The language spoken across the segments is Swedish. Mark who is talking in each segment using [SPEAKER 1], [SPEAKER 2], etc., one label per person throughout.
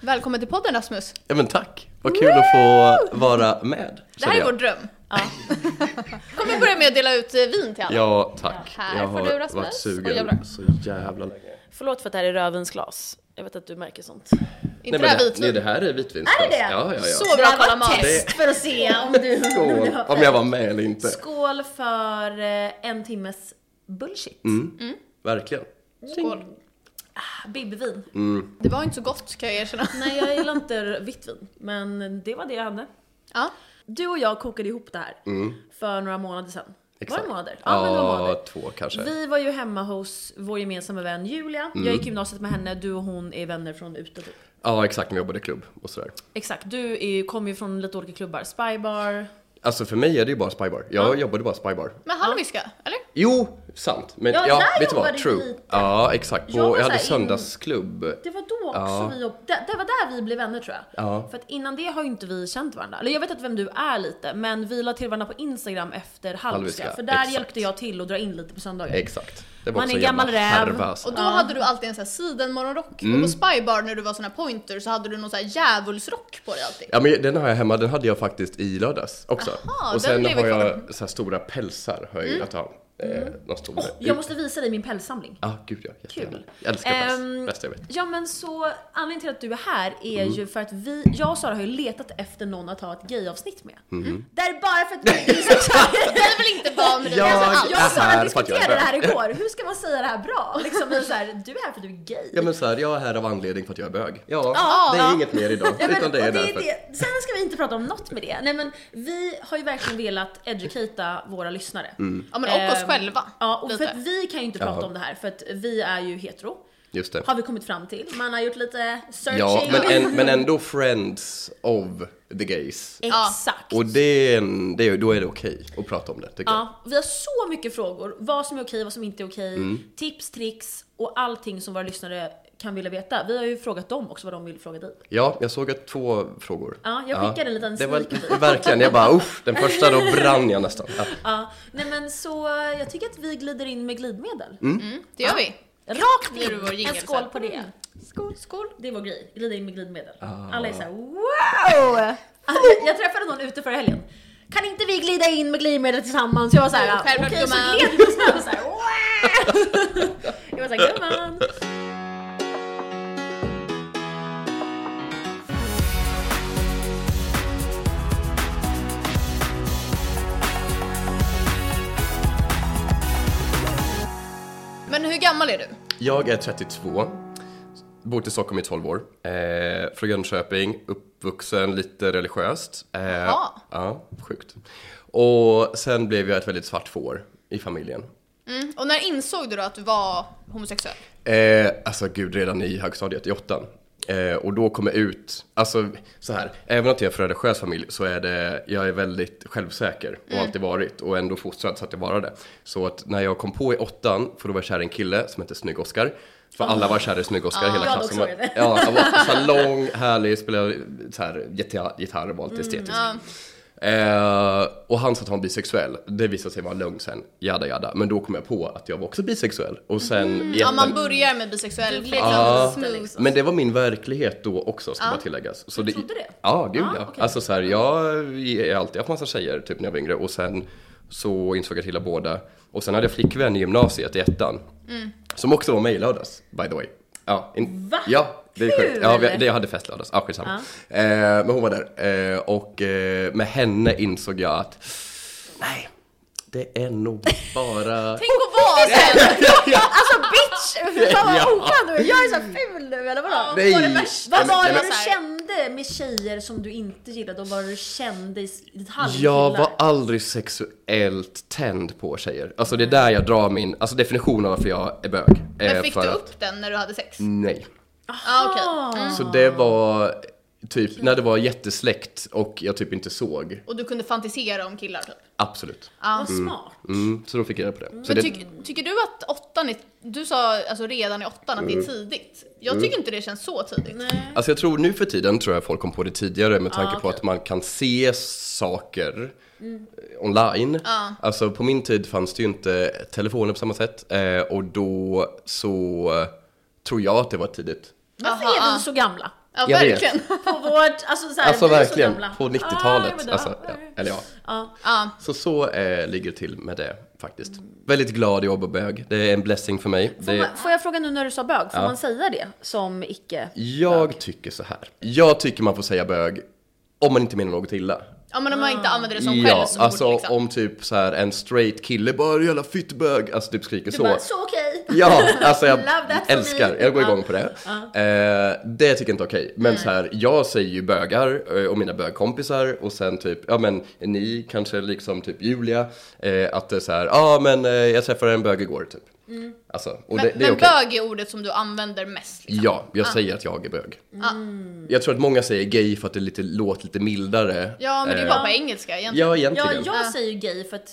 [SPEAKER 1] Välkommen till podden Rasmus.
[SPEAKER 2] Ja men tack! Vad kul att få vara med.
[SPEAKER 1] Det här
[SPEAKER 2] känner
[SPEAKER 1] är
[SPEAKER 2] jag.
[SPEAKER 1] vår dröm. Kommer vi börja med att dela ut eh, vin till alla?
[SPEAKER 2] Ja, tack.
[SPEAKER 1] Ja, här
[SPEAKER 2] jag
[SPEAKER 1] får
[SPEAKER 2] har
[SPEAKER 1] du, Rasmus.
[SPEAKER 2] varit
[SPEAKER 1] Och jag bra.
[SPEAKER 2] sugen så jävla länge.
[SPEAKER 3] Förlåt för att det här är rödvinsglas. Jag vet att du märker sånt.
[SPEAKER 1] Inte det
[SPEAKER 2] men
[SPEAKER 1] här
[SPEAKER 2] det, nej,
[SPEAKER 1] vitvin.
[SPEAKER 2] det här är vitvinsglas.
[SPEAKER 4] Är det det?
[SPEAKER 2] Ja, ja, ja.
[SPEAKER 1] Så bra
[SPEAKER 4] Det här var
[SPEAKER 1] kalamari.
[SPEAKER 4] ett test för att se om du...
[SPEAKER 2] Skål! Om jag var med eller inte.
[SPEAKER 4] Skål för eh, en timmes bullshit.
[SPEAKER 2] Mm. Verkligen.
[SPEAKER 1] Skål.
[SPEAKER 4] Bibbvin.
[SPEAKER 2] Mm.
[SPEAKER 1] Det var inte så gott kan jag erkänna.
[SPEAKER 4] Nej, jag gillar inte vitt vin, men det var det jag hade.
[SPEAKER 1] Ja.
[SPEAKER 4] Du och jag kokade ihop det här för några månader sedan. Var det månader?
[SPEAKER 2] Mm. Ja,
[SPEAKER 4] men det var månader.
[SPEAKER 2] två kanske.
[SPEAKER 4] Vi var ju hemma hos vår gemensamma vän Julia.
[SPEAKER 2] Mm.
[SPEAKER 4] Jag gick gymnasiet med henne, du och hon är vänner från ute typ.
[SPEAKER 2] Ja, exakt. När jag jobbade i klubb och sådär.
[SPEAKER 4] Exakt, du är, kom ju från lite olika klubbar. Spybar.
[SPEAKER 2] Alltså för mig är det ju bara spybar. Jag jobbade bara spybar.
[SPEAKER 1] Men halviska, eller?
[SPEAKER 2] Jo, sant. Men
[SPEAKER 4] Ja,
[SPEAKER 2] ja,
[SPEAKER 4] där
[SPEAKER 2] vet du vad?
[SPEAKER 4] jobbade du
[SPEAKER 2] True.
[SPEAKER 4] lite.
[SPEAKER 2] Ja, exakt. På,
[SPEAKER 4] Jag var
[SPEAKER 2] jag, hade
[SPEAKER 4] så här in-
[SPEAKER 2] söndagsklubb.
[SPEAKER 4] Det var då också
[SPEAKER 2] Ja.
[SPEAKER 4] vi jobb... det, det var där vi blev vänner tror jag.
[SPEAKER 2] Ja.
[SPEAKER 4] För att innan det har ju inte vi känt varandra. Eller jag vet inte vem du är lite, men vi la till varandra på Instagram efter Halmska.
[SPEAKER 2] Halmska,
[SPEAKER 4] För där
[SPEAKER 2] exakt.
[SPEAKER 4] hjälpte jag till att dra in lite på söndagar.
[SPEAKER 2] Exakt. Det var
[SPEAKER 4] Man
[SPEAKER 2] också
[SPEAKER 4] är
[SPEAKER 2] en
[SPEAKER 4] gammal
[SPEAKER 2] jävla
[SPEAKER 4] räv.
[SPEAKER 2] härva, alltså.
[SPEAKER 1] Och då hade du alltid en sån här sidenmorgonrock.
[SPEAKER 2] Mm.
[SPEAKER 1] Och på Spybar när du var sån här pointer så hade du någon sån här djävulsrock på dig alltid.
[SPEAKER 2] Ja men den har jag hemma, den hade jag faktiskt i lördags också.
[SPEAKER 1] Aha, den
[SPEAKER 2] och sen
[SPEAKER 1] lever
[SPEAKER 2] har
[SPEAKER 1] kvar.
[SPEAKER 2] jag så här stora pälsar har jag gillat att ha. Eh, någon stor...
[SPEAKER 4] Mm. Åh, jag måste visa dig min pälssamling.
[SPEAKER 2] Ja, gud ja. Jättegärna.
[SPEAKER 4] Kul.
[SPEAKER 2] Jag älskar päls.
[SPEAKER 4] Ehm,
[SPEAKER 2] Bästa jag vet.
[SPEAKER 4] Ja men så anledningen till att du är här är ju för att vi, jag och Sara har ju letat efter någon att ha ett gayavsnitt med. Där bara för att vi Mm-hmm. är så
[SPEAKER 1] Det är väl inte van med det
[SPEAKER 2] Jag-
[SPEAKER 1] alltså, alls.
[SPEAKER 4] Jag och Sara
[SPEAKER 2] här för att jag är
[SPEAKER 4] diskuterade det här
[SPEAKER 2] bög.
[SPEAKER 4] igår, hur ska man säga det här bra? Liksom vi är så här, du är här för att du är gay.
[SPEAKER 2] Ja men så här, jag är här av anledning för att jag är bög. Ja,
[SPEAKER 1] Ja,
[SPEAKER 2] det är
[SPEAKER 1] ja.
[SPEAKER 2] inget mer idag.
[SPEAKER 4] Ja, men,
[SPEAKER 2] utan det är
[SPEAKER 4] och
[SPEAKER 2] därför.
[SPEAKER 4] det. Sen ska vi inte prata om något med det. Nej men vi har ju verkligen velat educata våra lyssnare.
[SPEAKER 1] Ja men och oss
[SPEAKER 4] Ehm,
[SPEAKER 1] själva.
[SPEAKER 4] Ja, och för
[SPEAKER 1] lite.
[SPEAKER 4] att vi kan ju inte prata
[SPEAKER 2] Mm. Jaha.
[SPEAKER 4] om det här för att vi är ju hetero.
[SPEAKER 2] Just det.
[SPEAKER 4] Har vi kommit fram till. Man har gjort lite searching.
[SPEAKER 2] Ja, men, en, men ändå friends of the gays.
[SPEAKER 4] Exakt.
[SPEAKER 2] Och det är, en, det är, då är det okej att prata om det tycker jag.
[SPEAKER 4] Ja, vi har så mycket frågor. Vad som är okej, vad som inte är okej.
[SPEAKER 2] Mm.
[SPEAKER 4] Tips, tricks och allting som våra lyssnare kan vilja veta. Vi har ju frågat dem också vad de vill fråga dig.
[SPEAKER 2] Ja, jag såg att två frågor.
[SPEAKER 4] Ja, jag skickade en liten
[SPEAKER 2] Det var
[SPEAKER 4] sneak peek.
[SPEAKER 2] verkligen, jag bara usch, den första då brann jag nästan. Ja.
[SPEAKER 4] Ja, nej men så eh, jag tycker att vi glider in med glidmedel.
[SPEAKER 2] Mm.
[SPEAKER 1] Det gör vi.
[SPEAKER 4] Rakt
[SPEAKER 1] Nu är det vår
[SPEAKER 4] in!
[SPEAKER 1] jingle sen.
[SPEAKER 4] En skål på det.
[SPEAKER 1] Skål. Skål.
[SPEAKER 4] Det är vår grej, glida in med glidmedel.
[SPEAKER 2] Ah.
[SPEAKER 4] Alla är såhär wow! Alltså, Jag träffade någon ute förra helgen. Kan inte vi glida in med glidmedel tillsammans? Jag var såhär,
[SPEAKER 1] Jo, Mm, självklart,
[SPEAKER 4] okej så
[SPEAKER 1] gumman."
[SPEAKER 4] gled vi tillsammans såhär wow! Jag var såhär, gumman.
[SPEAKER 1] Men hur gammal är du?
[SPEAKER 2] Jag är 32, bott i Stockholm i 12 år, eh, från Jönköping, uppvuxen lite religiöst. Eh,
[SPEAKER 1] Jaha.
[SPEAKER 2] Ja, sjukt. Och sen blev jag ett väldigt svart får i familjen.
[SPEAKER 1] Mm. Och när insåg du då att du var homosexuell?
[SPEAKER 2] Eh, alltså gud, redan i högstadiet, i åttan. Eh, och då kom jag ut, alltså så här, även om jag är från en religiös familj så är det, jag är väldigt självsäker och
[SPEAKER 4] Mm.
[SPEAKER 2] alltid varit och ändå fostrad så att jag var det. Så att när jag kom på i åttan, för då var jag kär i en kille som hette Snygg-Oskar. För alla var kära i Snygg-Oskar, hela
[SPEAKER 4] Ah. jag hade
[SPEAKER 2] klassen.
[SPEAKER 4] också varit det.
[SPEAKER 2] Ja, han var så här lång, härlig, spelade så här, gitarr, gitarr och var
[SPEAKER 4] Mm,
[SPEAKER 2] lite estetisk. Eh, och han sa att han var bisexuell. Det visade sig vara en lögn sen, jada jada. Men då kom jag på att jag var också bisexuell. Och sen
[SPEAKER 4] Mm.
[SPEAKER 2] i
[SPEAKER 1] Ja
[SPEAKER 2] ettan-
[SPEAKER 1] man börjar med bisexuell.
[SPEAKER 4] Du
[SPEAKER 1] för
[SPEAKER 4] gled
[SPEAKER 1] liksom
[SPEAKER 4] in
[SPEAKER 1] smooth.
[SPEAKER 4] lite liksom.
[SPEAKER 2] men det var min verklighet då också, ska bara tilläggas. Så
[SPEAKER 4] Du trodde det?
[SPEAKER 2] Ja, gud
[SPEAKER 4] Ah,
[SPEAKER 2] ja.
[SPEAKER 4] okej.
[SPEAKER 2] Alltså så här, jag har alltid haft massa tjejer typ när jag var yngre och sen så insåg jag till båda. Och sen hade jag flickvän i gymnasiet i ettan. Som också var mig i lördags, by the way. Ja, in,
[SPEAKER 4] Mm. Va?
[SPEAKER 2] Ja, det är sjukt.
[SPEAKER 4] Kul!
[SPEAKER 2] Ja, vi, det, jag hade fest lördags. Ja, skitsamma. Eh, men hon var där. Eh, och eh, med henne insåg jag att, nej, det är nog bara...
[SPEAKER 1] Tänk att vara sen!
[SPEAKER 4] Alltså bitch! Fy "Oh, fan
[SPEAKER 2] Ja.
[SPEAKER 4] vad oskön du är. Jag är så ful nu eller vadå?
[SPEAKER 1] Det var det
[SPEAKER 2] Nej.
[SPEAKER 1] värsta.
[SPEAKER 4] Vad var
[SPEAKER 2] Nej,
[SPEAKER 4] det
[SPEAKER 2] men-
[SPEAKER 4] du
[SPEAKER 1] Så här.
[SPEAKER 4] kände med tjejer som du inte gillade och vad var det du kände i ditt
[SPEAKER 2] Jag
[SPEAKER 4] halvkillar?
[SPEAKER 2] var aldrig sexuellt tänd på tjejer. Alltså det är där jag drar min, alltså definition av varför jag Mm. är bög. Eh,
[SPEAKER 1] Men fick
[SPEAKER 2] för
[SPEAKER 1] du
[SPEAKER 2] att-
[SPEAKER 1] upp Ah. den när du hade sex?
[SPEAKER 2] Nej.
[SPEAKER 1] Mm, Ja
[SPEAKER 4] Ah,
[SPEAKER 1] okej.
[SPEAKER 2] Så det var typ när det var jättesläckt och jag typ inte såg.
[SPEAKER 1] Och du kunde fantisera om killar typ?
[SPEAKER 2] Absolut.
[SPEAKER 4] Vad smart.
[SPEAKER 2] Mm, så då fick jag reda på det. Så
[SPEAKER 1] Men
[SPEAKER 2] det
[SPEAKER 1] tyck- tycker du att åttan är, du sa alltså redan i åttan att det är
[SPEAKER 2] Mm.
[SPEAKER 1] tidigt. Jag tycker inte det känns så tidigt.
[SPEAKER 2] Alltså jag tror nu för tiden tror jag folk kom på det tidigare
[SPEAKER 1] Ah,
[SPEAKER 2] med tanke på att man kan se saker
[SPEAKER 1] Mm.
[SPEAKER 2] eh, online.
[SPEAKER 1] Ah.
[SPEAKER 2] Alltså på min tid fanns det ju inte telefoner på samma sätt eh, och då så eh, tror jag att det var tidigt.
[SPEAKER 4] Varför
[SPEAKER 1] Aha,
[SPEAKER 4] är
[SPEAKER 1] ah.
[SPEAKER 4] vi så gamla?
[SPEAKER 1] Ja,
[SPEAKER 2] Jag vet.
[SPEAKER 1] verkligen.
[SPEAKER 4] På vårt, alltså såhär,
[SPEAKER 2] Alltså
[SPEAKER 4] vi är så
[SPEAKER 2] verkligen,
[SPEAKER 4] gamla.
[SPEAKER 2] på
[SPEAKER 4] Ah, men
[SPEAKER 2] 90-talet.
[SPEAKER 4] då-
[SPEAKER 2] Alltså, ja, eller ja.
[SPEAKER 4] Ja.
[SPEAKER 1] Ja.
[SPEAKER 2] Så så eh, ligger det till med det faktiskt. Väldigt glad i Åbo bög. Det är en blessing för mig.
[SPEAKER 4] Får,
[SPEAKER 2] Det,
[SPEAKER 4] man, får jag fråga nu när du sa bög, får man säga det som icke?
[SPEAKER 2] jag tycker så här. Jag tycker man får säga bög om man inte menar något illa.
[SPEAKER 1] ja, men om man
[SPEAKER 4] Ah.
[SPEAKER 1] inte använder det som
[SPEAKER 2] Ja,
[SPEAKER 1] skällsord
[SPEAKER 2] alltså
[SPEAKER 1] liksom.
[SPEAKER 2] om typ så här en straight kille bara "Du jävla fittbög, alltså typ skriker
[SPEAKER 4] Du
[SPEAKER 2] så.
[SPEAKER 4] bara, så okej!
[SPEAKER 2] Ja, alltså jag
[SPEAKER 4] Love that for
[SPEAKER 2] älskar,
[SPEAKER 4] me.
[SPEAKER 2] jag går
[SPEAKER 4] Ja.
[SPEAKER 2] igång på det. Eh, det tycker jag inte är okej. Men så här, jag säger ju bögar eh, och mina bögkompisar och sen typ, ja men ni kanske liksom typ Julia, eh, att det är så här, ja ah, men eh, jag träffade en bög igår typ.
[SPEAKER 4] Mm.
[SPEAKER 2] Alltså, och
[SPEAKER 1] Men,
[SPEAKER 2] det, det är
[SPEAKER 1] men
[SPEAKER 2] okej.
[SPEAKER 1] bög är ordet som du använder mest. Liksom.
[SPEAKER 2] Ja, jag säger att jag är bög.
[SPEAKER 4] Mm.
[SPEAKER 1] Ja.
[SPEAKER 2] Jag tror att många säger gay för att det lite, låter lite mildare.
[SPEAKER 1] Ja, men det är
[SPEAKER 2] Eh,
[SPEAKER 1] bara på engelska egentligen.
[SPEAKER 2] Ja,
[SPEAKER 4] Ja,
[SPEAKER 2] egentligen.
[SPEAKER 4] jag säger ju gay för att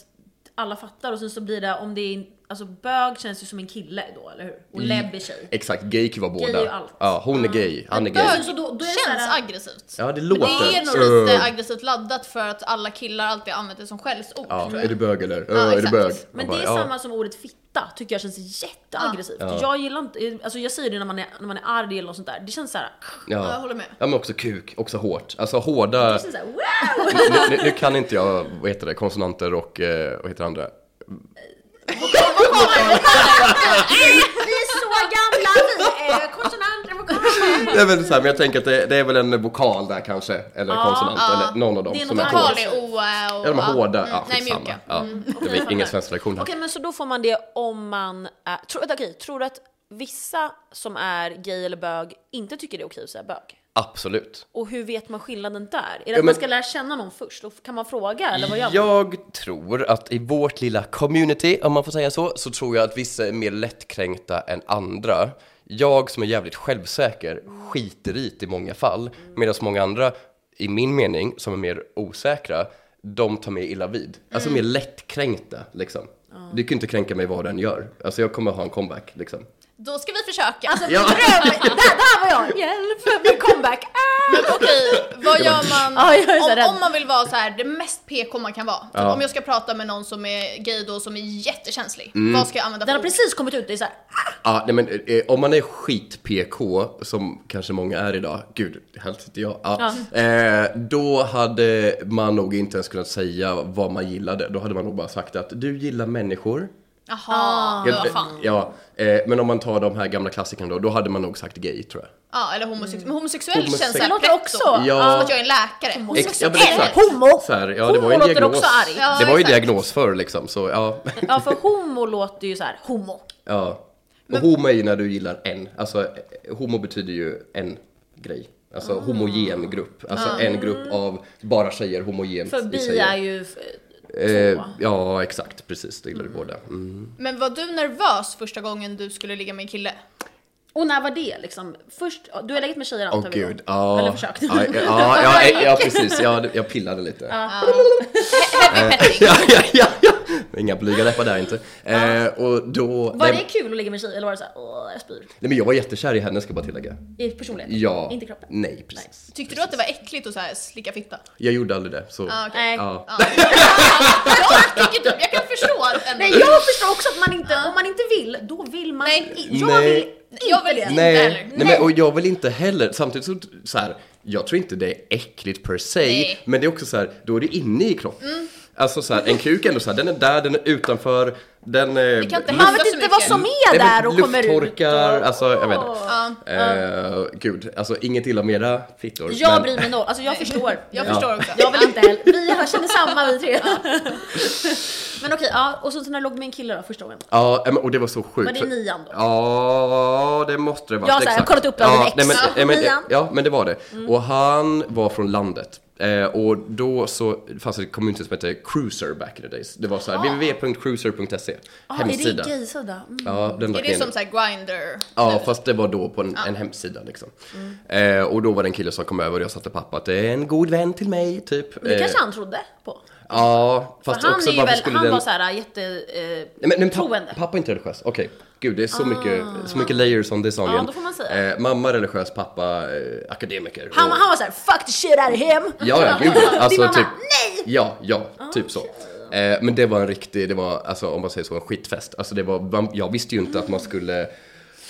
[SPEAKER 4] alla fattar och sen så blir det om det är, alltså bög känns ju som en kille då, eller hur? Och
[SPEAKER 2] Mm.
[SPEAKER 4] lebb är tjej.
[SPEAKER 2] Exakt, gay kan vara
[SPEAKER 4] Gay är
[SPEAKER 2] båda.
[SPEAKER 4] ju allt.
[SPEAKER 2] Ja, hon är gay, han är
[SPEAKER 1] Men
[SPEAKER 2] gay.
[SPEAKER 1] bög
[SPEAKER 4] Men så då- då är det
[SPEAKER 1] känns
[SPEAKER 4] så här-
[SPEAKER 1] aggressivt.
[SPEAKER 2] Ja, det
[SPEAKER 1] Men
[SPEAKER 2] låter... Eh.
[SPEAKER 1] det är nog lite
[SPEAKER 2] Ugh.
[SPEAKER 1] aggressivt laddat för att alla killar alltid använder det som skällsord.
[SPEAKER 2] Ja,
[SPEAKER 1] tror
[SPEAKER 2] är
[SPEAKER 1] jag.
[SPEAKER 2] du bög eller?
[SPEAKER 1] Ja,
[SPEAKER 2] Ja, är du
[SPEAKER 1] exakt.
[SPEAKER 2] bög?
[SPEAKER 4] Men
[SPEAKER 2] Man bara,
[SPEAKER 4] det är
[SPEAKER 2] ja.
[SPEAKER 4] samma som ordet fitta, tycker jag känns jätteaggressivt. Jag gillar inte, alltså jag säger det när man är, när man är arg eller något sånt där. Det känns såhär,
[SPEAKER 1] Ja, jag håller med.
[SPEAKER 2] Ja, men också kuk, också hårt. Alltså hårda...
[SPEAKER 4] det känns såhär wow!
[SPEAKER 2] nu, nu kan inte jag, vad heter det, konsonanter och, eh, vad heter det andra?
[SPEAKER 1] Mm.
[SPEAKER 4] Vi är så gamla, vi är konsonanter på konsonanter.
[SPEAKER 2] Det är väl så här, men jag tänker att det, det är väl en vokal där kanske, eller
[SPEAKER 4] Ja,
[SPEAKER 2] konsonant,
[SPEAKER 1] ja.
[SPEAKER 2] eller någon av dem
[SPEAKER 4] Det är
[SPEAKER 2] som är
[SPEAKER 4] något
[SPEAKER 2] hård.
[SPEAKER 1] Vokal är o ä och...
[SPEAKER 2] Ja, mm, de är hårda. ja,
[SPEAKER 1] nej, Mm.
[SPEAKER 2] skitsamma.
[SPEAKER 1] mjuka.
[SPEAKER 2] Ja. Det blir ingen svensk reaktion här.
[SPEAKER 4] Okej men så då får man det om man är, tro, vänta, okej, tror du att vissa som är gay eller bög inte tycker det är okej att säga bög?
[SPEAKER 2] Absolut.
[SPEAKER 4] Och hur vet man skillnaden där? Är det att
[SPEAKER 2] men-
[SPEAKER 4] man ska lära känna någon först? Då kan man fråga eller vad gör man?
[SPEAKER 2] Jag tror att i vårt lilla community, om man får säga så, så tror jag att vissa är mer lättkränkta än andra. Jag som är jävligt självsäker skiter i det i många fall, medan många andra, i min mening, som är mer osäkra, de tar mer illa vid. Alltså
[SPEAKER 4] Mm.
[SPEAKER 2] mer lättkränkta, liksom. Du kan inte kränka mig vad den gör. Alltså jag kommer ha en comeback, liksom.
[SPEAKER 1] Då ska vi försöka.
[SPEAKER 2] Ja.
[SPEAKER 4] där, där var jag! Hjälp! Min comeback! Ah!
[SPEAKER 1] Men okej, vad gör man
[SPEAKER 4] Ja, jag är så rädd.
[SPEAKER 1] om, om man vill vara så här det mest PK man kan vara? Typ
[SPEAKER 2] Ja.
[SPEAKER 1] Om jag ska prata med någon som är gay då som är jättekänslig, vad ska jag använda
[SPEAKER 4] Den
[SPEAKER 1] för
[SPEAKER 4] har
[SPEAKER 1] ord?
[SPEAKER 4] precis kommit ut, det är såhär,
[SPEAKER 2] Ja, nej men eh, om man är skit-PK, som kanske många är idag, gud, här sitter jag. Ja. Eh, då hade man nog inte ens kunnat säga vad man gillade. Då hade man nog bara sagt att du gillar människor.
[SPEAKER 1] Jaha, ja,
[SPEAKER 2] Eh,
[SPEAKER 1] fan.
[SPEAKER 2] ja, eh, men om man tar de här gamla klassikerna då, då hade man nog sagt gay tror jag.
[SPEAKER 1] Ja, eller homosexuell. Men homosexuell
[SPEAKER 2] Homosex-
[SPEAKER 1] känns
[SPEAKER 2] Det
[SPEAKER 1] såhär
[SPEAKER 4] låter
[SPEAKER 1] pretto.
[SPEAKER 4] också-
[SPEAKER 2] Ja.
[SPEAKER 1] Som att jag är en läkare.
[SPEAKER 2] Ex- ja, men
[SPEAKER 4] Homosexuell,
[SPEAKER 2] exakt.
[SPEAKER 4] homo.
[SPEAKER 2] Så här, ja, det var ju en
[SPEAKER 4] Homo låter
[SPEAKER 2] diagnos.
[SPEAKER 4] också arg.
[SPEAKER 1] Ja,
[SPEAKER 2] det var ju
[SPEAKER 1] exakt.
[SPEAKER 2] diagnos förr liksom, så ja.
[SPEAKER 4] ja för homo låter ju så här, homo.
[SPEAKER 2] ja. Och homo är ju när du gillar en. Alltså, eh, homo betyder ju en grej. Alltså
[SPEAKER 4] Ah.
[SPEAKER 2] homogen grupp. Alltså en grupp av bara tjejer homogent
[SPEAKER 4] För
[SPEAKER 2] i
[SPEAKER 4] bi
[SPEAKER 2] tjejer.
[SPEAKER 4] är ju eh,
[SPEAKER 2] Eh,
[SPEAKER 4] två.
[SPEAKER 2] ja, exakt. Precis, det gillar vi båda. Mm.
[SPEAKER 1] Men var du nervös första gången du skulle ligga med en kille?
[SPEAKER 4] Och när var det liksom? Först, du har legat med tjejer
[SPEAKER 2] Åh
[SPEAKER 4] antar vi
[SPEAKER 2] gud,
[SPEAKER 4] då?
[SPEAKER 2] ja.
[SPEAKER 4] Eller försökt.
[SPEAKER 2] Ja, ja, ja, ja, ja precis. Ja, det- jag pillade lite. Eh,
[SPEAKER 1] Happy petting.
[SPEAKER 2] Ja, ja, ja, ja. Inga blyga läppar där inte. Eh, och då...
[SPEAKER 4] Var
[SPEAKER 2] nej,
[SPEAKER 4] det kul att ligga med tjejer eller var det såhär, åh jag spyr?
[SPEAKER 2] nej, men jag var jättekär i henne ska jag bara tillägga.
[SPEAKER 4] I personligheten?
[SPEAKER 2] Ja.
[SPEAKER 4] Inte kroppen?
[SPEAKER 2] Nej, precis.
[SPEAKER 1] Tyckte du att det var äckligt att så här slicka fitta?
[SPEAKER 2] Jag gjorde aldrig det, så...
[SPEAKER 1] Ah, okej.
[SPEAKER 4] Nej.
[SPEAKER 2] Ja.
[SPEAKER 1] Jag tycker typ, jag kan förstå att ändå.
[SPEAKER 4] Nej jag förstår också att man inte, om man inte vill, då vill man
[SPEAKER 1] Nej.
[SPEAKER 4] i- Jag
[SPEAKER 2] Nej.
[SPEAKER 4] vill inte
[SPEAKER 1] Jag vill
[SPEAKER 4] det.
[SPEAKER 1] inte.
[SPEAKER 2] Nej,
[SPEAKER 1] heller.
[SPEAKER 2] nej men, och jag vill inte heller, samtidigt så, så här, jag tror inte det är äckligt per se,
[SPEAKER 1] Nej.
[SPEAKER 2] men det är också så här, då är det inne i kroppen.
[SPEAKER 4] Mm.
[SPEAKER 2] Alltså så här, en kuk är ändå så här, den är där, den är utanför, den... eh, Det
[SPEAKER 1] kan inte
[SPEAKER 4] Man
[SPEAKER 1] Luktar
[SPEAKER 4] vet
[SPEAKER 1] så
[SPEAKER 4] inte vad
[SPEAKER 1] mycket.
[SPEAKER 4] som är där och kommer ut.
[SPEAKER 2] Lufttorkar,
[SPEAKER 4] och-
[SPEAKER 2] alltså jag vet inte.
[SPEAKER 1] Ja.
[SPEAKER 2] Eh, gud, alltså inget illa med era fittor.
[SPEAKER 4] Jag
[SPEAKER 2] men-
[SPEAKER 4] bryr mig noll, alltså jag förstår.
[SPEAKER 1] Jag
[SPEAKER 2] Ja.
[SPEAKER 1] förstår också.
[SPEAKER 4] Jag vill inte heller, vi har- känner samma vi tre. Men okej, ja, och så när jag låg med en kille då första gången.
[SPEAKER 2] Ja, men, och det var så sjukt.
[SPEAKER 4] Var det
[SPEAKER 2] för-
[SPEAKER 4] nian då?
[SPEAKER 2] Ja, det måste det vara.
[SPEAKER 4] Jag har så här, jag har kollat upp det av min ex.
[SPEAKER 2] nej, men,
[SPEAKER 4] Ja,
[SPEAKER 2] nej, men,
[SPEAKER 4] nian.
[SPEAKER 2] ja, men det var det. Och han var från landet. Eh, och då så fanns det ett community som hette Cruiser back in the days. Det var så här, www.cruiser.se.
[SPEAKER 4] Ah, är det
[SPEAKER 2] hemsida.
[SPEAKER 4] en gaysida? Mm.
[SPEAKER 2] Ja, den
[SPEAKER 1] Är
[SPEAKER 2] lagt
[SPEAKER 1] det
[SPEAKER 2] ner
[SPEAKER 1] som
[SPEAKER 2] nu.
[SPEAKER 1] så här grinder?
[SPEAKER 2] Ja, fast det var då på en, en hemsida liksom.
[SPEAKER 4] Mm.
[SPEAKER 2] Eh, och då var det en kille som kom över och jag sa till pappa att det är en god vän till mig, typ.
[SPEAKER 4] Det kanske
[SPEAKER 2] eh,
[SPEAKER 4] han trodde på.
[SPEAKER 2] Ja, fast
[SPEAKER 4] Han,
[SPEAKER 2] också
[SPEAKER 4] är ju
[SPEAKER 2] varför
[SPEAKER 4] väl,
[SPEAKER 2] skulle
[SPEAKER 4] han
[SPEAKER 2] den...
[SPEAKER 4] var såhär jätte... Eh,
[SPEAKER 2] Nej, men, men pappa,
[SPEAKER 4] Troende. Ah.
[SPEAKER 2] pappa är inte religiös, okej. Gud, det är så, mycket, så mycket layers on this onion.
[SPEAKER 4] då får man säga.
[SPEAKER 2] Eh, mamma religiös, pappa eh, akademiker.
[SPEAKER 4] han,
[SPEAKER 2] och-
[SPEAKER 4] han var såhär 'fuck the shit out of him'
[SPEAKER 2] Ja, ja, gud ja.
[SPEAKER 4] Din
[SPEAKER 2] Alltså,
[SPEAKER 4] mamma,
[SPEAKER 2] typ,
[SPEAKER 4] nej! Ah,
[SPEAKER 2] Ja, ja, typ så. Eh, men det var en riktig, det var, alltså om man säger så, en skitfest. Alltså det var, man, jag visste ju inte att man skulle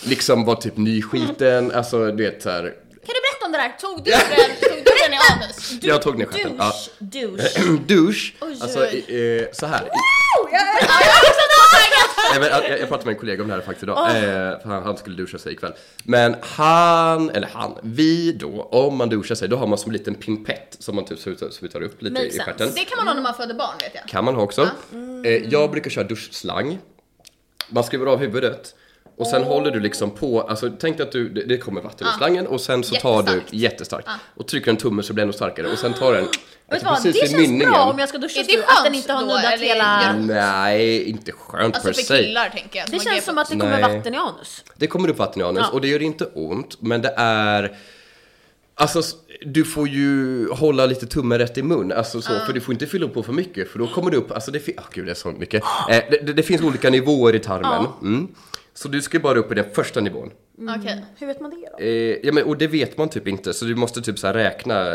[SPEAKER 2] liksom vara typ nyskiten, alltså du vet såhär.
[SPEAKER 1] Kan du berätta om den där, tog du den, tog du den i anus?
[SPEAKER 4] Du,
[SPEAKER 2] Jag tog ner stjärten. Ja.
[SPEAKER 4] Douche, douche.
[SPEAKER 2] Douche.
[SPEAKER 1] Oj,
[SPEAKER 2] Alltså,
[SPEAKER 1] oj.
[SPEAKER 2] eh, så här. Nej, men, jag, jag pratade med en kollega om det här faktiskt idag. Eh, för han, han skulle duscha sig ikväll. Men han, eller han, vi då, om man duschar sig, då har man som en liten pimpett som man typ så, så, så vi tar upp lite
[SPEAKER 4] Makes
[SPEAKER 2] i
[SPEAKER 4] sense.
[SPEAKER 2] stjärten.
[SPEAKER 1] Det kan man ha när man föder barn vet jag.
[SPEAKER 2] Kan man ha också. Eh, jag brukar köra duschslang. Man skriver av huvudet. Och sen håller du liksom på, alltså tänk dig att du, det, det kommer vatten
[SPEAKER 4] Ah.
[SPEAKER 2] ur slangen och sen så tar du
[SPEAKER 1] Jättestarkt.
[SPEAKER 2] jättestarkt och trycker en tumme så blir den ännu starkare och sen tar den
[SPEAKER 4] Vet
[SPEAKER 2] alltså,
[SPEAKER 4] du vad, det känns bra om jag ska duscha
[SPEAKER 1] Är det
[SPEAKER 4] nu, att den
[SPEAKER 1] skönt
[SPEAKER 4] inte har
[SPEAKER 1] då,
[SPEAKER 4] nuddat
[SPEAKER 1] eller
[SPEAKER 4] hela...
[SPEAKER 1] gör-
[SPEAKER 2] Nej, inte skönt
[SPEAKER 1] Alltså
[SPEAKER 2] per
[SPEAKER 1] för
[SPEAKER 2] se.
[SPEAKER 1] killar tänker jag.
[SPEAKER 4] Det
[SPEAKER 1] man ger
[SPEAKER 4] känns som att det
[SPEAKER 2] Nej.
[SPEAKER 4] kommer vatten i anus.
[SPEAKER 2] Det kommer upp vatten i anus
[SPEAKER 4] Ja.
[SPEAKER 2] och det gör inte ont, men det är... Alltså, s- du får ju hålla lite tummen rätt i mun, alltså så, för du får inte fylla på för mycket, för då kommer det upp, alltså det finns, ah gud det är så mycket. Eh, det, det, det finns olika nivåer i tarmen. Mm. Så du ska bara upp i den första nivån.
[SPEAKER 1] Okej.
[SPEAKER 4] Hur vet man det då?
[SPEAKER 2] Eh, ja, men, och det vet man typ inte, så du måste typ så här räkna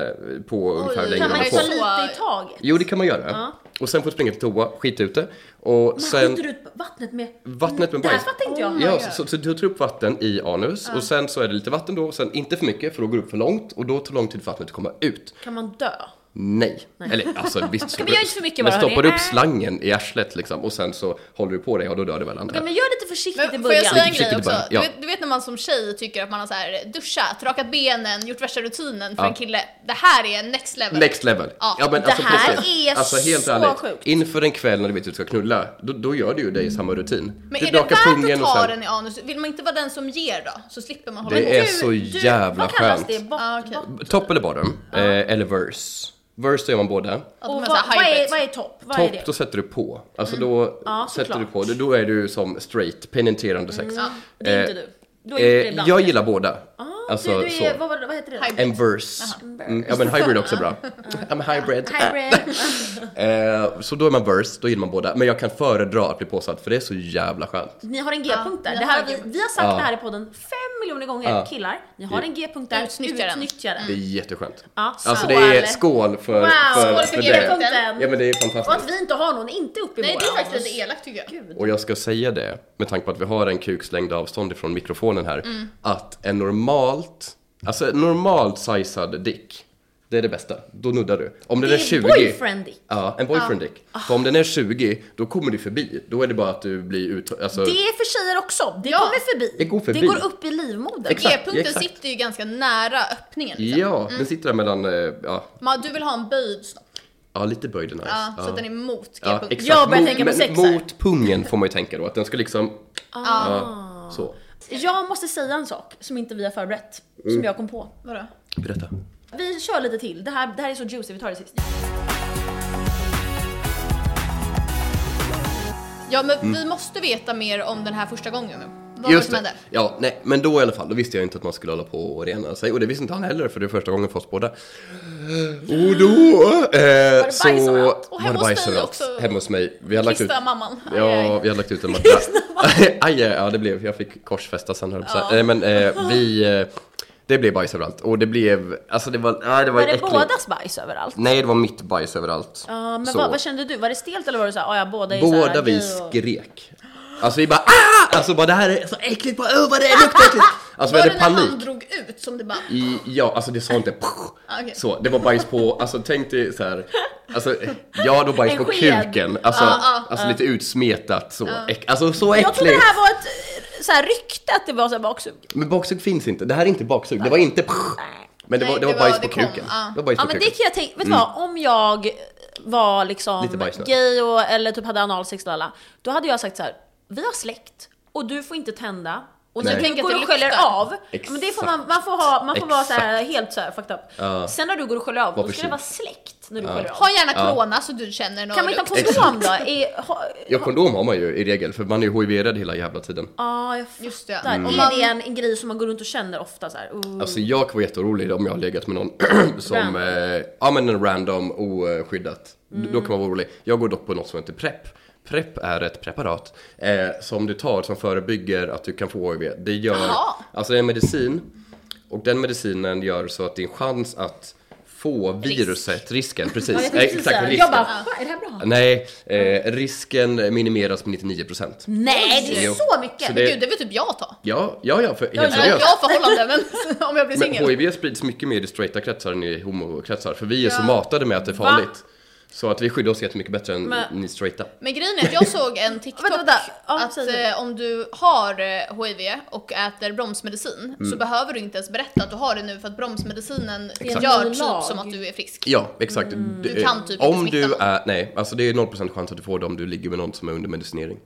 [SPEAKER 2] på ungefär hur länge
[SPEAKER 4] Kan
[SPEAKER 1] man
[SPEAKER 4] man
[SPEAKER 2] man
[SPEAKER 1] ju
[SPEAKER 4] ta
[SPEAKER 2] får.
[SPEAKER 1] så-
[SPEAKER 4] lite i taget?
[SPEAKER 2] Jo, det kan man göra. Och sen får du springa till toa, skita ut det. Och
[SPEAKER 4] Man
[SPEAKER 2] sen...
[SPEAKER 4] skjuter ut vattnet med...
[SPEAKER 2] Vattnet med
[SPEAKER 4] Där
[SPEAKER 2] bajs.
[SPEAKER 4] tänkte jag.
[SPEAKER 2] Ja, så, så, så du tar upp vatten i anus och sen så är det lite vatten då, sen inte för mycket för då går det upp för långt och då tar lång tid för vattnet att komma ut.
[SPEAKER 4] Kan man dö?
[SPEAKER 2] Nej. Eller alltså visst. stoppar-
[SPEAKER 4] vi göra inte för mycket
[SPEAKER 2] men
[SPEAKER 4] bara,
[SPEAKER 2] stoppar
[SPEAKER 4] hörni?
[SPEAKER 2] du upp slangen i arslet liksom och sen så håller du på det och då dör det väl antar
[SPEAKER 4] Ja,
[SPEAKER 2] jag.
[SPEAKER 4] men gör lite försiktigt i
[SPEAKER 1] Men får jag säga
[SPEAKER 4] början.
[SPEAKER 1] en
[SPEAKER 2] Lite försiktigt
[SPEAKER 1] grej
[SPEAKER 2] i
[SPEAKER 1] också?
[SPEAKER 2] början,
[SPEAKER 1] Du,
[SPEAKER 2] ja.
[SPEAKER 1] vet, du vet när man som tjej tycker att man har så här duschat, rakat benen, gjort värsta rutinen för
[SPEAKER 2] Ja.
[SPEAKER 1] en kille. Det här är next level.
[SPEAKER 2] Next level.
[SPEAKER 1] Ja,
[SPEAKER 2] men
[SPEAKER 4] det här är
[SPEAKER 2] alltså, helt
[SPEAKER 4] så
[SPEAKER 2] ärligt,
[SPEAKER 4] sjukt.
[SPEAKER 2] Inför en kväll när du vet att du ska knulla, då, då gör du ju det i samma rutin.
[SPEAKER 1] Men
[SPEAKER 2] du
[SPEAKER 1] är det
[SPEAKER 2] rakar
[SPEAKER 1] värt att
[SPEAKER 2] pungen och
[SPEAKER 1] ta
[SPEAKER 2] sen-
[SPEAKER 1] den i anus? Vill man inte vara den som ger då? Så slipper man hålla
[SPEAKER 2] Det
[SPEAKER 1] på.
[SPEAKER 2] är så jävla
[SPEAKER 4] vad kallas
[SPEAKER 2] skönt.
[SPEAKER 4] Det? Bot,
[SPEAKER 1] Ah, okej.
[SPEAKER 4] bot-
[SPEAKER 2] Topp eller bottom? Eh, eller verse? Verse då gör man båda.
[SPEAKER 1] Att
[SPEAKER 4] Och
[SPEAKER 1] de är
[SPEAKER 4] vad,
[SPEAKER 1] så
[SPEAKER 4] vad,
[SPEAKER 1] här
[SPEAKER 4] är,
[SPEAKER 1] hybrid.
[SPEAKER 4] vad är topp? Vad är
[SPEAKER 2] Topp,
[SPEAKER 4] det? Mm.
[SPEAKER 2] då sätter du på. Alltså då
[SPEAKER 4] Ja,
[SPEAKER 2] sätter du
[SPEAKER 4] såklart. Mm.
[SPEAKER 2] på. det. Då är du som straight, penetrerande sex.
[SPEAKER 4] Det är
[SPEAKER 2] Eh,
[SPEAKER 4] inte du. Du har gjort det
[SPEAKER 2] eh,
[SPEAKER 4] ibland.
[SPEAKER 2] jag gillar båda.
[SPEAKER 4] Ah,
[SPEAKER 2] alltså
[SPEAKER 4] du, du är,
[SPEAKER 2] så.
[SPEAKER 4] vad, var det- vad heter det?
[SPEAKER 1] Hybrid.
[SPEAKER 2] En verse. Mm, ja men hybrid är också bra. I'm hybrid.
[SPEAKER 4] Ah, Hybrid.
[SPEAKER 2] Eh, så då är man verse, då gillar man båda. Men jag kan föredra att bli påsatt för det är så jävla skönt.
[SPEAKER 4] Ni har en G-punkt där.
[SPEAKER 1] Ja,
[SPEAKER 4] Det här,
[SPEAKER 1] jag
[SPEAKER 4] vi,
[SPEAKER 1] har
[SPEAKER 4] vi har sagt
[SPEAKER 2] Ja.
[SPEAKER 4] det här i podden fem miljoner gånger.
[SPEAKER 2] Ja.
[SPEAKER 4] Killar, ni har en G-punkt där.
[SPEAKER 1] Utnyttja den.
[SPEAKER 4] Utnyttja den.
[SPEAKER 2] Det är jätteskönt.
[SPEAKER 4] Mm. Ja,
[SPEAKER 2] Alltså
[SPEAKER 4] skål.
[SPEAKER 2] det är skål för,
[SPEAKER 4] Wow,
[SPEAKER 2] för,
[SPEAKER 1] skål för
[SPEAKER 2] för det.
[SPEAKER 1] G-punkten.
[SPEAKER 2] Ja
[SPEAKER 4] G-punkten.
[SPEAKER 2] men det är
[SPEAKER 4] Och att
[SPEAKER 2] fantastiskt.
[SPEAKER 4] vi inte har någon inte uppe i
[SPEAKER 1] Nej,
[SPEAKER 4] våra
[SPEAKER 1] det är faktiskt
[SPEAKER 4] anus.
[SPEAKER 1] lite elakt tycker jag.
[SPEAKER 4] Gud.
[SPEAKER 2] Och jag ska säga det, med tanke på att vi har en kukslängd avstånd ifrån mikrofonen här,
[SPEAKER 4] Mm.
[SPEAKER 2] att en normalt, alltså en normalt sizad dick, det är det bästa. Då nuddar du. Om den
[SPEAKER 4] Det
[SPEAKER 2] är,
[SPEAKER 4] är
[SPEAKER 2] 20,
[SPEAKER 4] boyfriend dick.
[SPEAKER 2] Ja, en boyfriend dick. För om den är 20, då kommer du förbi. Då är det bara att du blir ut... Alltså,
[SPEAKER 4] Det är för tjejer också. Det
[SPEAKER 1] Ja.
[SPEAKER 4] kommer förbi.
[SPEAKER 2] Det går förbi.
[SPEAKER 4] Det går upp i livmodern.
[SPEAKER 2] Exakt.
[SPEAKER 1] G-punkten
[SPEAKER 2] exakt.
[SPEAKER 1] sitter ju ganska nära öppningen. Liksom.
[SPEAKER 2] Ja,
[SPEAKER 4] Mm.
[SPEAKER 2] den sitter där mellan, eh, ja,
[SPEAKER 1] Man, du vill ha en böjd snopp,
[SPEAKER 2] ja lite böjd är nice.
[SPEAKER 1] ja, så att den är mot G-punkten.
[SPEAKER 2] exakt.
[SPEAKER 4] Jag börjar
[SPEAKER 2] Mot-
[SPEAKER 4] tänka på
[SPEAKER 2] men
[SPEAKER 4] sexar.
[SPEAKER 2] Mot pungen får man ju tänka då, att den ska liksom...
[SPEAKER 4] Ah.
[SPEAKER 2] Ja, så.
[SPEAKER 4] Jag måste säga en sak som inte vi har förberett,
[SPEAKER 2] Mm.
[SPEAKER 4] som jag kom på.
[SPEAKER 1] Vadå?
[SPEAKER 2] Berätta.
[SPEAKER 4] Vi kör lite till. Det här, det här är så juicy, vi tar det sist.
[SPEAKER 1] Ja men vi måste veta mer om den här första gången nu. Vad
[SPEAKER 2] Mm. Just
[SPEAKER 1] som
[SPEAKER 2] det.
[SPEAKER 1] hände.
[SPEAKER 2] Ja, nej, men då i alla fall, då visste jag inte att man skulle hålla på och rena sig. Och det visste inte han heller, för det är första gången för oss båda. Och då... Eh, så
[SPEAKER 4] bajs överallt?
[SPEAKER 1] Och
[SPEAKER 2] var det
[SPEAKER 1] hemma hos
[SPEAKER 2] bajs
[SPEAKER 1] dig
[SPEAKER 2] överallt.
[SPEAKER 1] också.
[SPEAKER 2] Hemma hos mig. Vi hade lagt ut...
[SPEAKER 1] Kissa mamman. Aj,
[SPEAKER 2] Ja,
[SPEAKER 1] aj.
[SPEAKER 2] vi hade lagt ut en madrass. aj, aj, ja det blev, jag fick korsfästa sen höll jag på att säga. Nej men eh, vi, eh, det blev bajs överallt. Och det blev, alltså det var, nej det var,
[SPEAKER 4] Var det
[SPEAKER 2] äckligt.
[SPEAKER 4] bådas bajs överallt?
[SPEAKER 2] Nej det var mitt bajs överallt.
[SPEAKER 4] Ja, men
[SPEAKER 2] Så.
[SPEAKER 4] vad, vad kände du? Var det stelt eller var det såhär, ja båda är såhär,
[SPEAKER 2] Båda vi
[SPEAKER 4] gay och-
[SPEAKER 2] skrek. Alltså vi bara ah! Alltså bara det här är så äckligt, bara oh, vad det luktar äckligt. Alltså vi
[SPEAKER 1] Var det
[SPEAKER 2] hade
[SPEAKER 1] när
[SPEAKER 2] panik.
[SPEAKER 1] han drog ut som det bara...
[SPEAKER 2] I, ja, alltså det sa inte
[SPEAKER 1] okej.
[SPEAKER 2] så. Det var bajs på, alltså tänk dig så här. Alltså, ja då bajs på
[SPEAKER 4] En sked.
[SPEAKER 2] kuken. Alltså,
[SPEAKER 1] Ja, ja,
[SPEAKER 2] alltså lite utsmetat så. Äck, alltså så
[SPEAKER 4] Jag trodde det
[SPEAKER 2] äckligt.
[SPEAKER 4] här var ett eh, såhär rykte att det var såhär baksug.
[SPEAKER 2] Men baksug finns inte. Det här är inte baksug. Det var inte Men det
[SPEAKER 1] Nej,
[SPEAKER 2] var, det var
[SPEAKER 1] det
[SPEAKER 2] bajs
[SPEAKER 1] var-
[SPEAKER 2] på
[SPEAKER 1] det kom,
[SPEAKER 2] kuken.
[SPEAKER 1] ja.
[SPEAKER 2] Det var bajs
[SPEAKER 4] Ja
[SPEAKER 2] på
[SPEAKER 4] men det
[SPEAKER 2] kuken.
[SPEAKER 4] kan jag tänka, vet du vad? Om jag var
[SPEAKER 2] Mm. Lite
[SPEAKER 4] liksom
[SPEAKER 2] bajsnödig.
[SPEAKER 4] gay och, eller typ hade analsex och alla, då hade jag sagt så här: vi har släkt och du får inte tända och
[SPEAKER 2] Nej.
[SPEAKER 4] när du
[SPEAKER 1] Tänk att
[SPEAKER 4] går
[SPEAKER 1] det
[SPEAKER 4] och sköljer
[SPEAKER 1] luktar.
[SPEAKER 4] av, ja, men det får man, man får, ha, man får vara så här helt så här fucked up.
[SPEAKER 2] Ja.
[SPEAKER 4] Sen när du går och sköljer av,
[SPEAKER 2] Var
[SPEAKER 4] då ska det
[SPEAKER 2] försiktig.
[SPEAKER 4] vara släkt när du sköljer av.
[SPEAKER 1] Ha gärna corona så du känner någon
[SPEAKER 4] Kan man hitta
[SPEAKER 1] lukt.
[SPEAKER 4] kondom då? Är, ha,
[SPEAKER 2] Ja, kondom har man ju i regel för man är ju hiv hela jävla tiden.
[SPEAKER 4] ja, jag
[SPEAKER 1] Just det.
[SPEAKER 4] fattar.
[SPEAKER 1] Mm.
[SPEAKER 4] Är det en, en grej som man går runt och känner ofta så här? Uh.
[SPEAKER 2] Alltså jag var jätteorolig om jag har legat med någon som,
[SPEAKER 4] Random.
[SPEAKER 2] eh, ja men en random oskyddat. D- Då kan man vara orolig. Jag går dock på något som heter PREP. PREP är ett preparat eh, som du tar som förebygger att du kan få HIV. Det gör,
[SPEAKER 1] Jaha.
[SPEAKER 2] alltså det är en medicin och den medicinen gör så att din chans att få viruset, risken,
[SPEAKER 4] Ja,
[SPEAKER 2] precis.
[SPEAKER 4] jag tänkte
[SPEAKER 2] Eh,
[SPEAKER 4] precis
[SPEAKER 2] exakt,
[SPEAKER 4] säga.
[SPEAKER 2] risken.
[SPEAKER 4] jag bara, "Ah." "Va, är det här
[SPEAKER 2] Nej,
[SPEAKER 4] bra?
[SPEAKER 2] eh, risken minimeras med 99%.
[SPEAKER 4] Nej, det är
[SPEAKER 2] Jo.
[SPEAKER 4] så mycket!
[SPEAKER 2] Så
[SPEAKER 1] Men
[SPEAKER 2] det-
[SPEAKER 1] gud, det vill typ jag ta.
[SPEAKER 2] Ja, ja, ja, för, helt
[SPEAKER 1] Eller
[SPEAKER 2] seriöst.
[SPEAKER 1] jag har förhållande, men om jag blir
[SPEAKER 2] Men
[SPEAKER 1] singel.
[SPEAKER 2] HIV sprids mycket mer i straighta kretsar än i homokretsar, för vi är så
[SPEAKER 1] Ja.
[SPEAKER 2] matade med att det är farligt. Så att vi skyddar oss jättemycket bättre än
[SPEAKER 4] Men-
[SPEAKER 2] ni straighta.
[SPEAKER 1] Men grejen är att jag såg en TikTok
[SPEAKER 4] Vänta, vänta. Ja,
[SPEAKER 1] att
[SPEAKER 4] säg det.
[SPEAKER 1] eh, om du har eh, HIV och äter bromsmedicin så behöver du inte ens berätta att du har det nu för att bromsmedicinen
[SPEAKER 2] Mm. Exakt.
[SPEAKER 1] gör
[SPEAKER 4] Det är en lag.
[SPEAKER 1] typ som att du är frisk.
[SPEAKER 2] Ja, exakt. Du,
[SPEAKER 1] kan typ inte
[SPEAKER 2] om
[SPEAKER 1] smitta
[SPEAKER 2] du
[SPEAKER 1] någon.
[SPEAKER 2] är, nej, alltså det är 0% chans att du får det om du ligger med någon som är under medicinering.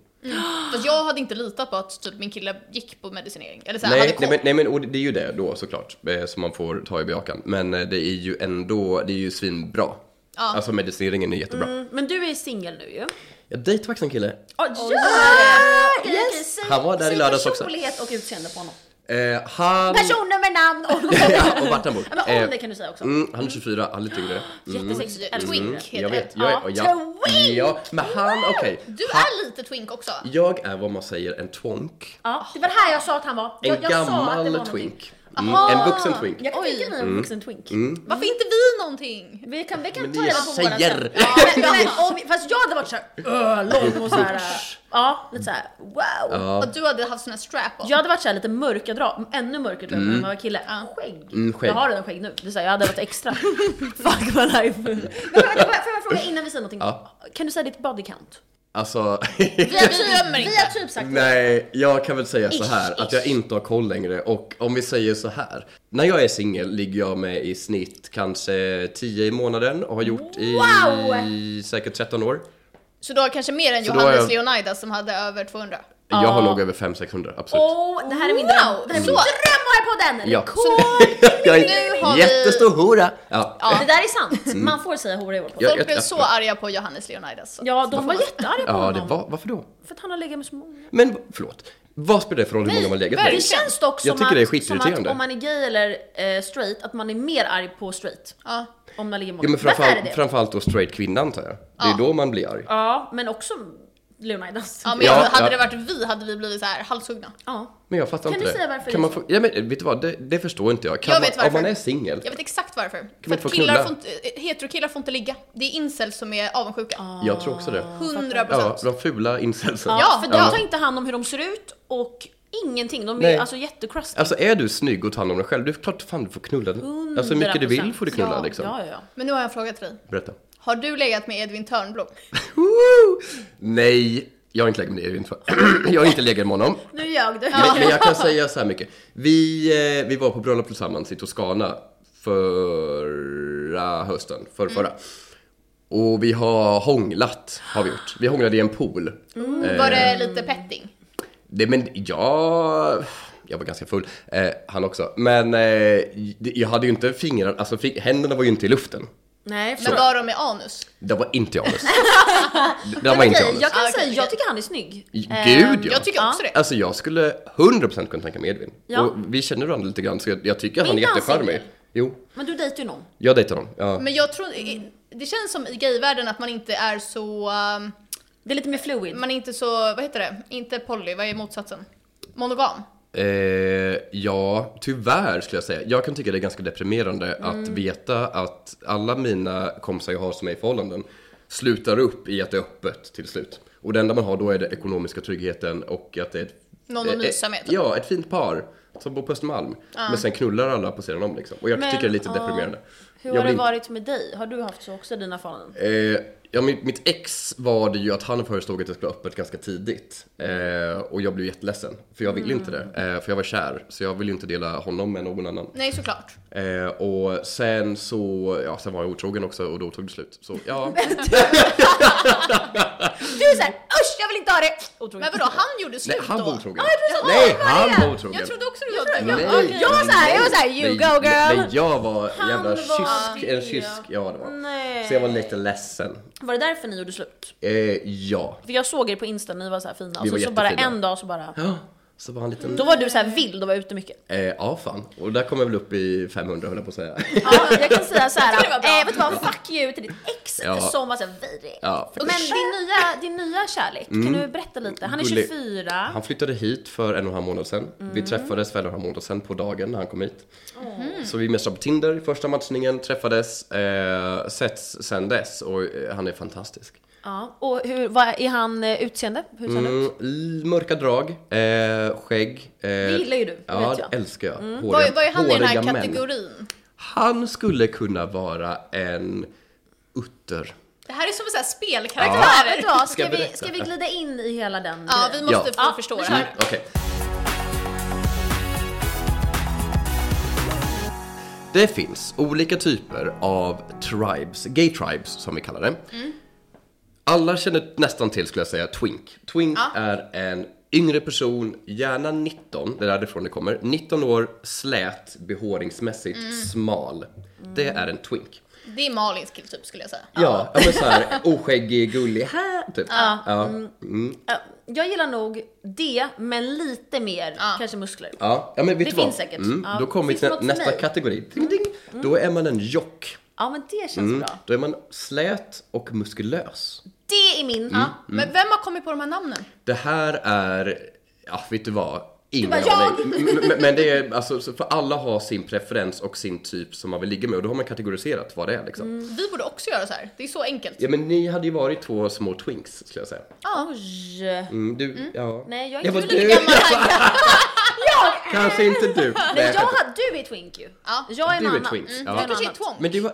[SPEAKER 1] Fast jag hade inte litat på att typ min kille gick på medicinering. Eller såhär, hade
[SPEAKER 2] Nej,
[SPEAKER 1] koll.
[SPEAKER 2] nej, men, nej men och det är ju det då såklart eh, som man får ta i bejakan. Men eh, det är ju ändå, det är ju svinbra. Alltså medicineringen är jättebra.
[SPEAKER 1] Mm.
[SPEAKER 4] Mm, Men du är singel nu ju.
[SPEAKER 2] Jag dejtade faktiskt en kille.
[SPEAKER 4] Oh, Okej, okej, säg-
[SPEAKER 2] Han var där i
[SPEAKER 4] säg
[SPEAKER 2] lördags också.
[SPEAKER 4] personlighet och utseende på honom.
[SPEAKER 2] Eh, han...
[SPEAKER 4] Personnummer, namn, ålder.
[SPEAKER 2] Ja, och vart han bor.
[SPEAKER 4] Ja, men ålder
[SPEAKER 2] Eh,
[SPEAKER 4] kan du säga också.
[SPEAKER 2] Mm, han är 24, han är lite yngre. Mm.
[SPEAKER 4] Jättesexig.
[SPEAKER 1] Mm. Twink heter
[SPEAKER 2] Jag vet,
[SPEAKER 1] det.
[SPEAKER 2] jag
[SPEAKER 4] Ja,
[SPEAKER 2] är, ja,
[SPEAKER 4] twink!
[SPEAKER 2] ja, men han, okej.
[SPEAKER 1] Du
[SPEAKER 2] Han-
[SPEAKER 1] är lite twink också.
[SPEAKER 2] Jag är vad man säger en twonk.
[SPEAKER 4] Ja, det var det här jag sa att han var. Jag,
[SPEAKER 2] En
[SPEAKER 4] jag sa att det var
[SPEAKER 2] gammal
[SPEAKER 4] någonting.
[SPEAKER 2] twink. Mm,
[SPEAKER 4] Aha.
[SPEAKER 2] en vuxen twink.
[SPEAKER 4] Jag kan tänka mig en vuxen twink.
[SPEAKER 1] Varför inte vi någonting?
[SPEAKER 4] Vi kan, vi kan
[SPEAKER 2] Mm. Men
[SPEAKER 4] ta
[SPEAKER 2] det
[SPEAKER 4] reda
[SPEAKER 2] jag
[SPEAKER 4] på våran
[SPEAKER 2] säger.
[SPEAKER 4] sen. Ja, men, men, om, vi- Fast jag hade varit såhär öh, lång och såhär, ja lite såhär wow.
[SPEAKER 2] Ja,
[SPEAKER 1] Att du hade haft sån här strap-on.
[SPEAKER 4] Jag hade varit såhär lite mörka drag, ännu mörkare tror jag när man var kille. Ah, Skägg.
[SPEAKER 2] Mm, skägg.
[SPEAKER 4] Jag har redan skägg nu, det är såhär, jag hade varit extra. Fuck my life. Men, men, får jag- får jag fråga innan vi säger någonting?
[SPEAKER 2] Ja.
[SPEAKER 4] Kan du säga ditt body count?
[SPEAKER 2] alltså.
[SPEAKER 1] Vi, vi dömer
[SPEAKER 4] Vi
[SPEAKER 1] inte.
[SPEAKER 4] har typ sagt det.
[SPEAKER 2] Nej, jag kan väl säga så
[SPEAKER 4] Ish,
[SPEAKER 2] här att jag
[SPEAKER 4] ish.
[SPEAKER 2] inte har koll längre och om vi säger så här. När jag är singel ligger jag med i snitt kanske 10 i månaden och har gjort i
[SPEAKER 4] Wow!
[SPEAKER 2] säkert 13 år.
[SPEAKER 1] Så du har kanske mer än
[SPEAKER 2] Så då har
[SPEAKER 1] Johannes
[SPEAKER 2] jag-
[SPEAKER 1] Leonidas som hade över 200.
[SPEAKER 2] Jag har nog över 500-600, absolut.
[SPEAKER 4] Oh, det här är
[SPEAKER 1] Wow!
[SPEAKER 4] min dröm. Det här är min
[SPEAKER 1] Så-
[SPEAKER 4] dröm att ha på den!
[SPEAKER 2] Ja.
[SPEAKER 1] nu
[SPEAKER 2] jag
[SPEAKER 1] har
[SPEAKER 2] är
[SPEAKER 1] vi-
[SPEAKER 2] jättestor hora! Ja.
[SPEAKER 4] Det där är sant.
[SPEAKER 2] Mm.
[SPEAKER 4] Man får säga hora i vår podd.
[SPEAKER 2] Jag-
[SPEAKER 1] Folk
[SPEAKER 2] jag-
[SPEAKER 1] blev
[SPEAKER 2] jag-
[SPEAKER 1] så arga på Johannes Leonidas. Så.
[SPEAKER 4] Ja, de var jättearga på
[SPEAKER 2] ja,
[SPEAKER 4] honom.
[SPEAKER 2] det var, varför då?
[SPEAKER 4] För att han har legat med så många.
[SPEAKER 2] Men förlåt, vad spelar det för roll hur många man legat med?
[SPEAKER 4] Det känns dock som,
[SPEAKER 2] Jag tycker det är
[SPEAKER 4] att, som att
[SPEAKER 2] skitirriterande.
[SPEAKER 4] om man är gay eller eh, straight, att man är mer arg på straight.
[SPEAKER 1] Ja.
[SPEAKER 4] Om man ligger med
[SPEAKER 2] Ja, men
[SPEAKER 4] Varför är det
[SPEAKER 2] framförallt,
[SPEAKER 4] det?
[SPEAKER 2] framförallt då straight kvinna antar jag. Det är
[SPEAKER 1] Ja.
[SPEAKER 2] då man blir arg.
[SPEAKER 4] Ja, men också Leonidas.
[SPEAKER 1] Ja, men
[SPEAKER 2] Ja,
[SPEAKER 1] hade
[SPEAKER 2] ja.
[SPEAKER 1] det varit vi hade vi blivit så här halshuggna.
[SPEAKER 4] Ja.
[SPEAKER 2] Men jag fattar
[SPEAKER 4] Kan
[SPEAKER 2] inte
[SPEAKER 4] du
[SPEAKER 2] det.
[SPEAKER 4] säga varför
[SPEAKER 2] kan
[SPEAKER 4] det
[SPEAKER 2] man
[SPEAKER 4] är
[SPEAKER 2] få, ja, men vet du vad, det, det förstår inte jag. Kan
[SPEAKER 1] Jag vet
[SPEAKER 2] man, om
[SPEAKER 1] varför.
[SPEAKER 2] man är singel.
[SPEAKER 1] Jag vet exakt varför. För
[SPEAKER 2] inte
[SPEAKER 1] att
[SPEAKER 2] få
[SPEAKER 1] killar
[SPEAKER 2] knulla?
[SPEAKER 1] får inte, eh, heterokillar får inte ligga. Det är incels som är avundsjuka.
[SPEAKER 2] Jag tror också det.
[SPEAKER 1] 100
[SPEAKER 2] Ja,
[SPEAKER 1] procent.
[SPEAKER 2] de fula incelsen.
[SPEAKER 4] Ja,
[SPEAKER 1] Ja,
[SPEAKER 4] för
[SPEAKER 1] ja.
[SPEAKER 4] de tar inte hand om hur de ser ut och ingenting. De är
[SPEAKER 2] Nej.
[SPEAKER 4] alltså jättecrusty.
[SPEAKER 2] Alltså är du snygg och tar hand om dig själv, det är klart fan du får knulla. Alltså hur mycket du vill får du knulla
[SPEAKER 4] ja,
[SPEAKER 2] liksom.
[SPEAKER 4] Ja, ja, ja.
[SPEAKER 1] Men nu har jag en fråga till dig.
[SPEAKER 2] Berätta.
[SPEAKER 1] Har du legat med Edvin Törnblom?
[SPEAKER 2] Woo! Nej, jag har inte legat med dig. inte- Jag har inte legat med honom.
[SPEAKER 4] Nu ljög du.
[SPEAKER 2] Men, men jag kan säga så här mycket. Vi, eh, vi var på bröllop tillsammans i Toscana förra hösten, för förra.
[SPEAKER 4] Mm.
[SPEAKER 2] Och vi har hånglat, har vi gjort. Vi hånglade i en pool. Mm.
[SPEAKER 1] Var
[SPEAKER 2] Eh.
[SPEAKER 1] det lite petting?
[SPEAKER 2] Det, men jag... Jag var ganska full, eh, han också. Men eh, jag hade ju inte fingrar, alltså fi- händerna var ju inte i luften.
[SPEAKER 4] Nej, för
[SPEAKER 1] Men var de med anus?
[SPEAKER 2] Det var inte Janus. Det- Det var inte
[SPEAKER 4] Okej,
[SPEAKER 2] Janus.
[SPEAKER 4] jag kan
[SPEAKER 1] Ah, okej,
[SPEAKER 4] säga, jag
[SPEAKER 1] okej.
[SPEAKER 4] tycker han är snygg. Ehm,
[SPEAKER 2] Gud ja.
[SPEAKER 1] Jag tycker också det.
[SPEAKER 2] Alltså jag skulle 100% kunna tänka med Edvin.
[SPEAKER 4] Ja.
[SPEAKER 2] Och vi känner varandra lite grann så jag, jag tycker att han är
[SPEAKER 4] inte han
[SPEAKER 2] jättecharmig.
[SPEAKER 4] singel?
[SPEAKER 2] Jo,
[SPEAKER 4] Men du dejtar ju någon.
[SPEAKER 2] jag dejtar honom. Ja.
[SPEAKER 1] Men jag tror... Det känns som i gayvärlden att man inte är så... um,
[SPEAKER 4] Det är lite mer fluid.
[SPEAKER 1] Man är inte så... Vad heter det? Inte poly, vad är motsatsen? Monogam?
[SPEAKER 2] Eh, ja, tyvärr skulle jag säga. Jag kan tycka det är ganska deprimerande att veta att alla mina kompisar jag har som är i förhållanden slutar upp i att det är öppet till slut. Och det enda man har då är den ekonomiska tryggheten och att det är ett,
[SPEAKER 1] Någon att
[SPEAKER 2] eh, eh,
[SPEAKER 1] mysa med, typ.
[SPEAKER 2] Ja, ett fint par som bor på Östermalm. Men sen knullar alla på sidan om liksom. Och jag
[SPEAKER 4] Men,
[SPEAKER 2] tycker det är lite
[SPEAKER 4] ja.
[SPEAKER 2] deprimerande.
[SPEAKER 4] Hur
[SPEAKER 2] Jag
[SPEAKER 4] har
[SPEAKER 2] vill
[SPEAKER 4] det
[SPEAKER 2] inte-
[SPEAKER 4] varit med dig? Har du haft så också i dina förhållanden?
[SPEAKER 2] Eh, ja, mitt, mitt ex var det ju att han föreslog att det skulle vara öppet ganska tidigt. Eh, och jag blev jätteledsen, för jag ville inte det. Eh, för jag var kär, så jag ville ju inte dela honom med någon annan.
[SPEAKER 1] Nej, såklart.
[SPEAKER 2] Eh, och sen så, ja sen var jag otrogen också och då tog det slut. Så ja,
[SPEAKER 1] Du är såhär usch jag vill inte ha det!
[SPEAKER 4] Otroligt.
[SPEAKER 1] Men vadå han gjorde
[SPEAKER 2] nej
[SPEAKER 1] slut
[SPEAKER 2] han
[SPEAKER 1] då?
[SPEAKER 2] var otrogen.
[SPEAKER 1] trodde-
[SPEAKER 2] nej,
[SPEAKER 1] Åh,
[SPEAKER 2] han var
[SPEAKER 1] Jag
[SPEAKER 2] otrogen.
[SPEAKER 1] trodde också det var du.
[SPEAKER 2] Nej,
[SPEAKER 1] Ja, okej.
[SPEAKER 2] nej,
[SPEAKER 4] jag var så här, jag var
[SPEAKER 2] nej.
[SPEAKER 4] så här, you
[SPEAKER 2] Nej,
[SPEAKER 4] go, girl.
[SPEAKER 2] Nej, jag var
[SPEAKER 4] Han
[SPEAKER 2] jävla
[SPEAKER 4] var-
[SPEAKER 2] kysk, en kysk, ja det var.
[SPEAKER 4] Nej.
[SPEAKER 2] Så jag var lite ledsen.
[SPEAKER 4] Var det därför ni gjorde slut?
[SPEAKER 2] Eh, ja.
[SPEAKER 4] För jag såg er på Insta, ni var så här fina.
[SPEAKER 2] Vi
[SPEAKER 4] Och så,
[SPEAKER 2] var
[SPEAKER 4] så bara
[SPEAKER 2] jättefina.
[SPEAKER 4] en dag så bara...
[SPEAKER 2] Ja, Så var han liten...
[SPEAKER 4] Då var du så här vild och var ute mycket.
[SPEAKER 2] Eh, ja, fan. Och där kom jag väl upp i 500 höll jag på att säga.
[SPEAKER 4] Ja, jag kan säga så
[SPEAKER 1] Det
[SPEAKER 4] här.
[SPEAKER 1] var bra.
[SPEAKER 4] eh, vet du vad, fuck you till ditt ex
[SPEAKER 2] Ja.
[SPEAKER 4] som var såhär vidrig.
[SPEAKER 2] Ja, för-
[SPEAKER 4] Men din nya, din nya kärlek, kan du berätta lite? Han är
[SPEAKER 2] Gullig.
[SPEAKER 4] 24.
[SPEAKER 2] Han flyttade hit för en och en halv månad sedan.
[SPEAKER 1] Mm.
[SPEAKER 2] Vi träffades för en och en halv månad sedan på dagen när han kom hit.
[SPEAKER 1] Mm.
[SPEAKER 2] Så vi matchade på Tinder i första matchningen, träffades, eh, setts sen dess och eh, han är fantastisk.
[SPEAKER 4] Ja. Och hur, vad är han eh, utseende? Hur ser han ut?
[SPEAKER 2] Mm, l- mörka drag, eh, skägg. Eh, det
[SPEAKER 4] gillar ju du, det
[SPEAKER 2] Ja,
[SPEAKER 4] vet
[SPEAKER 2] det
[SPEAKER 4] jag.
[SPEAKER 2] älskar jag. Mm. Håriga,
[SPEAKER 1] Vad, vad är han i den här
[SPEAKER 2] håriga män.
[SPEAKER 1] kategorin?
[SPEAKER 2] Han skulle kunna vara en utter.
[SPEAKER 1] Det här är som en sån här
[SPEAKER 4] Ja,
[SPEAKER 1] spelkaraktär.
[SPEAKER 4] vet du vad,
[SPEAKER 2] Ska
[SPEAKER 4] ska,
[SPEAKER 2] jag
[SPEAKER 4] vi,
[SPEAKER 2] berätta?
[SPEAKER 4] ska vi glida in i hela den
[SPEAKER 1] Ja, vi
[SPEAKER 4] grejen?
[SPEAKER 1] måste
[SPEAKER 2] Ja.
[SPEAKER 1] få
[SPEAKER 4] Ja,
[SPEAKER 1] förstå
[SPEAKER 4] vi
[SPEAKER 1] det
[SPEAKER 4] kör.
[SPEAKER 1] här.
[SPEAKER 2] Mm, Okej. Det finns olika typer av tribes, gay tribes som vi kallar det. Alla känner nästan till skulle jag säga twink. Twink är en yngre person, gärna 19, det är därifrån det kommer, 19 år, slät, behåringsmässigt, smal. Det är en twink.
[SPEAKER 1] Det är Malins killtyp skulle jag säga.
[SPEAKER 2] Mm. Ja, ja men såhär oskäggig, gullig, här, typ. Ja. Mm.
[SPEAKER 4] Ja, Jag gillar nog det, men lite mer kanske muskler.
[SPEAKER 2] Ja, ja men vet
[SPEAKER 4] Det
[SPEAKER 2] du vad?
[SPEAKER 4] finns säkert.
[SPEAKER 2] Mm,
[SPEAKER 4] Ja.
[SPEAKER 2] Då kommer vi
[SPEAKER 4] Finns
[SPEAKER 2] till
[SPEAKER 4] det något för
[SPEAKER 2] nästa
[SPEAKER 4] mig?
[SPEAKER 2] kategori. Ding, ding. Då är man en jock.
[SPEAKER 4] Mm. Ja, men det känns bra.
[SPEAKER 2] Då är man slät och muskulös.
[SPEAKER 4] Det är min.
[SPEAKER 2] Mm.
[SPEAKER 1] Ja. Men vem har kommit på de här namnen?
[SPEAKER 2] Det här är, ja vet du vad? Ingen
[SPEAKER 1] Det var jag.
[SPEAKER 2] aning. M- Men, men det är, alltså, så- för alla har sin preferens och sin typ som man vill ligga med och då har man kategoriserat vad det är liksom.
[SPEAKER 4] Mm.
[SPEAKER 1] Vi borde också göra så här. Det är så enkelt.
[SPEAKER 2] Ja men ni hade ju varit två små twinks skulle jag säga.
[SPEAKER 4] Oj.
[SPEAKER 2] Mm, du, ja.
[SPEAKER 4] Ah. Nej, jag är
[SPEAKER 2] var-
[SPEAKER 4] kul
[SPEAKER 1] Hur
[SPEAKER 2] du-
[SPEAKER 1] gammal är jag?
[SPEAKER 2] Kanske inte du.
[SPEAKER 4] Nej, jag
[SPEAKER 2] jag skämtar.
[SPEAKER 4] hade, du är twink ju.
[SPEAKER 1] Ja.
[SPEAKER 4] Jag är en
[SPEAKER 2] Du är
[SPEAKER 4] annan. Mm.
[SPEAKER 2] twink. Ja.
[SPEAKER 4] jag är
[SPEAKER 1] Du
[SPEAKER 4] en
[SPEAKER 1] kanske är
[SPEAKER 4] annan.
[SPEAKER 1] twonk?
[SPEAKER 2] Men du var,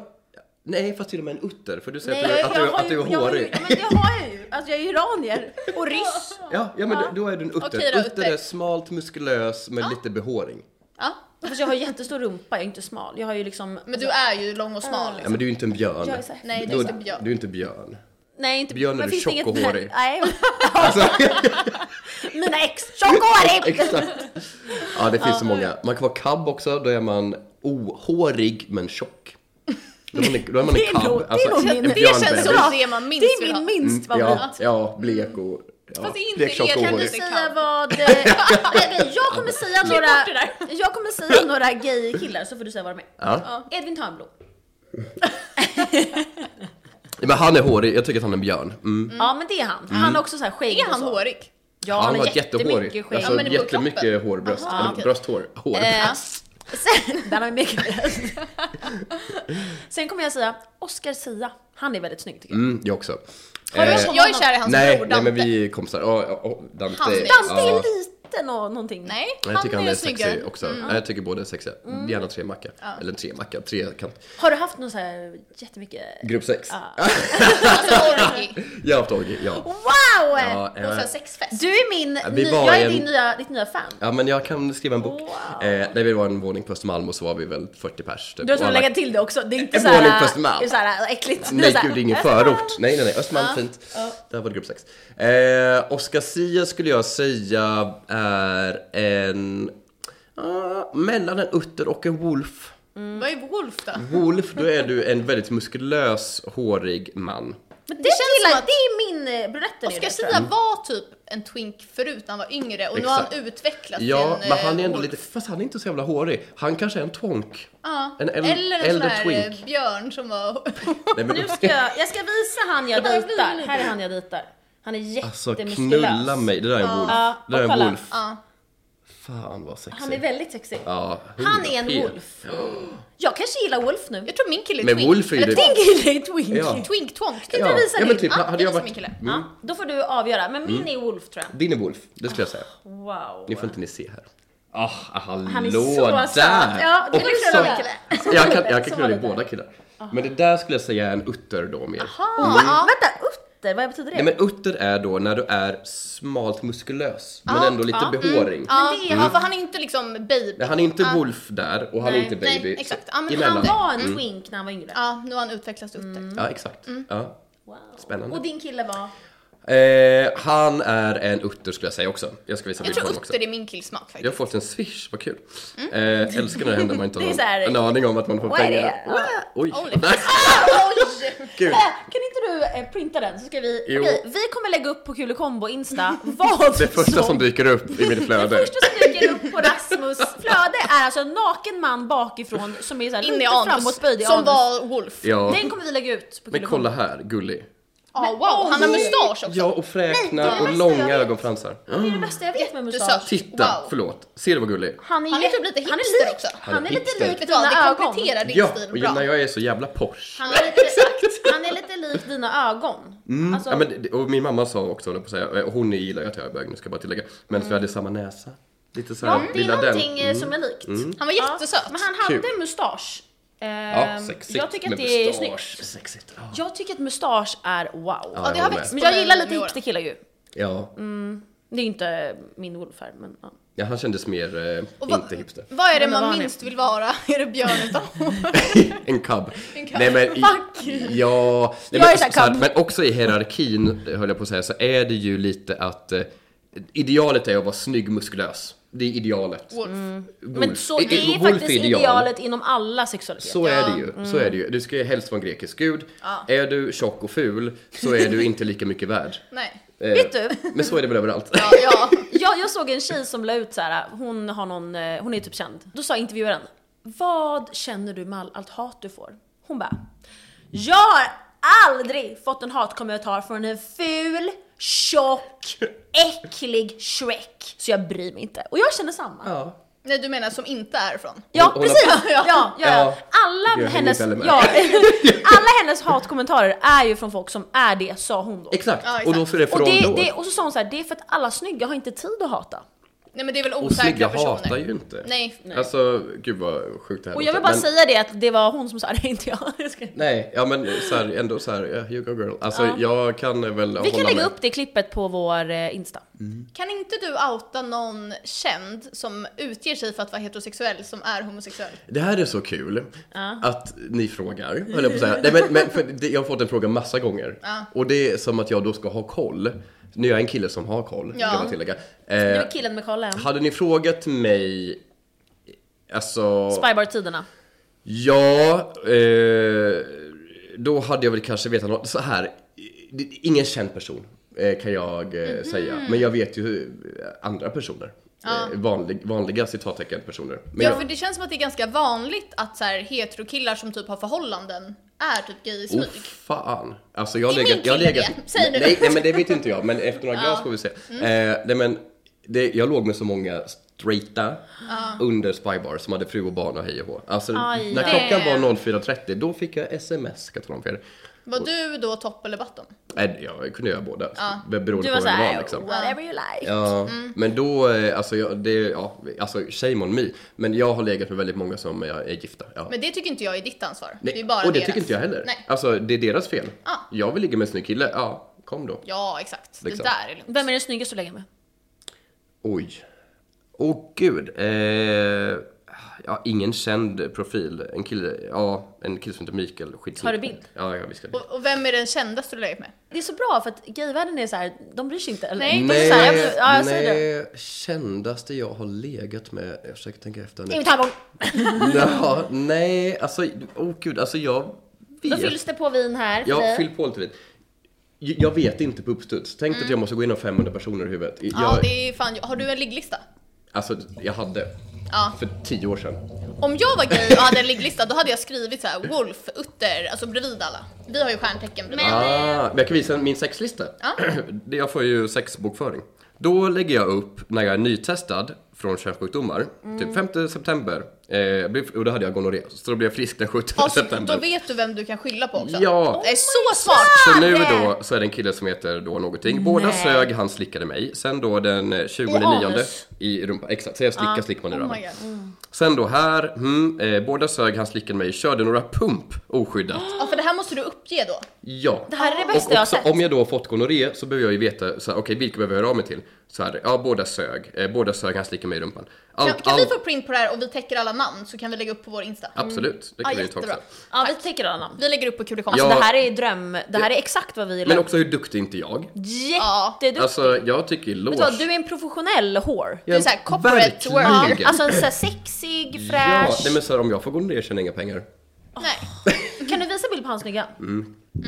[SPEAKER 2] nej fast till och med en utter för du säger
[SPEAKER 4] Nej,
[SPEAKER 2] att, du,
[SPEAKER 4] jag,
[SPEAKER 2] att,
[SPEAKER 4] jag
[SPEAKER 2] du,
[SPEAKER 4] har
[SPEAKER 2] att du är
[SPEAKER 4] ju- jag har ju-
[SPEAKER 2] hårig.
[SPEAKER 4] Ja, men det har jag ju. Alltså jag är iranier.
[SPEAKER 1] Och ryss.
[SPEAKER 2] Ja, ja men Då, då är du en utter.
[SPEAKER 1] Okej då,
[SPEAKER 2] utter.
[SPEAKER 1] utter.
[SPEAKER 2] är smalt, muskulös med lite behåring.
[SPEAKER 1] Ja.
[SPEAKER 4] Fast jag har jättestor rumpa, jag är inte smal. Jag har ju liksom...
[SPEAKER 1] Men du är ju lång och smal. liksom.
[SPEAKER 2] Ja, men du är ju inte en björn.
[SPEAKER 4] Jag är så här-
[SPEAKER 1] Nej, du
[SPEAKER 2] Då-
[SPEAKER 1] är inte björn.
[SPEAKER 2] Du är inte björn.
[SPEAKER 4] Alltså, Nej, inte...
[SPEAKER 2] Björn är
[SPEAKER 4] men
[SPEAKER 2] du
[SPEAKER 4] finns det
[SPEAKER 2] tjock
[SPEAKER 4] inget-
[SPEAKER 2] och hårig.
[SPEAKER 4] Nej,
[SPEAKER 2] Alltså,
[SPEAKER 4] mina ex. Tjock och hårig!
[SPEAKER 2] exakt. Ja, det finns så många. Man kan vara cab också, då är man ohårig men tjock. Då är man, då är man
[SPEAKER 4] Det
[SPEAKER 2] en
[SPEAKER 4] är nog-
[SPEAKER 2] cab.
[SPEAKER 4] det är nog min-
[SPEAKER 2] en
[SPEAKER 4] det
[SPEAKER 1] Det känns
[SPEAKER 2] björnbebis.
[SPEAKER 1] som det man minst
[SPEAKER 4] Det är
[SPEAKER 1] vill ha.
[SPEAKER 4] min minst
[SPEAKER 2] Mm, Ja,
[SPEAKER 4] favorit.
[SPEAKER 2] ja, blek och... Ja,
[SPEAKER 1] Fast det är inte-
[SPEAKER 2] blek, tjock
[SPEAKER 1] jag
[SPEAKER 2] och
[SPEAKER 1] kan
[SPEAKER 4] Kan du
[SPEAKER 2] hårig.
[SPEAKER 1] inte-
[SPEAKER 4] säga vad... eh, nej, men jag kommer säga
[SPEAKER 1] Klipp
[SPEAKER 4] några...
[SPEAKER 1] bort det
[SPEAKER 4] Jag kommer säga några gay-killar så får du säga vad de är.
[SPEAKER 2] Ja.
[SPEAKER 4] Edvin Törnblom.
[SPEAKER 2] Men han är hårig, jag tycker att han är en björn. Mm.
[SPEAKER 4] Ja men det är han. Han har också så här skägg
[SPEAKER 1] Är
[SPEAKER 4] och
[SPEAKER 1] han
[SPEAKER 4] så.
[SPEAKER 1] hårig?
[SPEAKER 4] Ja han har
[SPEAKER 2] var
[SPEAKER 4] jättemycket skägg.
[SPEAKER 2] Alltså
[SPEAKER 1] Ja, men det är på
[SPEAKER 2] jättemycket
[SPEAKER 1] kroppen.
[SPEAKER 2] hårbröst.
[SPEAKER 1] Aha,
[SPEAKER 2] Eller
[SPEAKER 1] okej.
[SPEAKER 2] brösthår. Hår.
[SPEAKER 4] Eh, sen, där har vi mycket Sen kommer jag säga Oscar Sia. Han är väldigt snygg tycker jag.
[SPEAKER 2] Mm, jag också.
[SPEAKER 1] Har du-
[SPEAKER 2] Eh,
[SPEAKER 1] Jag är kär i hans
[SPEAKER 2] nej,
[SPEAKER 1] bror
[SPEAKER 2] nej,
[SPEAKER 1] Dante.
[SPEAKER 2] men vi är kompisar. Oh, Dante.
[SPEAKER 1] Han är-
[SPEAKER 4] Dante
[SPEAKER 2] ja.
[SPEAKER 4] är liten och någonting.
[SPEAKER 1] Nej,
[SPEAKER 2] Nej, Jag tycker han är, sexig
[SPEAKER 1] snyggare. Mm.
[SPEAKER 2] också. Nej, Jag tycker båda är sexiga. Gärna tre macka. Eller tre macka, tre kant.
[SPEAKER 4] Har du haft någon så här jättemycket...
[SPEAKER 2] Grupp sex.
[SPEAKER 1] Alltså orgi.
[SPEAKER 2] Jag har haft orgie, ja.
[SPEAKER 4] Wow!
[SPEAKER 2] Ja,
[SPEAKER 1] Och
[SPEAKER 2] eh,
[SPEAKER 1] sen sexfest.
[SPEAKER 4] Du är min...
[SPEAKER 2] vi
[SPEAKER 4] ny,
[SPEAKER 2] var
[SPEAKER 4] jag är
[SPEAKER 2] en-
[SPEAKER 4] din nya, ditt nya fan.
[SPEAKER 2] ja, men jag kan skriva en bok.
[SPEAKER 4] Wow.
[SPEAKER 2] Eh, när vi var en våning på Östermalm och så var vi väl 40 pers. Typ.
[SPEAKER 4] Du har
[SPEAKER 2] Och
[SPEAKER 4] tvungen
[SPEAKER 2] alla-
[SPEAKER 4] lägga till det också. Det är inte
[SPEAKER 2] En
[SPEAKER 4] så
[SPEAKER 2] våning på
[SPEAKER 4] här,
[SPEAKER 2] Östermalm.
[SPEAKER 4] det är så här äckligt.
[SPEAKER 2] Nej
[SPEAKER 4] så här,
[SPEAKER 2] gud, det är ingen förort. Nej, nej, nej. Östermalm, fint. Där var det grupp sex. Eh, Oscar Sia skulle jag säga är en... ah, mellan en utter och en wolf.
[SPEAKER 4] Mm.
[SPEAKER 1] Vad är Wolf då?
[SPEAKER 2] Wolf, då är du en väldigt muskulös, hårig man.
[SPEAKER 4] Men det,
[SPEAKER 1] känns
[SPEAKER 4] gillar,
[SPEAKER 1] som att-
[SPEAKER 4] det är min eh, brunetten i
[SPEAKER 1] Oscar
[SPEAKER 4] det, tror jag.
[SPEAKER 1] Sia var typ en twink förut när han var yngre och nu har han
[SPEAKER 2] Exakt.
[SPEAKER 1] utvecklats
[SPEAKER 2] Ja,
[SPEAKER 1] till en
[SPEAKER 2] men han är ändå
[SPEAKER 1] eh,
[SPEAKER 2] lite... Fast han är inte så jävla hårig. Han kanske är en twonk.
[SPEAKER 1] Ja.
[SPEAKER 2] En äldre,
[SPEAKER 1] Eller en
[SPEAKER 2] äldre
[SPEAKER 1] sån där
[SPEAKER 2] twink.
[SPEAKER 1] eh, björn som var...
[SPEAKER 2] Nej, men,
[SPEAKER 4] Nu ska jag, jag ska visa han jag
[SPEAKER 1] Ja,
[SPEAKER 4] dejtar.
[SPEAKER 1] vi-
[SPEAKER 4] Här är han jag dejtar. Han är
[SPEAKER 2] alltså
[SPEAKER 4] jättemuskulös.
[SPEAKER 2] knulla mig. Det där är en wolf.
[SPEAKER 4] Ja,
[SPEAKER 2] det där
[SPEAKER 4] och
[SPEAKER 2] är en
[SPEAKER 4] kolla.
[SPEAKER 2] wolf.
[SPEAKER 1] Ja.
[SPEAKER 2] Fan vad sexig.
[SPEAKER 4] Han är väldigt sexig.
[SPEAKER 2] ja,
[SPEAKER 4] Han är en
[SPEAKER 2] 100p.
[SPEAKER 4] wolf. Jag kanske gillar Wolf nu.
[SPEAKER 1] Jag tror min kille är
[SPEAKER 2] Men
[SPEAKER 1] twink.
[SPEAKER 2] Wolf är ju
[SPEAKER 1] Eller
[SPEAKER 2] det-
[SPEAKER 4] Din
[SPEAKER 1] twink.
[SPEAKER 4] kille är twinkie.
[SPEAKER 2] Ja.
[SPEAKER 1] Twink, twonk.
[SPEAKER 2] Ja,
[SPEAKER 4] jag visa
[SPEAKER 2] ja men
[SPEAKER 4] din?
[SPEAKER 2] typ,
[SPEAKER 1] Ja,
[SPEAKER 2] hade
[SPEAKER 1] jag
[SPEAKER 2] jag
[SPEAKER 1] visar
[SPEAKER 2] varit...
[SPEAKER 1] min kille.
[SPEAKER 4] Ja, då får du avgöra, men
[SPEAKER 2] Mm.
[SPEAKER 4] min är Wolf tror jag.
[SPEAKER 2] Din är wolf, det skulle jag säga.
[SPEAKER 4] Wow.
[SPEAKER 2] Det får inte ni se här. Ah, hallå
[SPEAKER 4] Han är så
[SPEAKER 2] där!
[SPEAKER 4] söt. Ja, det
[SPEAKER 2] Också-
[SPEAKER 4] är knulla min kille.
[SPEAKER 2] jag kan, jag kan
[SPEAKER 4] Så
[SPEAKER 2] knulla i
[SPEAKER 4] var det där.
[SPEAKER 2] båda killar. Men det där skulle jag säga är en utter då mer.
[SPEAKER 4] Ah,
[SPEAKER 1] Ja.
[SPEAKER 4] Vänta, utter, vad betyder det?
[SPEAKER 2] Nej men utter är då när du är smalt muskulös men
[SPEAKER 4] Ah,
[SPEAKER 1] Ja,
[SPEAKER 2] ändå lite
[SPEAKER 4] mm,
[SPEAKER 1] ja,
[SPEAKER 2] behåring.
[SPEAKER 1] Ja,
[SPEAKER 4] Men det är-
[SPEAKER 1] ja, för han är inte liksom baby.
[SPEAKER 2] Nej, Mm. Han är inte Wolf där och han
[SPEAKER 4] ah, Nej,
[SPEAKER 2] är inte
[SPEAKER 1] nej,
[SPEAKER 2] Baby.
[SPEAKER 1] exakt. Ja, men
[SPEAKER 2] emellan.
[SPEAKER 4] Han var en twink när han var Mm. yngre.
[SPEAKER 2] Mm.
[SPEAKER 1] Ja, nu har han utvecklats ut.
[SPEAKER 2] Ja, exakt. Ja,
[SPEAKER 4] Wow.
[SPEAKER 2] spännande.
[SPEAKER 4] Och din kille var?
[SPEAKER 2] Eh, han är en utter skulle jag säga också. Jag ska visa
[SPEAKER 1] Jag
[SPEAKER 2] bild på
[SPEAKER 1] tror
[SPEAKER 2] honom också.
[SPEAKER 1] utter är min killsmak faktiskt.
[SPEAKER 2] Jag har fått en swish, vad kul. Eh, älskar när det händer man inte
[SPEAKER 4] Mm. Det är
[SPEAKER 2] har
[SPEAKER 4] så här-
[SPEAKER 2] någon- en aning om att man får
[SPEAKER 4] Vad är
[SPEAKER 2] pengar.
[SPEAKER 4] det? Ah,
[SPEAKER 2] Wow. Oj,
[SPEAKER 1] Only-
[SPEAKER 2] Nej,
[SPEAKER 4] Oj!
[SPEAKER 2] gud.
[SPEAKER 4] Eh, Kan inte du eh, printa den så ska vi...
[SPEAKER 2] Jo.
[SPEAKER 4] Okej, vi kommer lägga upp på Kulekombo Insta vad
[SPEAKER 2] Det första som dyker upp i mitt
[SPEAKER 4] Det
[SPEAKER 2] flöde.
[SPEAKER 4] första som dyker upp på Rasmus flöde är alltså en naken man bakifrån som är så här
[SPEAKER 1] In i
[SPEAKER 4] lite
[SPEAKER 1] anus.
[SPEAKER 4] framåtböjd i
[SPEAKER 1] Som
[SPEAKER 4] anus.
[SPEAKER 1] var Wolf.
[SPEAKER 2] Ja,
[SPEAKER 4] Den kommer vi lägga ut på
[SPEAKER 2] men
[SPEAKER 4] Kulekombo.
[SPEAKER 2] kolla här, gullig.
[SPEAKER 1] Ja, Ah, wow, han har mustasch också.
[SPEAKER 2] Ja, och
[SPEAKER 4] Nej, det
[SPEAKER 2] fräknar
[SPEAKER 4] är
[SPEAKER 2] och
[SPEAKER 4] det
[SPEAKER 2] långa
[SPEAKER 4] bästa jag vet.
[SPEAKER 2] ögonfransar.
[SPEAKER 4] Det är det bästa jag vet med mustasch.
[SPEAKER 1] Jättesöt.
[SPEAKER 2] Titta,
[SPEAKER 1] Wow.
[SPEAKER 2] förlåt. Ser du vad gullig?
[SPEAKER 4] Han är,
[SPEAKER 1] Han är
[SPEAKER 4] jätte-
[SPEAKER 1] typ lite
[SPEAKER 4] han
[SPEAKER 1] hipster
[SPEAKER 4] är lik,
[SPEAKER 1] också.
[SPEAKER 4] Han är lite
[SPEAKER 2] hipster.
[SPEAKER 4] lik
[SPEAKER 1] Vet du vad, det
[SPEAKER 4] dina ögon.
[SPEAKER 1] kompletterar din
[SPEAKER 2] Ja,
[SPEAKER 1] stil
[SPEAKER 2] och
[SPEAKER 1] bra.
[SPEAKER 2] när jag är så jävla Porsche.
[SPEAKER 4] Han är lite, exakt. Han är lite lik dina ögon. Alltså,
[SPEAKER 2] Mm. Ja, men, det- och min mamma sa också, höll jag på att säga, eh, och hon gillar ju att jag är bög, nu ska jag bara tillägga. Men för vi hade samma näsa. Lite så här,
[SPEAKER 4] Mm. ja, det
[SPEAKER 2] Mm.
[SPEAKER 4] är
[SPEAKER 2] lilla den. Mm.
[SPEAKER 4] någonting eh, som är likt.
[SPEAKER 1] Han var
[SPEAKER 4] Ja,
[SPEAKER 1] jättesöt.
[SPEAKER 4] Men han hade
[SPEAKER 2] Kul.
[SPEAKER 4] en mustasch. Eh,
[SPEAKER 2] Ja, sexigt
[SPEAKER 4] jag tycker att
[SPEAKER 2] med
[SPEAKER 4] det är
[SPEAKER 2] mustasch.
[SPEAKER 4] snyggt.
[SPEAKER 2] Sexigt. Ja.
[SPEAKER 4] Jag tycker att mustasch är wow.
[SPEAKER 1] ja, det har
[SPEAKER 2] Jag
[SPEAKER 1] växt
[SPEAKER 4] Men
[SPEAKER 1] på
[SPEAKER 4] jag
[SPEAKER 1] mig
[SPEAKER 4] gillar
[SPEAKER 1] med
[SPEAKER 4] lite
[SPEAKER 1] åren.
[SPEAKER 4] hipsterkillar ju.
[SPEAKER 2] Ja.
[SPEAKER 4] Det är ju inte min wolfhär men ja.
[SPEAKER 2] ja, han kändes mer eh,
[SPEAKER 1] Och vad-
[SPEAKER 2] inte hipster.
[SPEAKER 1] Vad är det
[SPEAKER 4] Men vad var
[SPEAKER 1] man
[SPEAKER 4] han
[SPEAKER 1] minst vill vara? Är det björnen då?
[SPEAKER 2] en cub.
[SPEAKER 1] En cub.
[SPEAKER 2] Nej men, i,
[SPEAKER 1] Fuck.
[SPEAKER 2] ja, nej,
[SPEAKER 4] Jag är
[SPEAKER 2] men,
[SPEAKER 4] så här
[SPEAKER 2] så här,
[SPEAKER 4] cub.
[SPEAKER 2] men också i hierarkin, höll jag på att säga, så är det ju lite att eh, idealet är att vara snygg, muskulös. Det är idealet.
[SPEAKER 1] Wolf.
[SPEAKER 4] Mm.
[SPEAKER 2] Wolf.
[SPEAKER 4] Men så
[SPEAKER 2] I- i-
[SPEAKER 4] det är
[SPEAKER 2] Wolf
[SPEAKER 4] faktiskt
[SPEAKER 2] ideal.
[SPEAKER 4] idealet inom alla sexualiteter.
[SPEAKER 2] Så är det ju, så
[SPEAKER 4] Mm.
[SPEAKER 2] är det ju. Du ska ju helst vara en grekisk gud. Är du tjock och ful så är du inte lika mycket värd.
[SPEAKER 1] Nej.
[SPEAKER 2] Eh,
[SPEAKER 4] Vet du?
[SPEAKER 2] Men så är det väl överallt.
[SPEAKER 1] Ja, ja.
[SPEAKER 4] Jag, jag såg en tjej som la ut så här, hon, har någon, eh, hon är typ känd. Då sa intervjuaren, vad känner du med all, allt hat du får? Hon bara, jag har aldrig fått en hatkommentar från en ful, tjock, äcklig Shrek. Så jag bryr mig inte. Och jag känner samma. Ja,
[SPEAKER 2] Ja.
[SPEAKER 1] Nej, du menar som inte är från?
[SPEAKER 2] Hon- hon har-
[SPEAKER 4] precis! Ja, ja,
[SPEAKER 2] Ja.
[SPEAKER 4] ja. Alla,
[SPEAKER 2] Jag hänger
[SPEAKER 4] hennes,
[SPEAKER 2] väl med.
[SPEAKER 4] ja, alla hennes hatkommentarer är ju från folk som är det, sa hon då.
[SPEAKER 2] Exakt.
[SPEAKER 1] Ja, exakt.
[SPEAKER 2] och då är det
[SPEAKER 4] Och,
[SPEAKER 2] från
[SPEAKER 4] det,
[SPEAKER 2] då.
[SPEAKER 4] det, och så sa hon så här, det är för att alla snygga har inte tid att hata.
[SPEAKER 1] Nej men det är väl
[SPEAKER 2] och snygga
[SPEAKER 1] osäkra
[SPEAKER 2] hatar
[SPEAKER 1] personer?
[SPEAKER 2] ju inte.
[SPEAKER 1] Nej. Nej.
[SPEAKER 2] Alltså, gud vad sjukt det här
[SPEAKER 4] Och jag
[SPEAKER 2] låter.
[SPEAKER 4] vill bara
[SPEAKER 2] Men-
[SPEAKER 4] säga det att det var hon som sa det, inte jag. jag. ska-
[SPEAKER 2] Nej, ja men så här, ändå så här, yeah, you go girl. Alltså jag kan väl
[SPEAKER 4] Vi
[SPEAKER 2] hålla
[SPEAKER 4] kan lägga
[SPEAKER 2] med.
[SPEAKER 4] upp det klippet på vår eh, Insta.
[SPEAKER 1] Kan inte du outa någon känd som utger sig för att vara heterosexuell som är homosexuell?
[SPEAKER 2] Det här är så kul att ni frågar, höll jag på att säga. Nej, men, men för det, jag har fått en fråga massa gånger. Och det är som att jag då ska ha koll. Nu är jag en kille som har koll,
[SPEAKER 1] Ja.
[SPEAKER 2] kan man tillägga.
[SPEAKER 4] Nu
[SPEAKER 2] Eh,
[SPEAKER 4] är killen med kollen.
[SPEAKER 2] hade ni frågat mig, alltså...
[SPEAKER 4] Spybar-tiderna.
[SPEAKER 2] Ja, eh, då hade jag väl kanske vetat något. Så här, det- ingen känd person eh, kan jag eh,
[SPEAKER 1] Mhm.
[SPEAKER 2] säga. Men jag vet ju eh, andra personer. Eh, vanlig, vanliga citattecken personer. Men
[SPEAKER 1] Ja
[SPEAKER 2] jag,
[SPEAKER 1] för det känns som att det är ganska vanligt att så här, heterokillar som typ har förhållanden är typ gay i
[SPEAKER 2] Oh,
[SPEAKER 1] smyg.
[SPEAKER 2] fan. Alltså jag har
[SPEAKER 1] Det är
[SPEAKER 2] legat...
[SPEAKER 1] min
[SPEAKER 2] Jag har
[SPEAKER 1] kille
[SPEAKER 2] legat
[SPEAKER 1] det. Säg nu. Mm.
[SPEAKER 2] nej, nej men det vet inte jag, men efter några glas får vi se. Eh, nej men, det, jag låg med så många straighta under Spybar som hade fru och barn och hej och hå. Alltså
[SPEAKER 4] Aj,
[SPEAKER 2] när
[SPEAKER 4] ja.
[SPEAKER 2] klockan var 04.30 då fick jag sms, ska jag tala om för er.
[SPEAKER 1] Var du då topp eller bottom?
[SPEAKER 2] Nej, jag kunde göra båda.
[SPEAKER 1] Ja.
[SPEAKER 2] Beroende på
[SPEAKER 4] Du var
[SPEAKER 2] vad det
[SPEAKER 4] såhär,
[SPEAKER 2] var liksom.
[SPEAKER 4] whatever you like.
[SPEAKER 2] Ja,
[SPEAKER 4] Mm.
[SPEAKER 2] men då, eh, alltså, jag, det, ja, alltså shame on me. Men jag har legat med väldigt många som är, är gifta. Ja.
[SPEAKER 1] Men det tycker inte jag är ditt ansvar.
[SPEAKER 2] Nej,
[SPEAKER 1] Det är bara
[SPEAKER 2] och det
[SPEAKER 1] deras.
[SPEAKER 2] tycker inte jag heller.
[SPEAKER 1] Nej.
[SPEAKER 2] Alltså det är deras fel.
[SPEAKER 1] Ja.
[SPEAKER 2] Jag vill ligga med en snygg kille, ja, kom då.
[SPEAKER 1] Ja exakt,
[SPEAKER 2] Liksom.
[SPEAKER 1] det där är lugnt.
[SPEAKER 4] Vem är den snyggaste du lägger med?
[SPEAKER 2] Oj. Åh oh, gud. Eh, ja, ingen känd profil. En kille, ja, en kille som heter Mikael. skitsnygg.
[SPEAKER 4] Har du bild?
[SPEAKER 2] Ja, jag viskade.
[SPEAKER 1] Och, och vem är den kändaste du legat med?
[SPEAKER 4] Det är så bra för att gayvärlden är såhär, de bryr sig inte. Eller?
[SPEAKER 1] Nej,
[SPEAKER 4] de är såhär, jag- ja, jag säger det.
[SPEAKER 2] nej, kändaste jag har legat med, jag försöker tänka efter nu.
[SPEAKER 4] Ingen tallgång.
[SPEAKER 2] Ja, nej, alltså, åh gud, alltså jag
[SPEAKER 4] Då fylls
[SPEAKER 2] vet.
[SPEAKER 4] det på vin här för
[SPEAKER 2] Jag
[SPEAKER 4] dig.
[SPEAKER 2] fyll på lite vin. J- Jag vet inte på uppstuds. Tänk att jag måste gå igenom 500 personer i huvudet. Jag,
[SPEAKER 1] Mm. Ja det är fan, har du en ligglista?
[SPEAKER 2] Alltså, jag hade.
[SPEAKER 1] Ja.
[SPEAKER 2] För 10 år sedan.
[SPEAKER 1] Om jag var gay och hade en ligglista då hade jag skrivit så här Wolf, Utter, alltså bredvid alla. Vi har ju stjärntecken bredvid.
[SPEAKER 2] Ah, men jag kan visa min sexlista. Det- Jag får ju sexbokföring. Då lägger jag upp när jag är nytestad från könssjukdomar,
[SPEAKER 1] Mm.
[SPEAKER 2] typ 5 september. Eh, jag blev- och då hade jag gonorré, så då blev jag frisk den 17
[SPEAKER 1] Alltså,
[SPEAKER 2] september.
[SPEAKER 1] då vet du vem du kan skylla på också.
[SPEAKER 2] Ja.
[SPEAKER 1] Det är
[SPEAKER 4] Oh
[SPEAKER 1] så smart!
[SPEAKER 2] Så nu då så är det en kille som heter då någonting. Båda
[SPEAKER 4] Nej.
[SPEAKER 2] sög, han slickade mig. Sen då den eh, 29
[SPEAKER 4] I anus.
[SPEAKER 2] i rumpan. Exakt, så jag slickar, slick man i
[SPEAKER 1] Oh
[SPEAKER 2] röven.
[SPEAKER 1] my god.
[SPEAKER 4] Mm.
[SPEAKER 2] mm, Sen då här, hmm, eh, båda sög, han slickade mig. Körde några pump oskyddat.
[SPEAKER 1] Ja, för det här måste du uppge då.
[SPEAKER 2] Ja.
[SPEAKER 4] Det här är det bästa
[SPEAKER 2] och
[SPEAKER 4] jag har
[SPEAKER 2] också,
[SPEAKER 4] sett.
[SPEAKER 2] om jag då har fått gonorré så behöver jag ju veta, så här, okej vilka behöver jag höra av mig till? Så här, ja båda sög, eh, båda sög, han slickade mig i rumpan. Allt,
[SPEAKER 1] Kan, kan vi
[SPEAKER 2] allt,
[SPEAKER 1] få print på det här och vi täcker alla namn så kan vi lägga upp på vår Insta?
[SPEAKER 2] Absolut, det
[SPEAKER 1] Ja,
[SPEAKER 2] kan vi ju ta också.
[SPEAKER 1] jättebra.
[SPEAKER 4] Ja, vi tänker alla namn.
[SPEAKER 1] Vi lägger upp på Kulikon.
[SPEAKER 2] Ja.
[SPEAKER 4] Det här är dröm, det här är exakt vad vi
[SPEAKER 2] Men
[SPEAKER 4] gillar.
[SPEAKER 2] också hur duktig är inte jag?
[SPEAKER 4] Jätteduktig!
[SPEAKER 2] Alltså jag tycker eloge.
[SPEAKER 4] Vet du vad, du är en professionell whore.
[SPEAKER 1] Du är såhär corporate worker.
[SPEAKER 2] Verkligen.
[SPEAKER 4] Alltså en såhär sexig,
[SPEAKER 2] Ja,
[SPEAKER 4] fräsch.
[SPEAKER 2] nej men så här, om jag får gonorré tjänar jag inga pengar.
[SPEAKER 4] Mm.
[SPEAKER 1] Nej.
[SPEAKER 4] Kan du visa bild på hans snygga?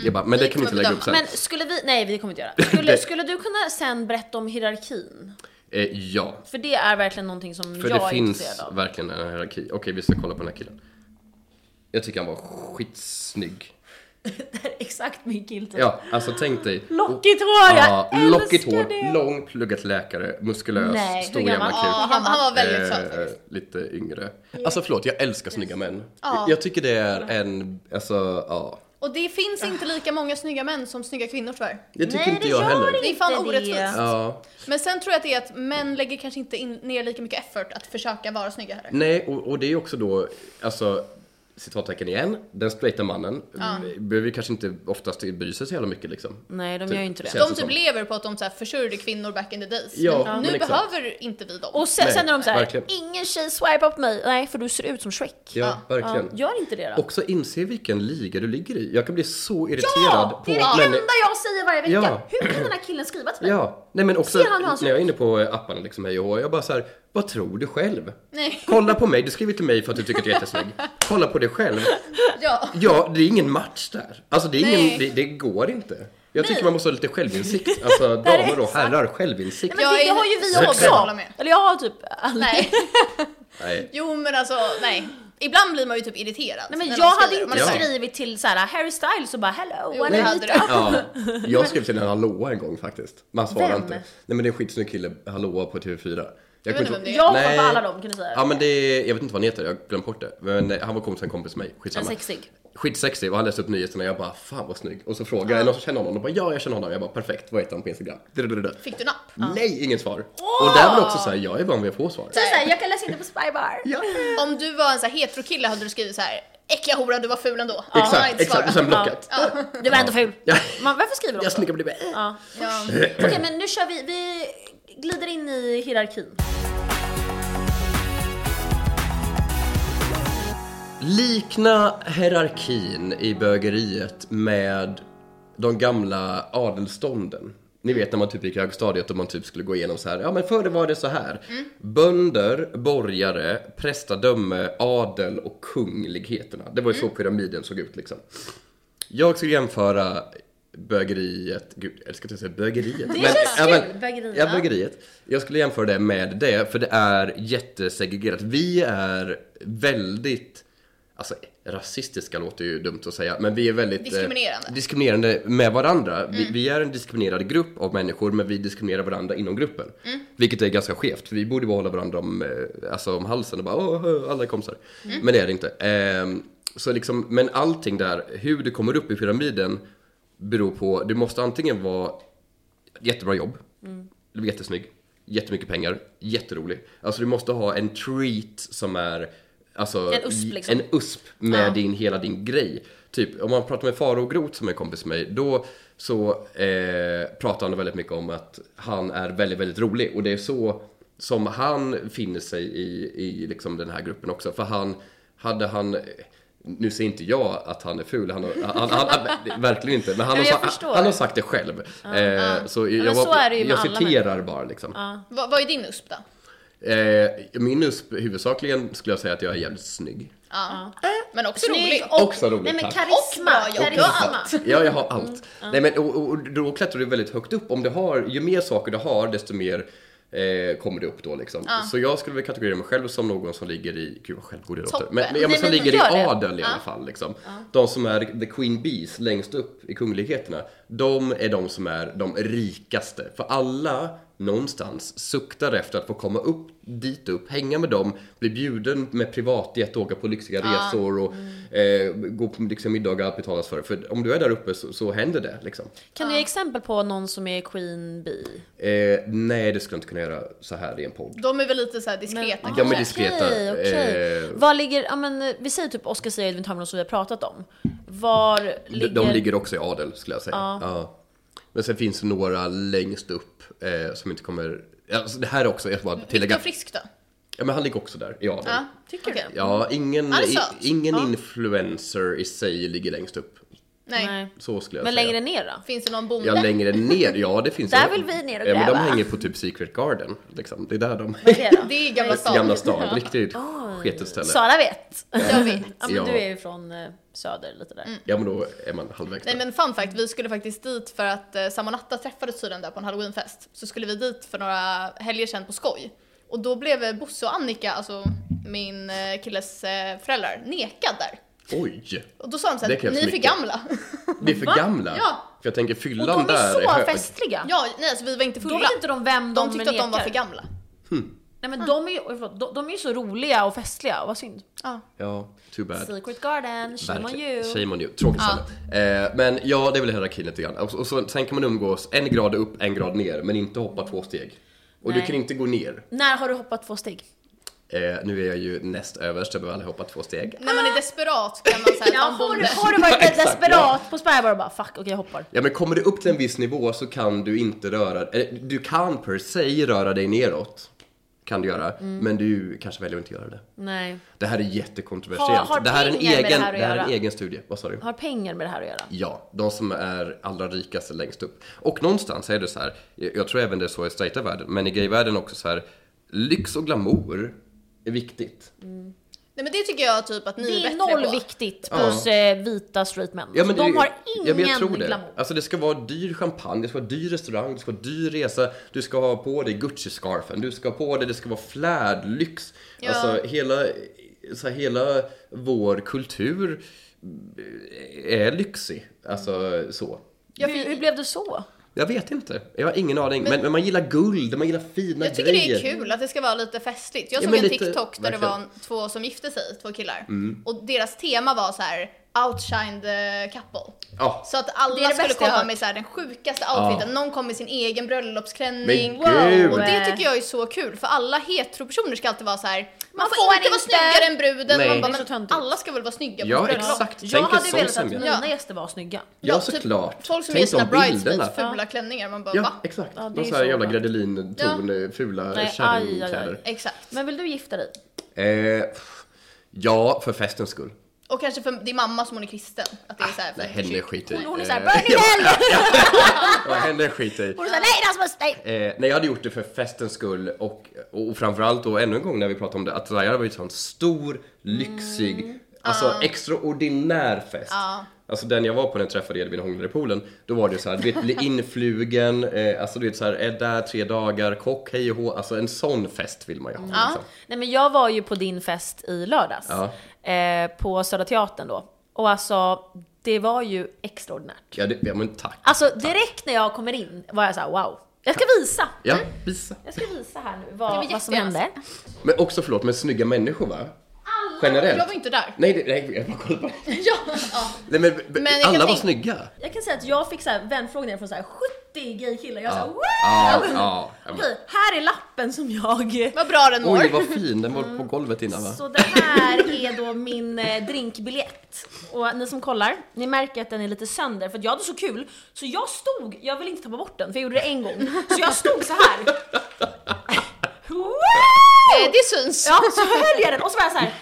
[SPEAKER 2] Jag bara, men det
[SPEAKER 1] Vi
[SPEAKER 2] kan vi inte
[SPEAKER 1] kommer
[SPEAKER 2] lägga upp sen.
[SPEAKER 4] Men skulle vi, nej vi kommer inte göra. Skulle, skulle du kunna sen berätta om hierarkin?
[SPEAKER 2] Eh, ja,
[SPEAKER 4] För det är verkligen någonting som
[SPEAKER 2] för
[SPEAKER 4] jag
[SPEAKER 2] det
[SPEAKER 4] är
[SPEAKER 2] finns
[SPEAKER 4] intresserad av.
[SPEAKER 2] verkligen en hierarki. Okej, vi ska kolla på den här killen. Jag tycker han var skitsnygg.
[SPEAKER 4] Det är exakt min killtyp.
[SPEAKER 2] Ja, alltså tänk dig.
[SPEAKER 4] Lockigt hår, jag
[SPEAKER 2] Ja, lockigt
[SPEAKER 4] älskar
[SPEAKER 2] hår,
[SPEAKER 4] det!
[SPEAKER 2] lång, pluggat läkare, muskulös,
[SPEAKER 4] Nej, hur
[SPEAKER 2] stor
[SPEAKER 4] gammal?
[SPEAKER 2] jävla kuk.
[SPEAKER 1] Ja, han, han var väldigt söt
[SPEAKER 2] Eh,
[SPEAKER 1] faktiskt.
[SPEAKER 2] lite yngre. Alltså förlåt, jag älskar snygga män.
[SPEAKER 1] Ja.
[SPEAKER 2] Jag tycker det är en, alltså ja.
[SPEAKER 1] Och det finns inte lika många snygga män som snygga kvinnor tyvärr.
[SPEAKER 2] Det tycker
[SPEAKER 4] Nej,
[SPEAKER 2] inte
[SPEAKER 4] det
[SPEAKER 2] jag
[SPEAKER 4] gör
[SPEAKER 2] heller.
[SPEAKER 4] det
[SPEAKER 1] Det är fan
[SPEAKER 4] Inte det.
[SPEAKER 1] orättvist.
[SPEAKER 2] Ja.
[SPEAKER 1] Men sen tror jag att det är att män lägger kanske inte in, ner lika mycket effort att försöka vara snygga heller.
[SPEAKER 2] Nej, och, och det är också då, alltså citattecken igen, den straighta mannen mm. behöver ju kanske inte oftast bry sig så jävla mycket liksom.
[SPEAKER 4] Nej, de
[SPEAKER 2] Typ,
[SPEAKER 4] gör ju inte det.
[SPEAKER 2] känns
[SPEAKER 1] De
[SPEAKER 2] det som.
[SPEAKER 1] typ lever på att de så här försörjde kvinnor back in the days.
[SPEAKER 2] Ja,
[SPEAKER 1] men nu
[SPEAKER 2] men exakt.
[SPEAKER 1] behöver inte vi dem.
[SPEAKER 4] Och sen,
[SPEAKER 2] Nej,
[SPEAKER 4] sen är de såhär,
[SPEAKER 2] verkligen.
[SPEAKER 4] ingen tjej swipar på mig. Nej, för du ser ut som Shrek.
[SPEAKER 2] Ja,
[SPEAKER 4] Ja,
[SPEAKER 2] verkligen.
[SPEAKER 4] gör inte det då.
[SPEAKER 2] Också inse vilken liga du ligger i. Jag kan bli så irriterad
[SPEAKER 4] ja,
[SPEAKER 2] på
[SPEAKER 4] det är det
[SPEAKER 2] männi-
[SPEAKER 4] enda jag säger varje vecka.
[SPEAKER 2] Ja.
[SPEAKER 4] Hur kan den här killen skriva till mig?
[SPEAKER 2] Ja, nej men också
[SPEAKER 4] Ser han hur han ser
[SPEAKER 2] när jag är inne på eh, apparna liksom hej och hå, jag bara så här, vad tror du själv?
[SPEAKER 1] Nej.
[SPEAKER 2] Kolla på mig, du skriver till mig för att du tycker att jag är jättesnygg. Kolla på dig själv.
[SPEAKER 1] Ja.
[SPEAKER 2] Ja, det är ingen match där. Alltså det, är
[SPEAKER 1] Nej.
[SPEAKER 2] ingen, det, det går inte. Jag tycker
[SPEAKER 4] Nej.
[SPEAKER 2] man måste ha lite självinsikt. Alltså
[SPEAKER 4] är
[SPEAKER 2] damer och
[SPEAKER 4] exakt.
[SPEAKER 2] herrar, självinsikt.
[SPEAKER 4] Men
[SPEAKER 1] Jag
[SPEAKER 4] det, det
[SPEAKER 1] är
[SPEAKER 4] har ju vi
[SPEAKER 1] verkligen håller
[SPEAKER 4] också.
[SPEAKER 1] med.
[SPEAKER 4] Eller jag har typ aldrig.
[SPEAKER 1] Nej.
[SPEAKER 2] Nej.
[SPEAKER 1] Jo men alltså nej. Ibland blir man ju typ irriterad.
[SPEAKER 4] Nej, men
[SPEAKER 1] när de
[SPEAKER 4] jag hade
[SPEAKER 1] skriver.
[SPEAKER 4] inte
[SPEAKER 1] Man är så här,
[SPEAKER 4] skrivit till såhär Harry Styles och bara hello,
[SPEAKER 1] Jo,
[SPEAKER 4] wanna
[SPEAKER 1] det
[SPEAKER 4] meet
[SPEAKER 1] hade
[SPEAKER 4] up?"
[SPEAKER 1] du.
[SPEAKER 2] Ja, jag skrev till en hallåa en gång faktiskt. Man svarar
[SPEAKER 4] Vem?
[SPEAKER 2] inte. Nej men det är en skitsnygg kille, hallåa på TV4. Jag
[SPEAKER 1] vet
[SPEAKER 2] kommer
[SPEAKER 1] inte vem
[SPEAKER 2] ihåg-
[SPEAKER 1] det är.
[SPEAKER 4] Jag hoppar
[SPEAKER 2] Nej.
[SPEAKER 4] på alla dem kan du säga.
[SPEAKER 2] Ja men det är, jag vet inte vad han heter, jag har glömt bort det. Men eh, han var kompis med en kompis med mig,
[SPEAKER 4] En
[SPEAKER 2] skitsamma.
[SPEAKER 4] sexig.
[SPEAKER 2] skitsexig och han läste upp nyheterna och jag bara fan vad snygg. Och så frågade jag någon som känner honom och bara ja jag känner honom. Jag bara perfekt, vad heter han på Instagram? Drudrudru.
[SPEAKER 1] Fick du napp?
[SPEAKER 2] Nej, inget svar. Och där var det också såhär, jag är van vid att få svar.
[SPEAKER 4] Så såhär, jag kan läsa in det på Spybar.
[SPEAKER 2] Ja.
[SPEAKER 1] Om du var en så här hetero kille hade du skrivit så här äckliga hora du var ful ändå. Man har
[SPEAKER 2] Exakt,
[SPEAKER 1] inte
[SPEAKER 2] exakt. Och sen
[SPEAKER 1] svarat.
[SPEAKER 2] blockat.
[SPEAKER 4] Du var ändå ful.
[SPEAKER 2] Ja.
[SPEAKER 4] Man, varför skriver de
[SPEAKER 2] Jag
[SPEAKER 4] så?
[SPEAKER 2] snygga blev det.
[SPEAKER 4] Ja.
[SPEAKER 1] Ja.
[SPEAKER 4] Okej men nu kör vi, vi glider in i hierarkin.
[SPEAKER 2] Likna hierarkin i bögeriet med de gamla adelstånden. Ni vet när man typ gick i högstadiet och man typ skulle gå igenom så här. Ja men förr var det så här.
[SPEAKER 4] Mm.
[SPEAKER 2] Bönder, borgare, prästadöme, adel och kungligheterna. Det var ju
[SPEAKER 4] Mm.
[SPEAKER 2] så pyramiden såg ut liksom. Jag skulle jämföra bögeriet, gud jag ska inte säga bögeriet. Det
[SPEAKER 4] känns
[SPEAKER 2] ja,
[SPEAKER 4] kul,
[SPEAKER 2] men-
[SPEAKER 4] bögeriet.
[SPEAKER 2] Ja, bögeriet. Jag skulle jämföra det med det, för det är jättesegregerat. Vi är väldigt, alltså rasistiska låter ju dumt att säga, men vi är väldigt eh,
[SPEAKER 1] Diskriminerande.
[SPEAKER 2] diskriminerande med varandra. Vi, vi är en diskriminerad grupp av människor, men vi diskriminerar varandra inom gruppen. Vilket är ganska skevt, för vi borde bara hålla varandra om, eh, alltså, om halsen och bara "Åh, åh, alla är kompisar. Men det är det inte. Ehm, så liksom, men allting där, hur du kommer upp i pyramiden beror på, du måste antingen vara jättebra jobb, du är jättesnygg, jättemycket pengar, jätterolig. Alltså du måste ha en treat som är Alltså,
[SPEAKER 4] En usp, liksom.
[SPEAKER 2] en USP med
[SPEAKER 4] Ja.
[SPEAKER 2] din, hela din grej. Typ, om man pratar med Faro Groth som är kompis med mig, då så eh, pratar han väldigt mycket om att han är väldigt, väldigt rolig och det är så som han finner sig i, i liksom den här gruppen också. För han, hade han, nu säger inte jag att han är ful, han, har- han, han, han verkligen inte, men han,
[SPEAKER 4] Nej, men jag
[SPEAKER 2] har, sa-
[SPEAKER 4] förstår.
[SPEAKER 2] han har sagt det själv. eh, Så jag,
[SPEAKER 4] men
[SPEAKER 2] var-
[SPEAKER 4] så är det ju med
[SPEAKER 2] jag
[SPEAKER 4] alla
[SPEAKER 2] citerar bara liksom.
[SPEAKER 1] Vad, vad är din USP då?
[SPEAKER 2] Eh, min USP, huvudsakligen skulle jag säga att jag är jävligt snygg.
[SPEAKER 1] Ja. Men också rolig.
[SPEAKER 4] Snygg
[SPEAKER 1] Och
[SPEAKER 4] och...
[SPEAKER 2] Också rolig,
[SPEAKER 4] Nej men
[SPEAKER 2] tack.
[SPEAKER 4] karisma.
[SPEAKER 1] Och bra jobb.
[SPEAKER 4] karisma.
[SPEAKER 2] Ja, jag har allt. Nej, men, och, och, och då klättrar du väldigt högt upp. Om du har, ju mer saker du har, desto mer eh, kommer du upp då liksom. Så jag skulle väl kategorisera mig själv som någon som ligger i, gud vad självgod jag låter.
[SPEAKER 1] Toppen.
[SPEAKER 2] Men, men, ja, men
[SPEAKER 4] Nej,
[SPEAKER 2] som
[SPEAKER 4] men
[SPEAKER 2] ligger i
[SPEAKER 4] gör det.
[SPEAKER 2] adel i alla fall liksom. De som är the queen bees längst upp i kungligheterna, de är de som är de rikaste. För alla någonstans suktar efter att få komma upp dit upp, hänga med dem, bli bjuden med privatjet, åka på lyxiga resor
[SPEAKER 4] Mm.
[SPEAKER 2] och eh, gå på lyxiga middagar, allt betalas för. För om du är där uppe så, så händer det liksom.
[SPEAKER 4] Kan du ge exempel på någon som är queen bee?
[SPEAKER 2] Eh, nej, det skulle jag inte kunna göra så här i en podd.
[SPEAKER 1] De är väl lite så här diskreta.
[SPEAKER 2] Ja, men diskreta.
[SPEAKER 4] Okej, okej.
[SPEAKER 2] eh,
[SPEAKER 4] Var ligger, ja men eh, vi säger typ Oscar Zia och Edvin Törnblom som vi har pratat om. Var
[SPEAKER 2] De-
[SPEAKER 4] ligger...
[SPEAKER 2] De ligger också i adel skulle jag säga. Ja. Men sen finns det några längst upp eh, som inte kommer... Alltså, det här är också, jag
[SPEAKER 4] Mm,
[SPEAKER 2] ska bara tillägga.
[SPEAKER 1] Viktor Frisk då?
[SPEAKER 2] Ja, men han ligger också där i adel.
[SPEAKER 1] Ja,
[SPEAKER 2] Ja.
[SPEAKER 1] tycker du?
[SPEAKER 2] ingen,
[SPEAKER 1] Han är
[SPEAKER 2] i-
[SPEAKER 1] söt.
[SPEAKER 2] ingen influencer i sig ligger längst upp.
[SPEAKER 1] Nej.
[SPEAKER 4] Nej.
[SPEAKER 2] Så skulle jag
[SPEAKER 4] Men
[SPEAKER 2] säga.
[SPEAKER 4] längre ner då?
[SPEAKER 1] Finns det någon bonde?
[SPEAKER 2] Ja, längre ner. Ja, det finns
[SPEAKER 4] Där vill vi ner och
[SPEAKER 2] Ja, men de
[SPEAKER 4] gräva.
[SPEAKER 2] hänger på typ Secret Garden. Liksom. Det är där de...
[SPEAKER 4] Vad är det då?
[SPEAKER 1] Det är Gamla stan.
[SPEAKER 2] Gamla stan. Riktigt sketet ställe.
[SPEAKER 4] Sara vet.
[SPEAKER 1] Jag vet. Mm.
[SPEAKER 4] Ja, men
[SPEAKER 2] Ja.
[SPEAKER 4] du är ju från eh, söder lite där.
[SPEAKER 2] Ja, men då är man halvvägs
[SPEAKER 1] Nej
[SPEAKER 2] där.
[SPEAKER 1] men fun fact, vi skulle faktiskt dit för att eh, samma natta träffades tydligen där på en halloweenfest. Så skulle vi dit för några helger sedan på skoj. Och då blev eh, Bosse och Annika, alltså min eh, killes eh, föräldrar, nekad där.
[SPEAKER 2] Oj!
[SPEAKER 1] Och då sa de såhär,
[SPEAKER 2] Det
[SPEAKER 1] ni är
[SPEAKER 2] krävs
[SPEAKER 1] för
[SPEAKER 2] mycket."
[SPEAKER 1] gamla.
[SPEAKER 2] Vi är för gamla.
[SPEAKER 1] Ja.
[SPEAKER 2] För jag tänker
[SPEAKER 4] Och
[SPEAKER 2] fyllan
[SPEAKER 4] de är
[SPEAKER 2] där är
[SPEAKER 4] så
[SPEAKER 2] hög.
[SPEAKER 4] festliga.
[SPEAKER 1] ja, nej alltså vi var inte fulla.
[SPEAKER 4] Då vet inte de vem de,
[SPEAKER 1] de tyckte att de var
[SPEAKER 4] nekar. Ah.
[SPEAKER 1] för gamla.
[SPEAKER 4] Nej men de är ju, oj, förlåt, de, de är ju så roliga och festliga, vad synd.
[SPEAKER 1] Ja.
[SPEAKER 2] Ja, too bad.
[SPEAKER 4] Secret Garden, shame on
[SPEAKER 2] Verkligen.
[SPEAKER 4] you.
[SPEAKER 2] Shame on you. Tråkigt ställe. eh, Men ja, det är väl hierarkin lite grann. Och, och så, sen kan man umgås en grad upp, en grad ner, men inte hoppa två steg. Och du
[SPEAKER 4] Nej.
[SPEAKER 2] kan inte gå ner.
[SPEAKER 4] När har du hoppat två steg?
[SPEAKER 2] Eh, nu är jag ju näst överst, jag behöver aldrig hoppa två steg.
[SPEAKER 1] När man är desperat kan man säga
[SPEAKER 4] Ah. Ja,
[SPEAKER 1] att
[SPEAKER 4] har,
[SPEAKER 1] man
[SPEAKER 4] du,
[SPEAKER 1] borde.
[SPEAKER 4] har du varit
[SPEAKER 2] Exakt,
[SPEAKER 4] desperat på spädbarn och bara fuck, okej jag hoppar.
[SPEAKER 2] Ja, men kommer du upp till en viss nivå så kan du inte röra eh, Du kan per se röra dig neråt. Kan du göra.
[SPEAKER 4] Mm.
[SPEAKER 2] Men du kanske väljer att inte göra det.
[SPEAKER 4] Nej.
[SPEAKER 2] Det här är jättekontroversiellt.
[SPEAKER 4] Har- har
[SPEAKER 2] det här är en
[SPEAKER 4] pengar med det
[SPEAKER 2] egen,
[SPEAKER 4] här att
[SPEAKER 2] det här är en
[SPEAKER 4] göra?
[SPEAKER 2] egen studie. Vad sa du?
[SPEAKER 4] Har pengar med det här att göra?
[SPEAKER 2] Ja, de som är allra rikaste längst upp. Och någonstans är det så här, jag jag tror även det är så i straighta världen, men i gayvärlden också så här, lyx och glamour är viktigt.
[SPEAKER 4] Mm.
[SPEAKER 1] Nej men det tycker jag typ att ni
[SPEAKER 4] Det
[SPEAKER 1] är
[SPEAKER 4] är
[SPEAKER 1] bättre
[SPEAKER 4] noll
[SPEAKER 1] på.
[SPEAKER 4] viktigt plus eh, vita straight män.
[SPEAKER 2] Ja, men
[SPEAKER 4] alltså, de
[SPEAKER 2] det-
[SPEAKER 4] har
[SPEAKER 2] ja,
[SPEAKER 4] ingen
[SPEAKER 2] men jag tror det.
[SPEAKER 4] glamour.
[SPEAKER 2] Alltså det ska vara dyr champagne, det ska vara dyr restaurang, det ska vara dyr resa, du ska ha på dig Gucci-scarfen, du ska ha på dig, det ska vara flärd, lyx.
[SPEAKER 1] Ja.
[SPEAKER 2] Alltså hela, så här, hela vår kultur eh, är lyxig. Alltså så.
[SPEAKER 1] Jag,
[SPEAKER 4] Hur, hur
[SPEAKER 1] jag,
[SPEAKER 4] blev det så?
[SPEAKER 2] Jag vet inte. Jag har ingen aning. Men, men, man gillar guld, man gillar fina
[SPEAKER 1] jag tycker
[SPEAKER 2] grejer.
[SPEAKER 1] det är kul att det ska vara lite festligt. Jag
[SPEAKER 2] Ja,
[SPEAKER 1] såg
[SPEAKER 2] men
[SPEAKER 1] en
[SPEAKER 2] lite-
[SPEAKER 1] TikTok där det var
[SPEAKER 2] verkligen. Mm.
[SPEAKER 1] två som gifte sig, två killar. Och deras tema var så här outshined eh, couple.
[SPEAKER 2] Ja.
[SPEAKER 1] Så att
[SPEAKER 4] Det är
[SPEAKER 1] alla
[SPEAKER 4] det
[SPEAKER 1] skulle
[SPEAKER 4] bästa jag
[SPEAKER 1] komma
[SPEAKER 4] hört.
[SPEAKER 1] med så här, den sjukaste outfiten, någon kom med sin egen bröllopsklänning.
[SPEAKER 2] Men gud!
[SPEAKER 1] Och det tycker jag är så kul, för alla heteropersoner ska alltid vara så här. man får,
[SPEAKER 4] får
[SPEAKER 1] inte vara
[SPEAKER 4] inte.
[SPEAKER 1] snyggare än bruden,
[SPEAKER 2] Nej.
[SPEAKER 1] man
[SPEAKER 4] Det är
[SPEAKER 1] bara,
[SPEAKER 4] så
[SPEAKER 1] men
[SPEAKER 4] töntigt.
[SPEAKER 1] alla ska väl vara snygga på
[SPEAKER 2] Ja,
[SPEAKER 1] bröllop.
[SPEAKER 2] exakt.
[SPEAKER 4] Jag
[SPEAKER 2] Tänk en
[SPEAKER 4] hade
[SPEAKER 2] sån
[SPEAKER 4] velat att
[SPEAKER 2] sämja.
[SPEAKER 4] mina
[SPEAKER 1] Ja.
[SPEAKER 4] gäster var snygga.
[SPEAKER 2] Ja,
[SPEAKER 1] typ
[SPEAKER 2] såklart.
[SPEAKER 1] Folk som
[SPEAKER 2] Tänk
[SPEAKER 1] gör sina
[SPEAKER 2] de
[SPEAKER 1] brides med
[SPEAKER 2] bilderna.
[SPEAKER 1] fula klänningar, man bara va?
[SPEAKER 2] Ja, exakt.
[SPEAKER 4] Ja, det är
[SPEAKER 2] Någon
[SPEAKER 4] ju
[SPEAKER 2] sån här
[SPEAKER 4] så
[SPEAKER 2] jävla
[SPEAKER 4] bra.
[SPEAKER 2] gredelin-ton, eh, fula
[SPEAKER 4] Nej, aj, aj,
[SPEAKER 2] kärringkläder.
[SPEAKER 1] Exakt.
[SPEAKER 4] Men vill du gifta dig?
[SPEAKER 2] Eh, ja, för festens skull.
[SPEAKER 1] Och kanske för din mamma som hon är kristen. Att det är så här,
[SPEAKER 2] Ah, Nej, henne skiter jag i.
[SPEAKER 4] Hon, hon är såhär
[SPEAKER 2] Eh,
[SPEAKER 4] burn in hell!
[SPEAKER 2] ja, henne skiter jag i.
[SPEAKER 4] Och du säger nej Rasmus, nej!
[SPEAKER 2] Eh, nej, jag hade gjort det för festens skull och, och framförallt då ännu en gång när vi pratade om det, att det här var ju en sån stor, lyxig, alltså extraordinär fest.
[SPEAKER 1] Mm. Ja.
[SPEAKER 2] Alltså den jag var på när jag träffade Edvin och hånglade i poolen, då var det ju såhär, du vet, bli influgen, eh, alltså du vet såhär, är där tre dagar, kock, hej och hå, alltså en sån fest vill man ju ha. Liksom.
[SPEAKER 4] Nej men jag var ju på din fest i lördags. Eh, på Södra Teatern då. Och alltså, det var ju extraordinärt.
[SPEAKER 2] Ja, det, ja, men tack.
[SPEAKER 1] Ah.
[SPEAKER 4] Alltså direkt när jag kommer in var jag såhär wow. Jag ska visa!
[SPEAKER 2] Ja, visa.
[SPEAKER 4] Jag ska visa här nu
[SPEAKER 1] Det var
[SPEAKER 4] vad, vad som
[SPEAKER 1] jättegärna.
[SPEAKER 4] hände.
[SPEAKER 2] Men också förlåt, men snygga människor va? Generellt.
[SPEAKER 1] Jag var inte där.
[SPEAKER 2] Nej, det- nej, jag bara kollade på
[SPEAKER 1] Ja, ja.
[SPEAKER 2] Nej men,
[SPEAKER 1] jag kan
[SPEAKER 2] alla var
[SPEAKER 1] tänka- Alltså,
[SPEAKER 2] snygga.
[SPEAKER 4] Jag kan säga att jag fick så här vänfrågningar från så här 70 gaykillar. Jag sa wow!
[SPEAKER 2] Ja, ja, ja.
[SPEAKER 4] Okej, här är lappen som jag...
[SPEAKER 1] Vad bra den mår.
[SPEAKER 2] Oj vad fin, den var på golvet innan va?
[SPEAKER 4] Mm. Så det här är då min eh, drinkbiljett. Och ni som kollar, ni märker att den är lite sönder för att jag hade så kul så jag stod, jag vill inte tappa bort den för jag gjorde det en gång, så jag stod så här. Wow!
[SPEAKER 1] Eh, Det syns.
[SPEAKER 4] Ja, så höll jag den och så var jag så här.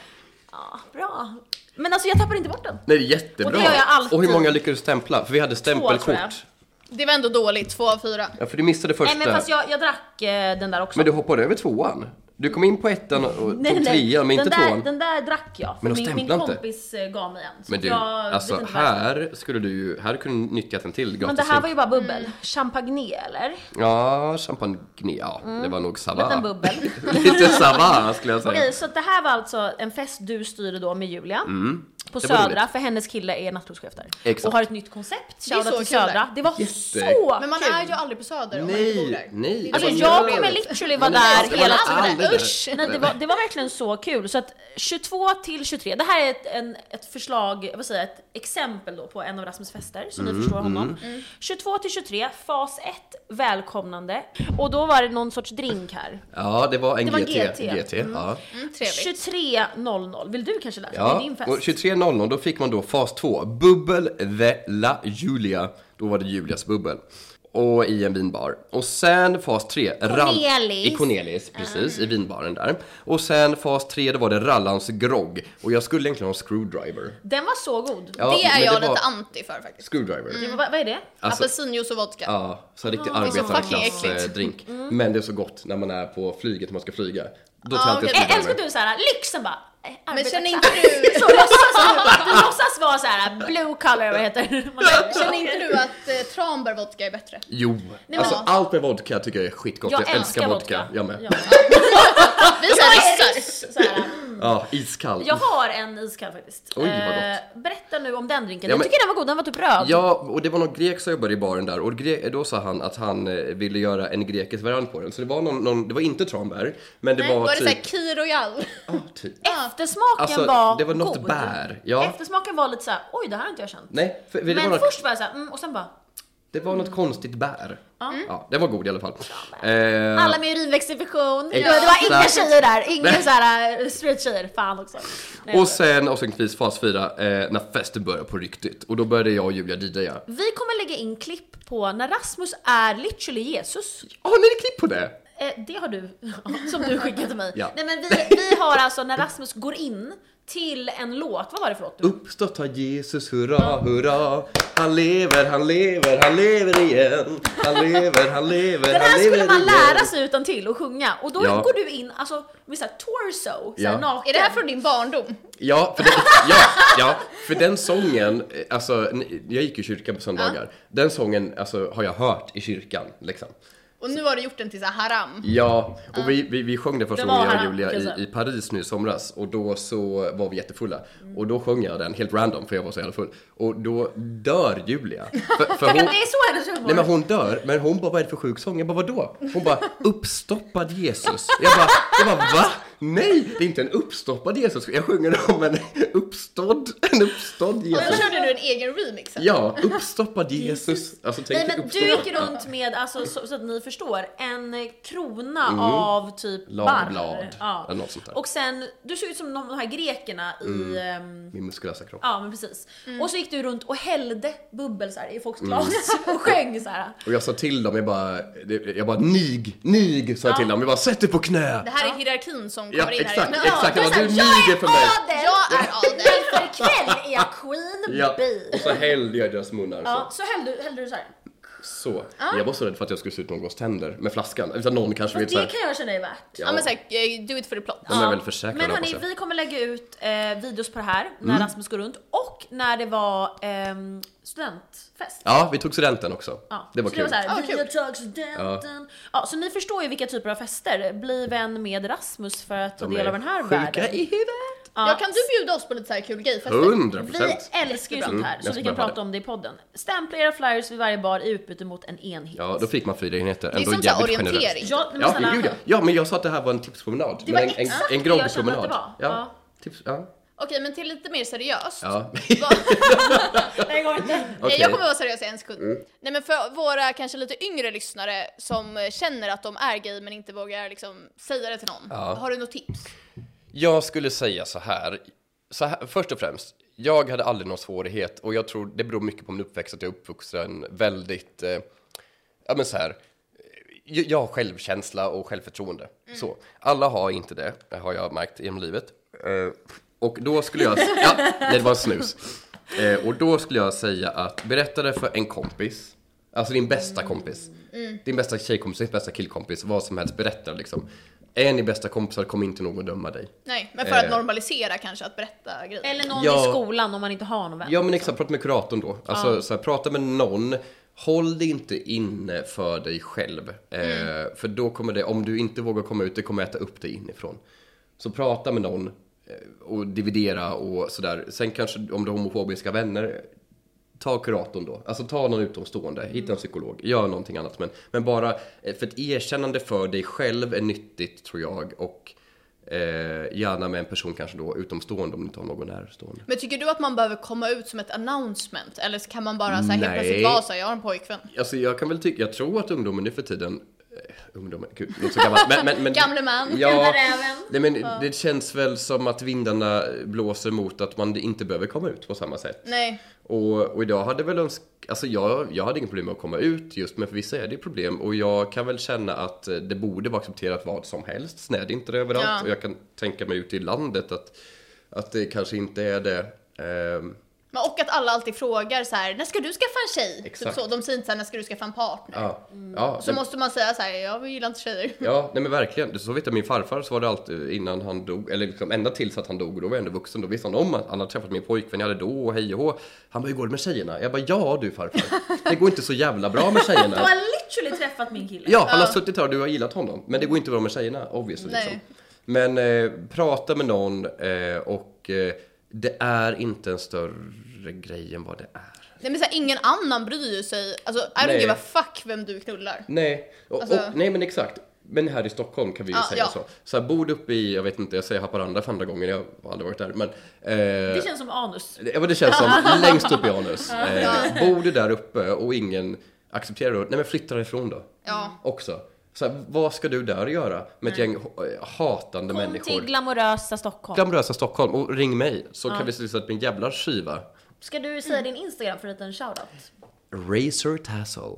[SPEAKER 4] Ja, bra. Men alltså jag tappade inte bort den.
[SPEAKER 2] Nej det är jättebra.
[SPEAKER 4] Och det gör jag alltid.
[SPEAKER 2] Och hur många lyckades stämpla? För vi hade
[SPEAKER 4] tror jag.
[SPEAKER 2] stämpelkort.
[SPEAKER 1] Det var ändå dåligt, två av fyra.
[SPEAKER 2] Ja för du missade första.
[SPEAKER 4] Nej men fast jag, jag drack eh, den där också.
[SPEAKER 2] Men du hoppade över tvåan. Du kom in på ettan och tog
[SPEAKER 4] Nej, nej, nej.
[SPEAKER 2] trean men
[SPEAKER 4] den
[SPEAKER 2] inte
[SPEAKER 4] där,
[SPEAKER 2] tvåan.
[SPEAKER 4] Den där drack jag, för
[SPEAKER 2] Men de
[SPEAKER 4] min, min
[SPEAKER 2] stämplar inte.
[SPEAKER 4] kompis eh, gav mig en. Så
[SPEAKER 2] Men du,
[SPEAKER 4] jag vet
[SPEAKER 2] alltså
[SPEAKER 4] inte varför.
[SPEAKER 2] här skulle du ju, här kunde du nyttjat en till gratis
[SPEAKER 4] Men det här
[SPEAKER 2] drink.
[SPEAKER 4] var ju bara bubbel. Champagne eller?
[SPEAKER 2] Ja, champagne, ja
[SPEAKER 4] Mm.
[SPEAKER 2] det var nog Sava.
[SPEAKER 4] Liten bubbel.
[SPEAKER 2] Lite Sava skulle jag säga.
[SPEAKER 4] Okej, så att det här var alltså en fest du styrde då med Julia. på
[SPEAKER 2] Mm. Det var roligt.
[SPEAKER 4] Södra, för hennes kille är nattklubschef där.
[SPEAKER 2] Exakt.
[SPEAKER 4] Och har ett nytt koncept,
[SPEAKER 1] Det är så
[SPEAKER 4] shoutout till
[SPEAKER 1] kul där.
[SPEAKER 4] Södra. Det var
[SPEAKER 2] Jätte-
[SPEAKER 4] så
[SPEAKER 1] Men man
[SPEAKER 4] kul!
[SPEAKER 1] är ju aldrig på Söder om man inte bor
[SPEAKER 2] Nej,
[SPEAKER 1] där.
[SPEAKER 2] nej.
[SPEAKER 1] Alltså,
[SPEAKER 2] det var
[SPEAKER 4] jag
[SPEAKER 2] nödvändigt.
[SPEAKER 4] kommer literally vara
[SPEAKER 2] Man är
[SPEAKER 4] där
[SPEAKER 2] alltid-
[SPEAKER 4] hela
[SPEAKER 2] man är
[SPEAKER 1] tiden.
[SPEAKER 2] aldrig där.
[SPEAKER 1] Usch.
[SPEAKER 4] Nej, det, var, det var verkligen så kul. Så att 22 till 23, det här är ett, en, ett förslag, vad säger jag, ett exempel då på en av Rasmus fester, så
[SPEAKER 2] Mm,
[SPEAKER 4] ni förstår honom. 22 till 23, fas 1, välkomnande. Och då var det någon sorts drink här.
[SPEAKER 2] Ja, det var en
[SPEAKER 4] Det var
[SPEAKER 2] GT.
[SPEAKER 4] GT.
[SPEAKER 2] GT ja.
[SPEAKER 1] Mm, trevligt.
[SPEAKER 4] 23.00, vill du kanske läsa? Det är
[SPEAKER 2] Ja,
[SPEAKER 4] din fest.
[SPEAKER 2] och 23.00 då fick man då fas 2, bubbel the la Julia. Då var det Julias bubbel. Och i en vinbar. Och sen fas 3,
[SPEAKER 4] Cornelis.
[SPEAKER 2] I Cornelis, precis, i vinbaren där. Och sen fas 3, då var det Rallans grogg. Och jag skulle egentligen ha en screwdriver.
[SPEAKER 4] Den var så god. Mm.
[SPEAKER 2] Ja,
[SPEAKER 1] det är
[SPEAKER 2] men
[SPEAKER 1] jag
[SPEAKER 2] var
[SPEAKER 1] lite anti för faktiskt.
[SPEAKER 2] Screwdriver.
[SPEAKER 4] Vad, vad är det?
[SPEAKER 2] Alltså-
[SPEAKER 1] Apelsinjuice och vodka.
[SPEAKER 2] Ja, så riktig
[SPEAKER 1] så fucking äckligt.
[SPEAKER 2] arbetarklassdrink. eh, Men det är så gott när man är på flyget, när man ska flyga. Då tar
[SPEAKER 1] Ja,
[SPEAKER 2] jag alltid
[SPEAKER 1] okej.
[SPEAKER 2] en
[SPEAKER 4] Ä- Älskar
[SPEAKER 2] screwdriver.
[SPEAKER 4] du såhär, lyxen bara... eh,
[SPEAKER 1] Men känner
[SPEAKER 4] arbetarklass.
[SPEAKER 1] inte du,
[SPEAKER 4] Så låtsas du, du låtsas vara såhär blue color, vad heter man
[SPEAKER 1] känner inte du att eh, Tranberg vodka är bättre?
[SPEAKER 2] Jo,
[SPEAKER 4] men-
[SPEAKER 2] alltså allt med vodka tycker jag är skitgott. Jag, älskar vodka. Jag med.
[SPEAKER 4] Ja.
[SPEAKER 2] Ja,
[SPEAKER 1] Vi är såhär ryssar.
[SPEAKER 4] Såhär,
[SPEAKER 2] iskall.
[SPEAKER 4] Jag har en iskall faktiskt.
[SPEAKER 2] Oj, vad gott.
[SPEAKER 4] Eh, Berätta nu om den drinken.
[SPEAKER 2] Ja,
[SPEAKER 4] jag
[SPEAKER 2] men-
[SPEAKER 4] tycker den var god, den var typ röd.
[SPEAKER 2] Ja, och det var någon grek som jobbade i baren där och gre- då sa han att han eh, ville göra en grekisk variant på den. Så det var någon, någon det var inte tranbär, men det
[SPEAKER 1] Nej,
[SPEAKER 2] var,
[SPEAKER 1] var det såhär
[SPEAKER 2] typ...
[SPEAKER 1] Kir och Jall?
[SPEAKER 2] Ja, typ.
[SPEAKER 4] Eftersmaken
[SPEAKER 2] Alltså,
[SPEAKER 4] var
[SPEAKER 2] det var något
[SPEAKER 4] god.
[SPEAKER 2] bär. Ja.
[SPEAKER 4] Eftersmaken var lite såhär, oj det här har inte jag känt.
[SPEAKER 2] Nej, för, för det, var
[SPEAKER 4] Men
[SPEAKER 2] något,
[SPEAKER 4] först var jag såhär, mm, och sen bara,
[SPEAKER 2] det var något konstigt bär. Ja, det var god i alla fall. Eh,
[SPEAKER 4] Mm. alla med urinvägsinfektion.
[SPEAKER 2] Exakt.
[SPEAKER 4] Det var inga tjejer där, inga såhär eh, straight tjejer. Fan också. Nej,
[SPEAKER 2] och sen avslutningsvis fas 4, eh, när festen började på riktigt. Och då började jag och Julia DJa.
[SPEAKER 4] Vi kommer lägga in klipp på när Rasmus är literally Jesus.
[SPEAKER 2] Har ni klipp på det?
[SPEAKER 4] Eh, det har du, som du skickade till mig.
[SPEAKER 2] Ja.
[SPEAKER 4] Nej men vi, vi har alltså när Rasmus går in till en låt, vad var det för låt? Du?
[SPEAKER 2] Uppstått har Jesus, hurra, hurra Han lever, han lever, han lever igen Han lever, han lever,
[SPEAKER 4] Den
[SPEAKER 2] han
[SPEAKER 4] här
[SPEAKER 2] lever
[SPEAKER 4] skulle man
[SPEAKER 2] igen
[SPEAKER 4] lära sig utan till och sjunga och då
[SPEAKER 2] Ja.
[SPEAKER 4] går du in alltså, med såhär torso, såhär
[SPEAKER 2] Ja.
[SPEAKER 4] naken.
[SPEAKER 1] Är det här från din barndom?
[SPEAKER 2] Ja, för den, ja, ja, för den sången, eh, alltså, ni- jag gick i kyrkan på söndagar. Den sången alltså, har jag hört i kyrkan. Liksom.
[SPEAKER 1] Och nu har du gjort den till så här haram.
[SPEAKER 2] Ja, och vi, vi, vi sjöng den första
[SPEAKER 4] Det var
[SPEAKER 2] gången jag och
[SPEAKER 4] haram,
[SPEAKER 2] Julia
[SPEAKER 4] kan jag
[SPEAKER 2] i, i Paris nu i somras. Och då så var vi jättefulla. Och då sjöng jag den helt random, för jag var så jävla full. Och då dör Julia. För, för hon,
[SPEAKER 4] Men det är så hennes humor.
[SPEAKER 2] Nej men hon dör, men hon bara vad är det för sjuk sång? Jag bara vadå? Hon bara uppstoppad Jesus. Jag bara, jag bara va? Nej, det är inte en uppstoppad Jesus. Jag sjunger om en uppstådd, en uppstådd
[SPEAKER 1] Och nu
[SPEAKER 2] Jesus.
[SPEAKER 1] körde du en egen remix här.
[SPEAKER 2] Ja, uppstoppad Jesus. Alltså tänk
[SPEAKER 4] Nej
[SPEAKER 2] dig
[SPEAKER 4] men du
[SPEAKER 2] uppstoppad.
[SPEAKER 4] gick runt med, alltså, så, så att ni förstår, en krona av typ
[SPEAKER 2] Lavblad,
[SPEAKER 4] barr. Ja.
[SPEAKER 2] Mm. eller något sånt där. Mm.
[SPEAKER 4] Och sen, du såg ut som de de här grekerna i ehm,
[SPEAKER 2] Min muskulösa kropp.
[SPEAKER 4] Ja men precis. Och så gick du runt och hällde bubbel så här, i
[SPEAKER 2] Mm.
[SPEAKER 4] folks glas och sjöng så här.
[SPEAKER 2] Och jag sa till dem, jag bara, det- jag bara nig, nig sa jag till dem. Jag bara sätt dig på
[SPEAKER 1] Det
[SPEAKER 2] knä.
[SPEAKER 1] här är hierarkin som kommer
[SPEAKER 2] Ja,
[SPEAKER 1] in här
[SPEAKER 2] exakt,
[SPEAKER 1] inne.
[SPEAKER 2] exakt.
[SPEAKER 4] Ja,
[SPEAKER 2] Jag bara, du
[SPEAKER 4] du sa, "Jag
[SPEAKER 2] niger för mig.
[SPEAKER 4] är adel!
[SPEAKER 1] Jag är adel.
[SPEAKER 4] Men för ikväll är jag queen
[SPEAKER 2] Ja,
[SPEAKER 4] bee.
[SPEAKER 2] och så hällde jag i deras munnar.
[SPEAKER 4] Ja,
[SPEAKER 2] Så.
[SPEAKER 4] så hällde, du- hällde du så här.
[SPEAKER 2] så. Jag var så rädd för att jag skulle se ut någons tänder med flaskan. Utan någon kanske
[SPEAKER 4] Fast
[SPEAKER 2] vet så
[SPEAKER 4] det
[SPEAKER 2] här,
[SPEAKER 4] kan jag känna är värt.
[SPEAKER 1] Ja men såhär, do it for the plot.
[SPEAKER 2] De är väl försäkrade
[SPEAKER 4] Men
[SPEAKER 2] hoppas
[SPEAKER 4] hörni,
[SPEAKER 2] jag.
[SPEAKER 4] vi kommer lägga ut eh, videos på det här när
[SPEAKER 2] Mm.
[SPEAKER 4] Rasmus går runt och när det var ehm, studentfest.
[SPEAKER 2] Ja, vi tog studenten också.
[SPEAKER 4] Ja.
[SPEAKER 2] Det var
[SPEAKER 4] så
[SPEAKER 2] kul.
[SPEAKER 4] Det var
[SPEAKER 1] Ja,
[SPEAKER 4] såhär,
[SPEAKER 1] kul.
[SPEAKER 4] vi tar studenten. Ja. så ni förstår ju vilka typer av fester. Bli vän med Rasmus för att ta
[SPEAKER 2] De är
[SPEAKER 4] del av den här
[SPEAKER 2] sjuka
[SPEAKER 4] världen.
[SPEAKER 2] i huvudet.
[SPEAKER 4] Ja.
[SPEAKER 1] Ja, kan du bjuda oss på lite så här kul gayfester?
[SPEAKER 2] Hundra
[SPEAKER 4] Vi
[SPEAKER 2] procent.
[SPEAKER 4] älskar ju sånt här,
[SPEAKER 2] Mm,
[SPEAKER 4] så
[SPEAKER 2] jag
[SPEAKER 4] vi
[SPEAKER 2] ska behöva
[SPEAKER 4] kan prata
[SPEAKER 2] det.
[SPEAKER 4] om det i podden. Stämpla era flyers vid varje bar i utbyte mot en enhet.
[SPEAKER 2] Ja, då fick man fyra enheter.
[SPEAKER 1] Det är
[SPEAKER 2] Ändå
[SPEAKER 1] som så här
[SPEAKER 2] jävligt generöst.
[SPEAKER 1] orientering.
[SPEAKER 4] Ja, men
[SPEAKER 2] Ja,
[SPEAKER 4] snälla.
[SPEAKER 2] men gud ja. ja, men jag sa att det här var en tipspromenad.
[SPEAKER 4] Det var
[SPEAKER 2] men en, en,
[SPEAKER 4] exakt
[SPEAKER 2] en
[SPEAKER 4] det jag kände att det
[SPEAKER 2] groggpromenad.
[SPEAKER 4] var. Ja.
[SPEAKER 2] Ja. Tips, ja.
[SPEAKER 1] Okej men till lite mer seriöst.
[SPEAKER 2] ja.
[SPEAKER 1] Vad-
[SPEAKER 4] Nej, jag går inte.
[SPEAKER 1] Nej,
[SPEAKER 2] Okej. Mm.
[SPEAKER 1] Jag kommer vara seriös i en sekund. Nej men för våra kanske lite yngre lyssnare som eh, känner att de är gay men inte vågar liksom säga det till någon. Har du något tips?
[SPEAKER 2] Jag skulle säga så här. så här. Först och främst, jag hade aldrig någon svårighet och jag tror det beror mycket på min uppväxt att jag är uppvuxen väldigt, eh, ja men så här, eh, jag har självkänsla och självförtroende. Så. Alla har inte det, det har jag märkt genom livet. Eh, och då skulle jag, ja, nej, det var en snus. Eh, och då skulle jag säga att berätta det för en kompis, alltså din bästa kompis. Din bästa tjejkompis, din bästa killkompis, vad som helst, berätta liksom. Är ni bästa kompisar kommer inte någon döma dig.
[SPEAKER 1] Nej, men för att
[SPEAKER 2] Eh.
[SPEAKER 1] normalisera kanske, att berätta grejer.
[SPEAKER 4] Eller någon
[SPEAKER 2] Ja.
[SPEAKER 4] i skolan om man inte har någon vän.
[SPEAKER 2] Ja men exakt, prata med kuratorn då. Alltså så här, prata med någon. Håll det inte inne för dig själv. Eh, för då kommer det, om du inte vågar komma ut, det kommer äta upp dig inifrån. Så prata med någon. eh, och dividera och sådär. Sen kanske om du har homofobiska vänner, ta kuratorn då. Alltså ta någon utomstående, hitta en psykolog, gör någonting annat. Men, men bara, eh, för ett erkännande för dig själv är nyttigt tror jag och eh, gärna med en person kanske då utomstående om du inte har någon närstående.
[SPEAKER 1] Men tycker du att man behöver komma ut som ett announcement? Eller så kan man bara så här, helt
[SPEAKER 2] Nej.
[SPEAKER 1] plötsligt vara såhär, jag har en pojkvän.
[SPEAKER 2] Alltså jag kan väl tycka, jag tror att ungdomen nu för tiden eh, Ungdomen, gud, låter så gammalt. Men, men, men,
[SPEAKER 1] Gamle man,
[SPEAKER 2] ja,
[SPEAKER 4] räven.
[SPEAKER 2] nej, men det känns väl som att vindarna blåser mot att man inte behöver komma ut på samma sätt.
[SPEAKER 1] Nej.
[SPEAKER 2] Och, och idag hade väl önsk... Alltså jag, jag hade inga problem med att komma ut just, men för vissa är det problem. Och jag kan väl känna att eh, det borde vara accepterat vad som helst. Sen är det inte det överallt.
[SPEAKER 1] Ja.
[SPEAKER 2] Och jag kan tänka mig ute i landet att, att det kanske inte är det. Ehm,
[SPEAKER 1] Men och att alla alltid frågar så här: när ska du skaffa en tjej? Typ
[SPEAKER 2] Exakt.
[SPEAKER 1] så. De säger inte såhär, när ska du skaffa en partner?
[SPEAKER 2] ja, ja,
[SPEAKER 1] Mm. Så
[SPEAKER 2] nej,
[SPEAKER 1] måste man säga såhär, jag gillar inte tjejer.
[SPEAKER 2] ja, nej men verkligen. Så vet jag min farfar så var det alltid innan han dog, eller liksom ända tills att han dog och då var jag ändå vuxen. Då visste han om att han hade träffat min pojkvän jag hade då och hej och hå. Han bara, hur går det med tjejerna? Jag bara, ja du farfar. Det går inte så jävla bra med
[SPEAKER 4] Du
[SPEAKER 2] tjejerna.
[SPEAKER 4] har literally träffat min kille.
[SPEAKER 2] Ja, han har suttit här och du har gillat honom. Men det går inte bra med tjejerna, obviously.
[SPEAKER 1] Nej.
[SPEAKER 2] Liksom. Men eh, prata med någon eh, och eh, det är inte en större grej än vad det är.
[SPEAKER 1] Nej men såhär, ingen annan bryr sig. Alltså, I don't
[SPEAKER 2] Nej.
[SPEAKER 1] give a fuck vem du knullar.
[SPEAKER 2] Nej, och,
[SPEAKER 1] Alltså-
[SPEAKER 2] och, nej men exakt. Men här i Stockholm kan vi ju
[SPEAKER 1] Ja,
[SPEAKER 2] säga
[SPEAKER 1] ja.
[SPEAKER 2] så. Så här, bor du uppe i, jag vet inte, jag säger Haparanda för andra gången, jag har aldrig varit där. Men, eh,
[SPEAKER 4] Det känns som anus.
[SPEAKER 2] Ja, men det känns som längst upp i anus. Eh, bor du där uppe och ingen accepterar det, nej men flytta därifrån då.
[SPEAKER 1] Ja.
[SPEAKER 2] Också. Så här, vad ska du där göra med ett gäng eh, hatande
[SPEAKER 4] Kom
[SPEAKER 2] människor?
[SPEAKER 4] till glamorösa Stockholm.
[SPEAKER 2] Glamorösa Stockholm och ring mig så kan vi se till att min jävla skiva
[SPEAKER 4] Ska du säga din Instagram för en liten shoutout?
[SPEAKER 2] Razor Tassel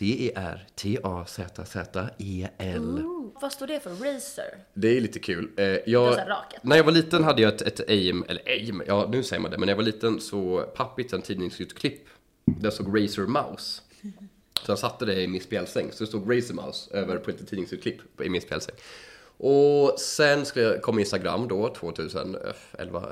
[SPEAKER 2] E R-A-C-E-R-T-A-Z-Z-E-L
[SPEAKER 4] Vad står det för? Racer?
[SPEAKER 2] Det är lite kul. Eh,
[SPEAKER 4] var
[SPEAKER 2] jag,
[SPEAKER 4] så här raket.
[SPEAKER 2] när jag var liten hade jag ett, ett aim, eller aim, ja nu säger man det, men när jag var liten så pappit en tidningsutklipp där stod Razor Mouse. Så jag satte det i min spjälsäng, så det stod Razor Mouse över på ett tidningsutklipp i min spjälsäng. Och sen skulle jag- kom Instagram då, 2011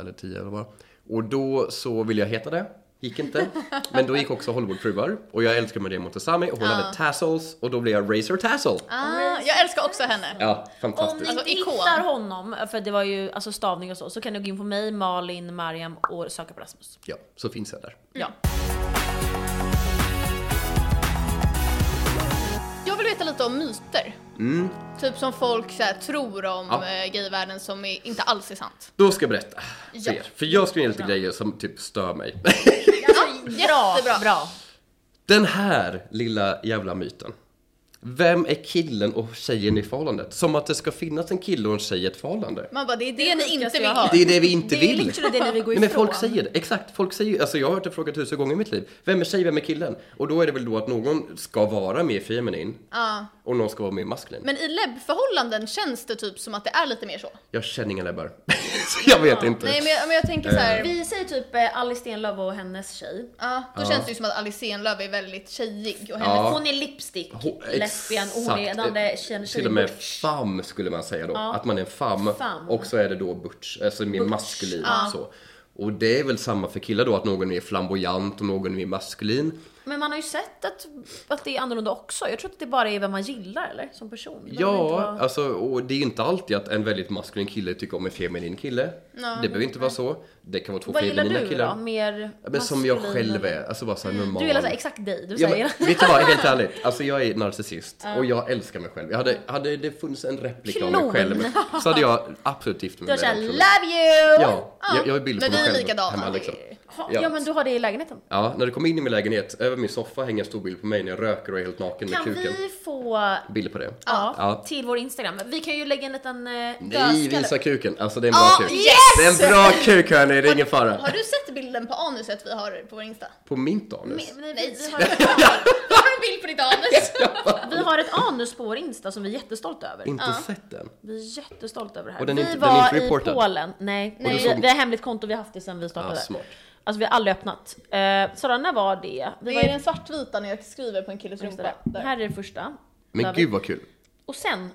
[SPEAKER 2] eller 10 eller vad Och då så ville jag heta det, gick inte. Men då gick också Hollywoodfruar och jag älskade Maria Montazami och hon hade tassels och då blev jag Razor Tassel.
[SPEAKER 1] Ah, jag älskar också henne.
[SPEAKER 2] Ja,
[SPEAKER 4] Om
[SPEAKER 2] fantastiskt.
[SPEAKER 4] ni inte
[SPEAKER 1] Alltså, ikon.
[SPEAKER 4] hittar honom, för det var ju alltså stavning och så, så kan ni gå in på mig, Malin, Mariam och söka på Rasmus.
[SPEAKER 2] Ja, så finns jag där.
[SPEAKER 4] Ja.
[SPEAKER 1] Jag vill veta lite om myter. Typ som folk så här, tror om
[SPEAKER 2] Mm. Ja.
[SPEAKER 1] eh, gayvärlden som är, inte alls är sant.
[SPEAKER 2] Då ska jag berätta för
[SPEAKER 1] Ja.
[SPEAKER 2] er. För jag skrev ner lite grejer som typ stör mig.
[SPEAKER 4] alltså, Bra,
[SPEAKER 1] jättebra.
[SPEAKER 4] bra.
[SPEAKER 2] Den här lilla jävla myten. Vem är killen och tjejen i förhållandet? Som att det ska finnas en kille och en tjej i ett förhållande.
[SPEAKER 1] Man bara, det är det,
[SPEAKER 4] är det
[SPEAKER 1] ni inte
[SPEAKER 4] sjukaste
[SPEAKER 1] vill
[SPEAKER 4] jag
[SPEAKER 1] ha.
[SPEAKER 4] hört.
[SPEAKER 2] Det är det vi inte
[SPEAKER 4] Det är
[SPEAKER 2] vill.
[SPEAKER 4] literally det ni vill gå
[SPEAKER 2] Nej, men
[SPEAKER 4] ifrån.
[SPEAKER 2] folk säger det. Exakt, folk säger Alltså jag har hört det frågat tusen gånger i mitt liv. Vem är tjej, vem är killen? Och då är det väl då att någon ska vara mer feminin.
[SPEAKER 1] Ja.
[SPEAKER 2] Och någon ska vara mer maskulin.
[SPEAKER 1] Men i lebbförhållanden känns det typ som att det är lite mer så.
[SPEAKER 2] Jag känner inga läbbar. så jag vet inte.
[SPEAKER 1] Nej men jag, men jag tänker så här.
[SPEAKER 4] Vi säger typ eh, Alice Stenlöf och hennes tjej.
[SPEAKER 1] Ja, då känns det ju som att Alice Stenlöf är väldigt tjejig och hennes...
[SPEAKER 2] Ja.
[SPEAKER 4] Hon är lipstick,
[SPEAKER 2] Ho-
[SPEAKER 4] lesbian och hon är
[SPEAKER 2] exakt.
[SPEAKER 4] den andra tjejen
[SPEAKER 2] Till
[SPEAKER 4] tjejen
[SPEAKER 2] och med
[SPEAKER 4] butch.
[SPEAKER 2] fam skulle man säga då. Att man är en fam.
[SPEAKER 4] Fam.
[SPEAKER 2] Och så är det då butch, alltså mer maskulin. Så. Och det är väl samma för killar då, att någon är flamboyant och någon är mer maskulin.
[SPEAKER 4] Men man har ju sett att, att det är annorlunda också. Jag tror att det bara är vem man gillar eller? Som person. Det behöver inte
[SPEAKER 2] Ja,
[SPEAKER 4] vara-
[SPEAKER 2] alltså, och det är inte alltid att en väldigt maskulin kille tycker om en feminin kille. det behöver inte vara så. Det kan vara två
[SPEAKER 4] Vad gillar
[SPEAKER 2] feminina
[SPEAKER 4] du
[SPEAKER 2] killar.
[SPEAKER 4] då? Mer
[SPEAKER 2] Ja, Men som jag
[SPEAKER 4] maskulin
[SPEAKER 2] själv
[SPEAKER 4] eller-
[SPEAKER 2] är, alltså bara såhär normal.
[SPEAKER 4] Du gillar såhär exakt dig, du
[SPEAKER 2] Ja,
[SPEAKER 4] säger
[SPEAKER 2] men, vet du vad, helt ärligt. Alltså jag är narcissist och jag älskar mig själv. Jag hade, hade det funnits en replik av
[SPEAKER 4] Klon.
[SPEAKER 2] mig själv så hade jag absolut gift mig
[SPEAKER 4] Du har
[SPEAKER 2] med den
[SPEAKER 4] såhär
[SPEAKER 2] personen.
[SPEAKER 4] LOVE YOU!
[SPEAKER 2] Ja, jag, jag har bilder
[SPEAKER 1] men
[SPEAKER 2] på mig
[SPEAKER 1] vi är
[SPEAKER 2] själv
[SPEAKER 1] likadana.
[SPEAKER 2] hemma liksom.
[SPEAKER 4] Ha, ja.
[SPEAKER 2] Ja.
[SPEAKER 4] men du har det i lägenheten.
[SPEAKER 2] Ja, när du kommer in i min lägenhet, över min soffa hänger en stor bild på mig när jag röker och är helt naken
[SPEAKER 4] Kan
[SPEAKER 2] med kuken.
[SPEAKER 4] vi få
[SPEAKER 2] Bilder på det.
[SPEAKER 4] ja,
[SPEAKER 2] Ja.
[SPEAKER 4] till vår Instagram? Vi kan ju lägga en liten... eh,
[SPEAKER 2] Nej,
[SPEAKER 4] dödskalle.
[SPEAKER 2] visa kuken. Alltså det är en bra
[SPEAKER 1] Ah,
[SPEAKER 2] kuk.
[SPEAKER 1] yes!
[SPEAKER 2] Det är en bra kuk hörni, det är ingen fara.
[SPEAKER 1] Har du sett bilden på anuset vi har på vår Insta?
[SPEAKER 2] På min anus?
[SPEAKER 4] Nej, vi, vi, har,
[SPEAKER 1] Jag har en bild på ditt anus!
[SPEAKER 4] vi har ett anus på vår Insta som vi är jättestolta över.
[SPEAKER 2] Inte sett den.
[SPEAKER 4] Vi är jättestolta över det här.
[SPEAKER 2] Och den är
[SPEAKER 4] vi
[SPEAKER 2] inte- den är
[SPEAKER 4] var
[SPEAKER 2] inte
[SPEAKER 4] i
[SPEAKER 2] reportad.
[SPEAKER 4] Polen. Nej,
[SPEAKER 1] du
[SPEAKER 4] vi,
[SPEAKER 2] såg-
[SPEAKER 4] vi har hemligt konto, vi har haft det sedan vi startade.
[SPEAKER 2] Ah, smart.
[SPEAKER 4] Alltså vi har aldrig öppnat. Eh, Sara, när var det? Vi
[SPEAKER 1] Det
[SPEAKER 4] var
[SPEAKER 1] är
[SPEAKER 4] i
[SPEAKER 1] den svartvita när jag skriver på en killes rumpa. Där.
[SPEAKER 4] Här är det första. Där har
[SPEAKER 2] Men
[SPEAKER 4] vi-
[SPEAKER 2] gud vad kul.
[SPEAKER 4] Och sen,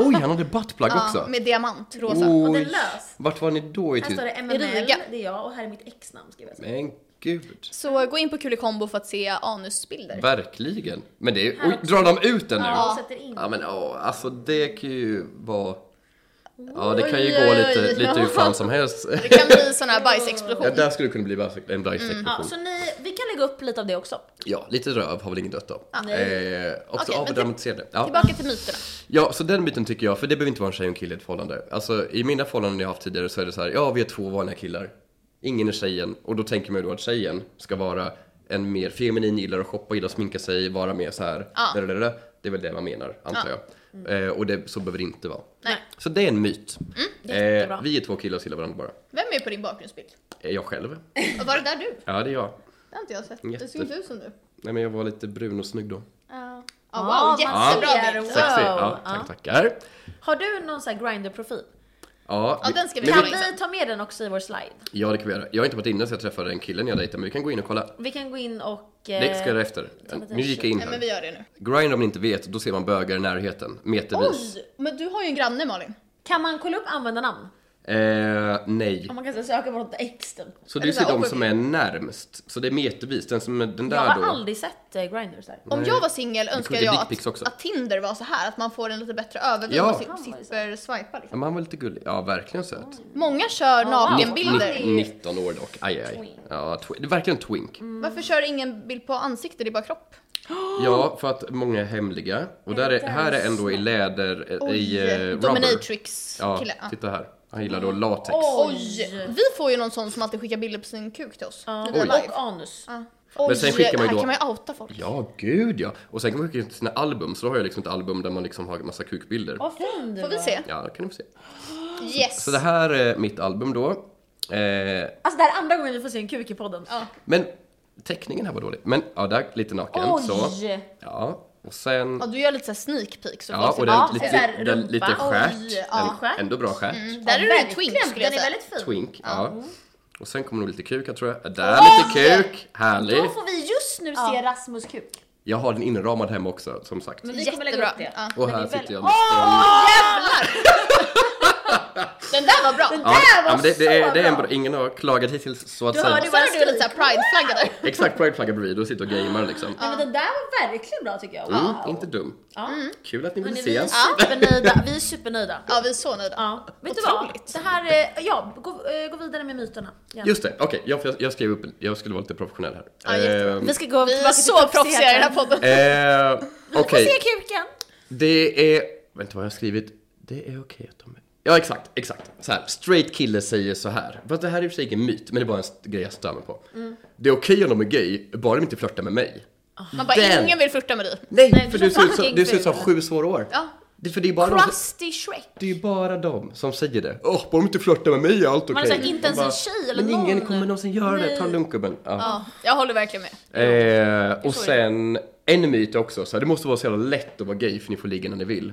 [SPEAKER 2] Oj, han hade buttplug
[SPEAKER 1] Ja,
[SPEAKER 2] också. Oh.
[SPEAKER 1] med diamant, rosa.
[SPEAKER 4] och den
[SPEAKER 2] Oj,
[SPEAKER 4] lös.
[SPEAKER 2] vart var ni då i
[SPEAKER 4] Här står
[SPEAKER 2] tid?
[SPEAKER 4] det MML,
[SPEAKER 1] Riga.
[SPEAKER 4] det är jag och här är mitt ex-namn skriver jag. så.
[SPEAKER 2] Men gud.
[SPEAKER 1] Så gå in på Kulikombo för att se anusbilder.
[SPEAKER 2] Verkligen. Men det är,
[SPEAKER 4] Här
[SPEAKER 2] oj, drar de ut den nu?
[SPEAKER 4] Ja, och sätter in.
[SPEAKER 2] Ja men åh, alltså det kan ju vara... Ja, det kan ju
[SPEAKER 1] Oj,
[SPEAKER 2] gå
[SPEAKER 1] oj,
[SPEAKER 2] lite,
[SPEAKER 1] oj.
[SPEAKER 2] lite hur fan som helst.
[SPEAKER 1] Det kan bli sån här
[SPEAKER 2] Ja,
[SPEAKER 1] bajsexplosion.
[SPEAKER 2] där skulle det kunna bli bajs- en
[SPEAKER 1] Mm.
[SPEAKER 2] bajsexplosion.
[SPEAKER 4] Ja, så ni, vi kan lägga upp lite av det också.
[SPEAKER 2] Ja, lite röv har väl ingen dött av. Eh, också
[SPEAKER 1] Okej, men
[SPEAKER 2] avdramatiserade. Ja.
[SPEAKER 1] Tillbaka till myterna.
[SPEAKER 2] ja, så den biten tycker jag, för det behöver inte vara en tjej och en kille i ett förhållande. Alltså i mina förhållanden jag haft tidigare så är det så här, ja vi är två vanliga killar. Ingen är tjejen och då tänker man ju då att tjejen ska vara en mer feminin, gillar att shoppa, gillar att sminka sig, vara mer så här.
[SPEAKER 1] Ja. Mm.
[SPEAKER 2] dadadada. Det är väl det man menar, antar jag. Eh, och det, så behöver det inte vara.
[SPEAKER 1] Nej. Mm,
[SPEAKER 2] Så det är en myt.
[SPEAKER 4] jättebra.
[SPEAKER 2] eh, vi är två killar som gillar varandra bara.
[SPEAKER 1] Vem är på din bakgrundsbild?
[SPEAKER 2] Eh, Jag själv.
[SPEAKER 1] Och var det där du?
[SPEAKER 2] Ja, det är jag.
[SPEAKER 1] Det har inte jag sett.
[SPEAKER 2] Jätte-
[SPEAKER 1] Det såg inte ut som du.
[SPEAKER 2] Nej men jag var lite brun och snygg då.
[SPEAKER 1] Ja,
[SPEAKER 4] Ja,
[SPEAKER 1] wow,
[SPEAKER 4] man
[SPEAKER 1] jättebra
[SPEAKER 4] ser.
[SPEAKER 1] bild.
[SPEAKER 4] Wow.
[SPEAKER 2] Sexig, ja tack tackar.
[SPEAKER 4] Har du någon sån här grinder-profil?
[SPEAKER 2] Ja,
[SPEAKER 1] Ja, den ska vi
[SPEAKER 2] men
[SPEAKER 1] ha
[SPEAKER 4] Kan
[SPEAKER 1] in.
[SPEAKER 4] vi ta med den också i vår slide?
[SPEAKER 2] Ja det kan vi göra. Jag har inte varit inne så jag träffade en kille när jag dejtade men vi kan gå in och kolla.
[SPEAKER 4] Vi kan gå in och... eh,
[SPEAKER 2] Det ska jag göra efter.
[SPEAKER 4] lite
[SPEAKER 2] Nu gick jag in
[SPEAKER 1] Nej men vi
[SPEAKER 2] här.
[SPEAKER 1] gör det nu.
[SPEAKER 2] Grind om ni inte vet, då ser man bögar i närheten. Metervis.
[SPEAKER 1] Oj! Men du har ju en granne Malin.
[SPEAKER 4] Kan man kolla upp användarnamn?
[SPEAKER 2] Eh, nej.
[SPEAKER 4] Om man kan så här söka på något ex typ.
[SPEAKER 2] Så
[SPEAKER 1] Eller
[SPEAKER 2] du
[SPEAKER 1] så
[SPEAKER 2] ser
[SPEAKER 1] här,
[SPEAKER 2] de
[SPEAKER 1] åker-
[SPEAKER 2] som är närmst. Så det är metervis. Den som är den
[SPEAKER 4] Jag
[SPEAKER 2] där
[SPEAKER 4] har
[SPEAKER 2] då.
[SPEAKER 4] aldrig sett eh, grinders där.
[SPEAKER 1] Om jag var singel önskar
[SPEAKER 2] kommer till
[SPEAKER 1] jag
[SPEAKER 2] dickpics också.
[SPEAKER 1] att, att Tinder var så här att man får en lite bättre överblick
[SPEAKER 2] Ja.
[SPEAKER 1] och si- slipper swipa
[SPEAKER 2] Ja,
[SPEAKER 1] liksom.
[SPEAKER 2] men han var lite gullig. Ja, verkligen söt.
[SPEAKER 1] Många kör nakenbilder.
[SPEAKER 2] Ni- 19 år dock. Aj, aj.
[SPEAKER 4] Twink.
[SPEAKER 2] Ja, twi- det är verkligen twink.
[SPEAKER 1] Varför kör ingen bild på ansikte, det är bara kropp?
[SPEAKER 2] Ja, för att många är hemliga. Och där är, här är en då i läder, eh, i eh, rubber. Ja, typ.
[SPEAKER 1] dominatrix-kille. Ja.
[SPEAKER 2] titta här. Han gillar då latex.
[SPEAKER 1] Oj! Vi får ju någon sån som alltid skickar bilder på sin kuk till oss.
[SPEAKER 4] Ja,
[SPEAKER 1] När vi är live.
[SPEAKER 4] och anus.
[SPEAKER 1] Ja. Oj,
[SPEAKER 2] Men sen skickar man ju
[SPEAKER 1] här
[SPEAKER 2] då-
[SPEAKER 1] kan man ju outa folk.
[SPEAKER 2] Ja, gud ja. Och sen kan man skicka in sina album, så då har jag liksom ett album där man liksom har en massa kukbilder.
[SPEAKER 4] Vad fin du
[SPEAKER 1] Får vi
[SPEAKER 4] var.
[SPEAKER 1] se?
[SPEAKER 2] Ja, det kan ni få se.
[SPEAKER 1] Yes!
[SPEAKER 2] Så det här är mitt album då. Eh,
[SPEAKER 4] Alltså det här är andra gången vi får se en kuk i podden.
[SPEAKER 1] Ja.
[SPEAKER 2] men teckningen här var dålig. Men ja, där, lite naken.
[SPEAKER 4] Oj!
[SPEAKER 2] Så. Ja, och sen...
[SPEAKER 1] Ja, du gör lite såhär sneak peek så
[SPEAKER 2] Ja,
[SPEAKER 1] folk
[SPEAKER 2] och
[SPEAKER 1] ser- "Ah,
[SPEAKER 2] den,
[SPEAKER 4] Ja, så
[SPEAKER 2] lite,
[SPEAKER 4] här,
[SPEAKER 2] den,
[SPEAKER 4] rumpa.
[SPEAKER 2] lite
[SPEAKER 4] Oj, Mm.
[SPEAKER 2] skärt.
[SPEAKER 1] ja.
[SPEAKER 2] En-
[SPEAKER 4] Skärt.
[SPEAKER 2] Ändå bra skärt.
[SPEAKER 1] Där är det en
[SPEAKER 4] verkligen.
[SPEAKER 1] twink skulle jag
[SPEAKER 4] Den
[SPEAKER 1] säga.
[SPEAKER 4] är väldigt fin.
[SPEAKER 2] Twink, ja. Och sen kommer nog lite kuk här, tror jag. Där, lite kuk!
[SPEAKER 4] Då
[SPEAKER 2] Härligt!
[SPEAKER 4] får vi just nu se Rasmus kuk.
[SPEAKER 2] Jag har den inramad hemma också, som sagt.
[SPEAKER 4] Men vi kommer lägga upp det.
[SPEAKER 1] Ja.
[SPEAKER 2] Och
[SPEAKER 4] Men
[SPEAKER 2] här
[SPEAKER 4] det är
[SPEAKER 2] sitter
[SPEAKER 4] väl-
[SPEAKER 2] jag med stånd.
[SPEAKER 1] Jävlar! Den där var bra!
[SPEAKER 2] Ja,
[SPEAKER 4] där var
[SPEAKER 2] ja, men det, det, är,
[SPEAKER 4] så
[SPEAKER 2] det är en
[SPEAKER 4] bra.
[SPEAKER 2] bra. Ingen har klagat hittills, så att
[SPEAKER 1] Du hörde
[SPEAKER 2] säga.
[SPEAKER 1] ju bara du lite såhär prideflagga där.
[SPEAKER 2] Exakt, prideflagga bredvid och sitter och gamer liksom.
[SPEAKER 4] Nej, men den där var verkligen bra tycker jag. Wow.
[SPEAKER 2] Mm, inte dum.
[SPEAKER 4] Ja.
[SPEAKER 2] Kul att ni
[SPEAKER 4] Hörni,
[SPEAKER 2] vill
[SPEAKER 4] vi, är
[SPEAKER 2] ses.
[SPEAKER 4] supernöjda. vi är supernöjda.
[SPEAKER 1] Ja, vi är så nöjda.
[SPEAKER 4] Ja. Vet du vad?
[SPEAKER 1] Otroligt.
[SPEAKER 4] Det här, eh, ja, gå, eh, gå vidare med myterna. Gärna.
[SPEAKER 2] Just det, okej, jag, jag, jag skrev upp, jag skulle vara lite professionell här.
[SPEAKER 1] Ja, jättebra.
[SPEAKER 2] Ehm,
[SPEAKER 4] Vi ska gå
[SPEAKER 1] Vi
[SPEAKER 4] tillbaka
[SPEAKER 1] är
[SPEAKER 4] till
[SPEAKER 1] så proffsiga i den här
[SPEAKER 4] proffsigheten.
[SPEAKER 1] podden.
[SPEAKER 2] eh, okej,
[SPEAKER 4] Se kuken!
[SPEAKER 2] det är, vänta vad jag har skrivit, det är okej att de är... Ja exakt, exakt. Så här, straight kille säger så här. Fast det här är i och för sig ingen myt, men det är bara en st- grej jag stör mig på.
[SPEAKER 4] Mm.
[SPEAKER 2] Det är okej om de är gay, bara de inte flörtar med mig.
[SPEAKER 1] Man bara,
[SPEAKER 2] Den.
[SPEAKER 1] ingen vill flirta med dig.
[SPEAKER 2] Nej,
[SPEAKER 4] Nej,
[SPEAKER 2] för
[SPEAKER 4] du
[SPEAKER 2] du ser ut
[SPEAKER 4] fucking
[SPEAKER 2] som, du ser ut som
[SPEAKER 4] ful.
[SPEAKER 2] sju svåra år.
[SPEAKER 1] Ja.
[SPEAKER 2] Det, för det är bara de,
[SPEAKER 4] Krusty Shrek.
[SPEAKER 2] det är ju bara de som säger det. Åh, bara de inte flörtar med mig är allt okej.
[SPEAKER 4] är så här, inte
[SPEAKER 2] Man
[SPEAKER 4] ens en tjej eller
[SPEAKER 2] Men ingen
[SPEAKER 4] någon."
[SPEAKER 2] kommer någonsin göra det, ta
[SPEAKER 4] Nej.
[SPEAKER 2] det lugnt gubben. Ja.
[SPEAKER 1] Ja, jag håller verkligen med.
[SPEAKER 2] Eh, och sen en myt också, så här, det måste vara så jävla lätt att vara gay för ni får ligga när ni vill.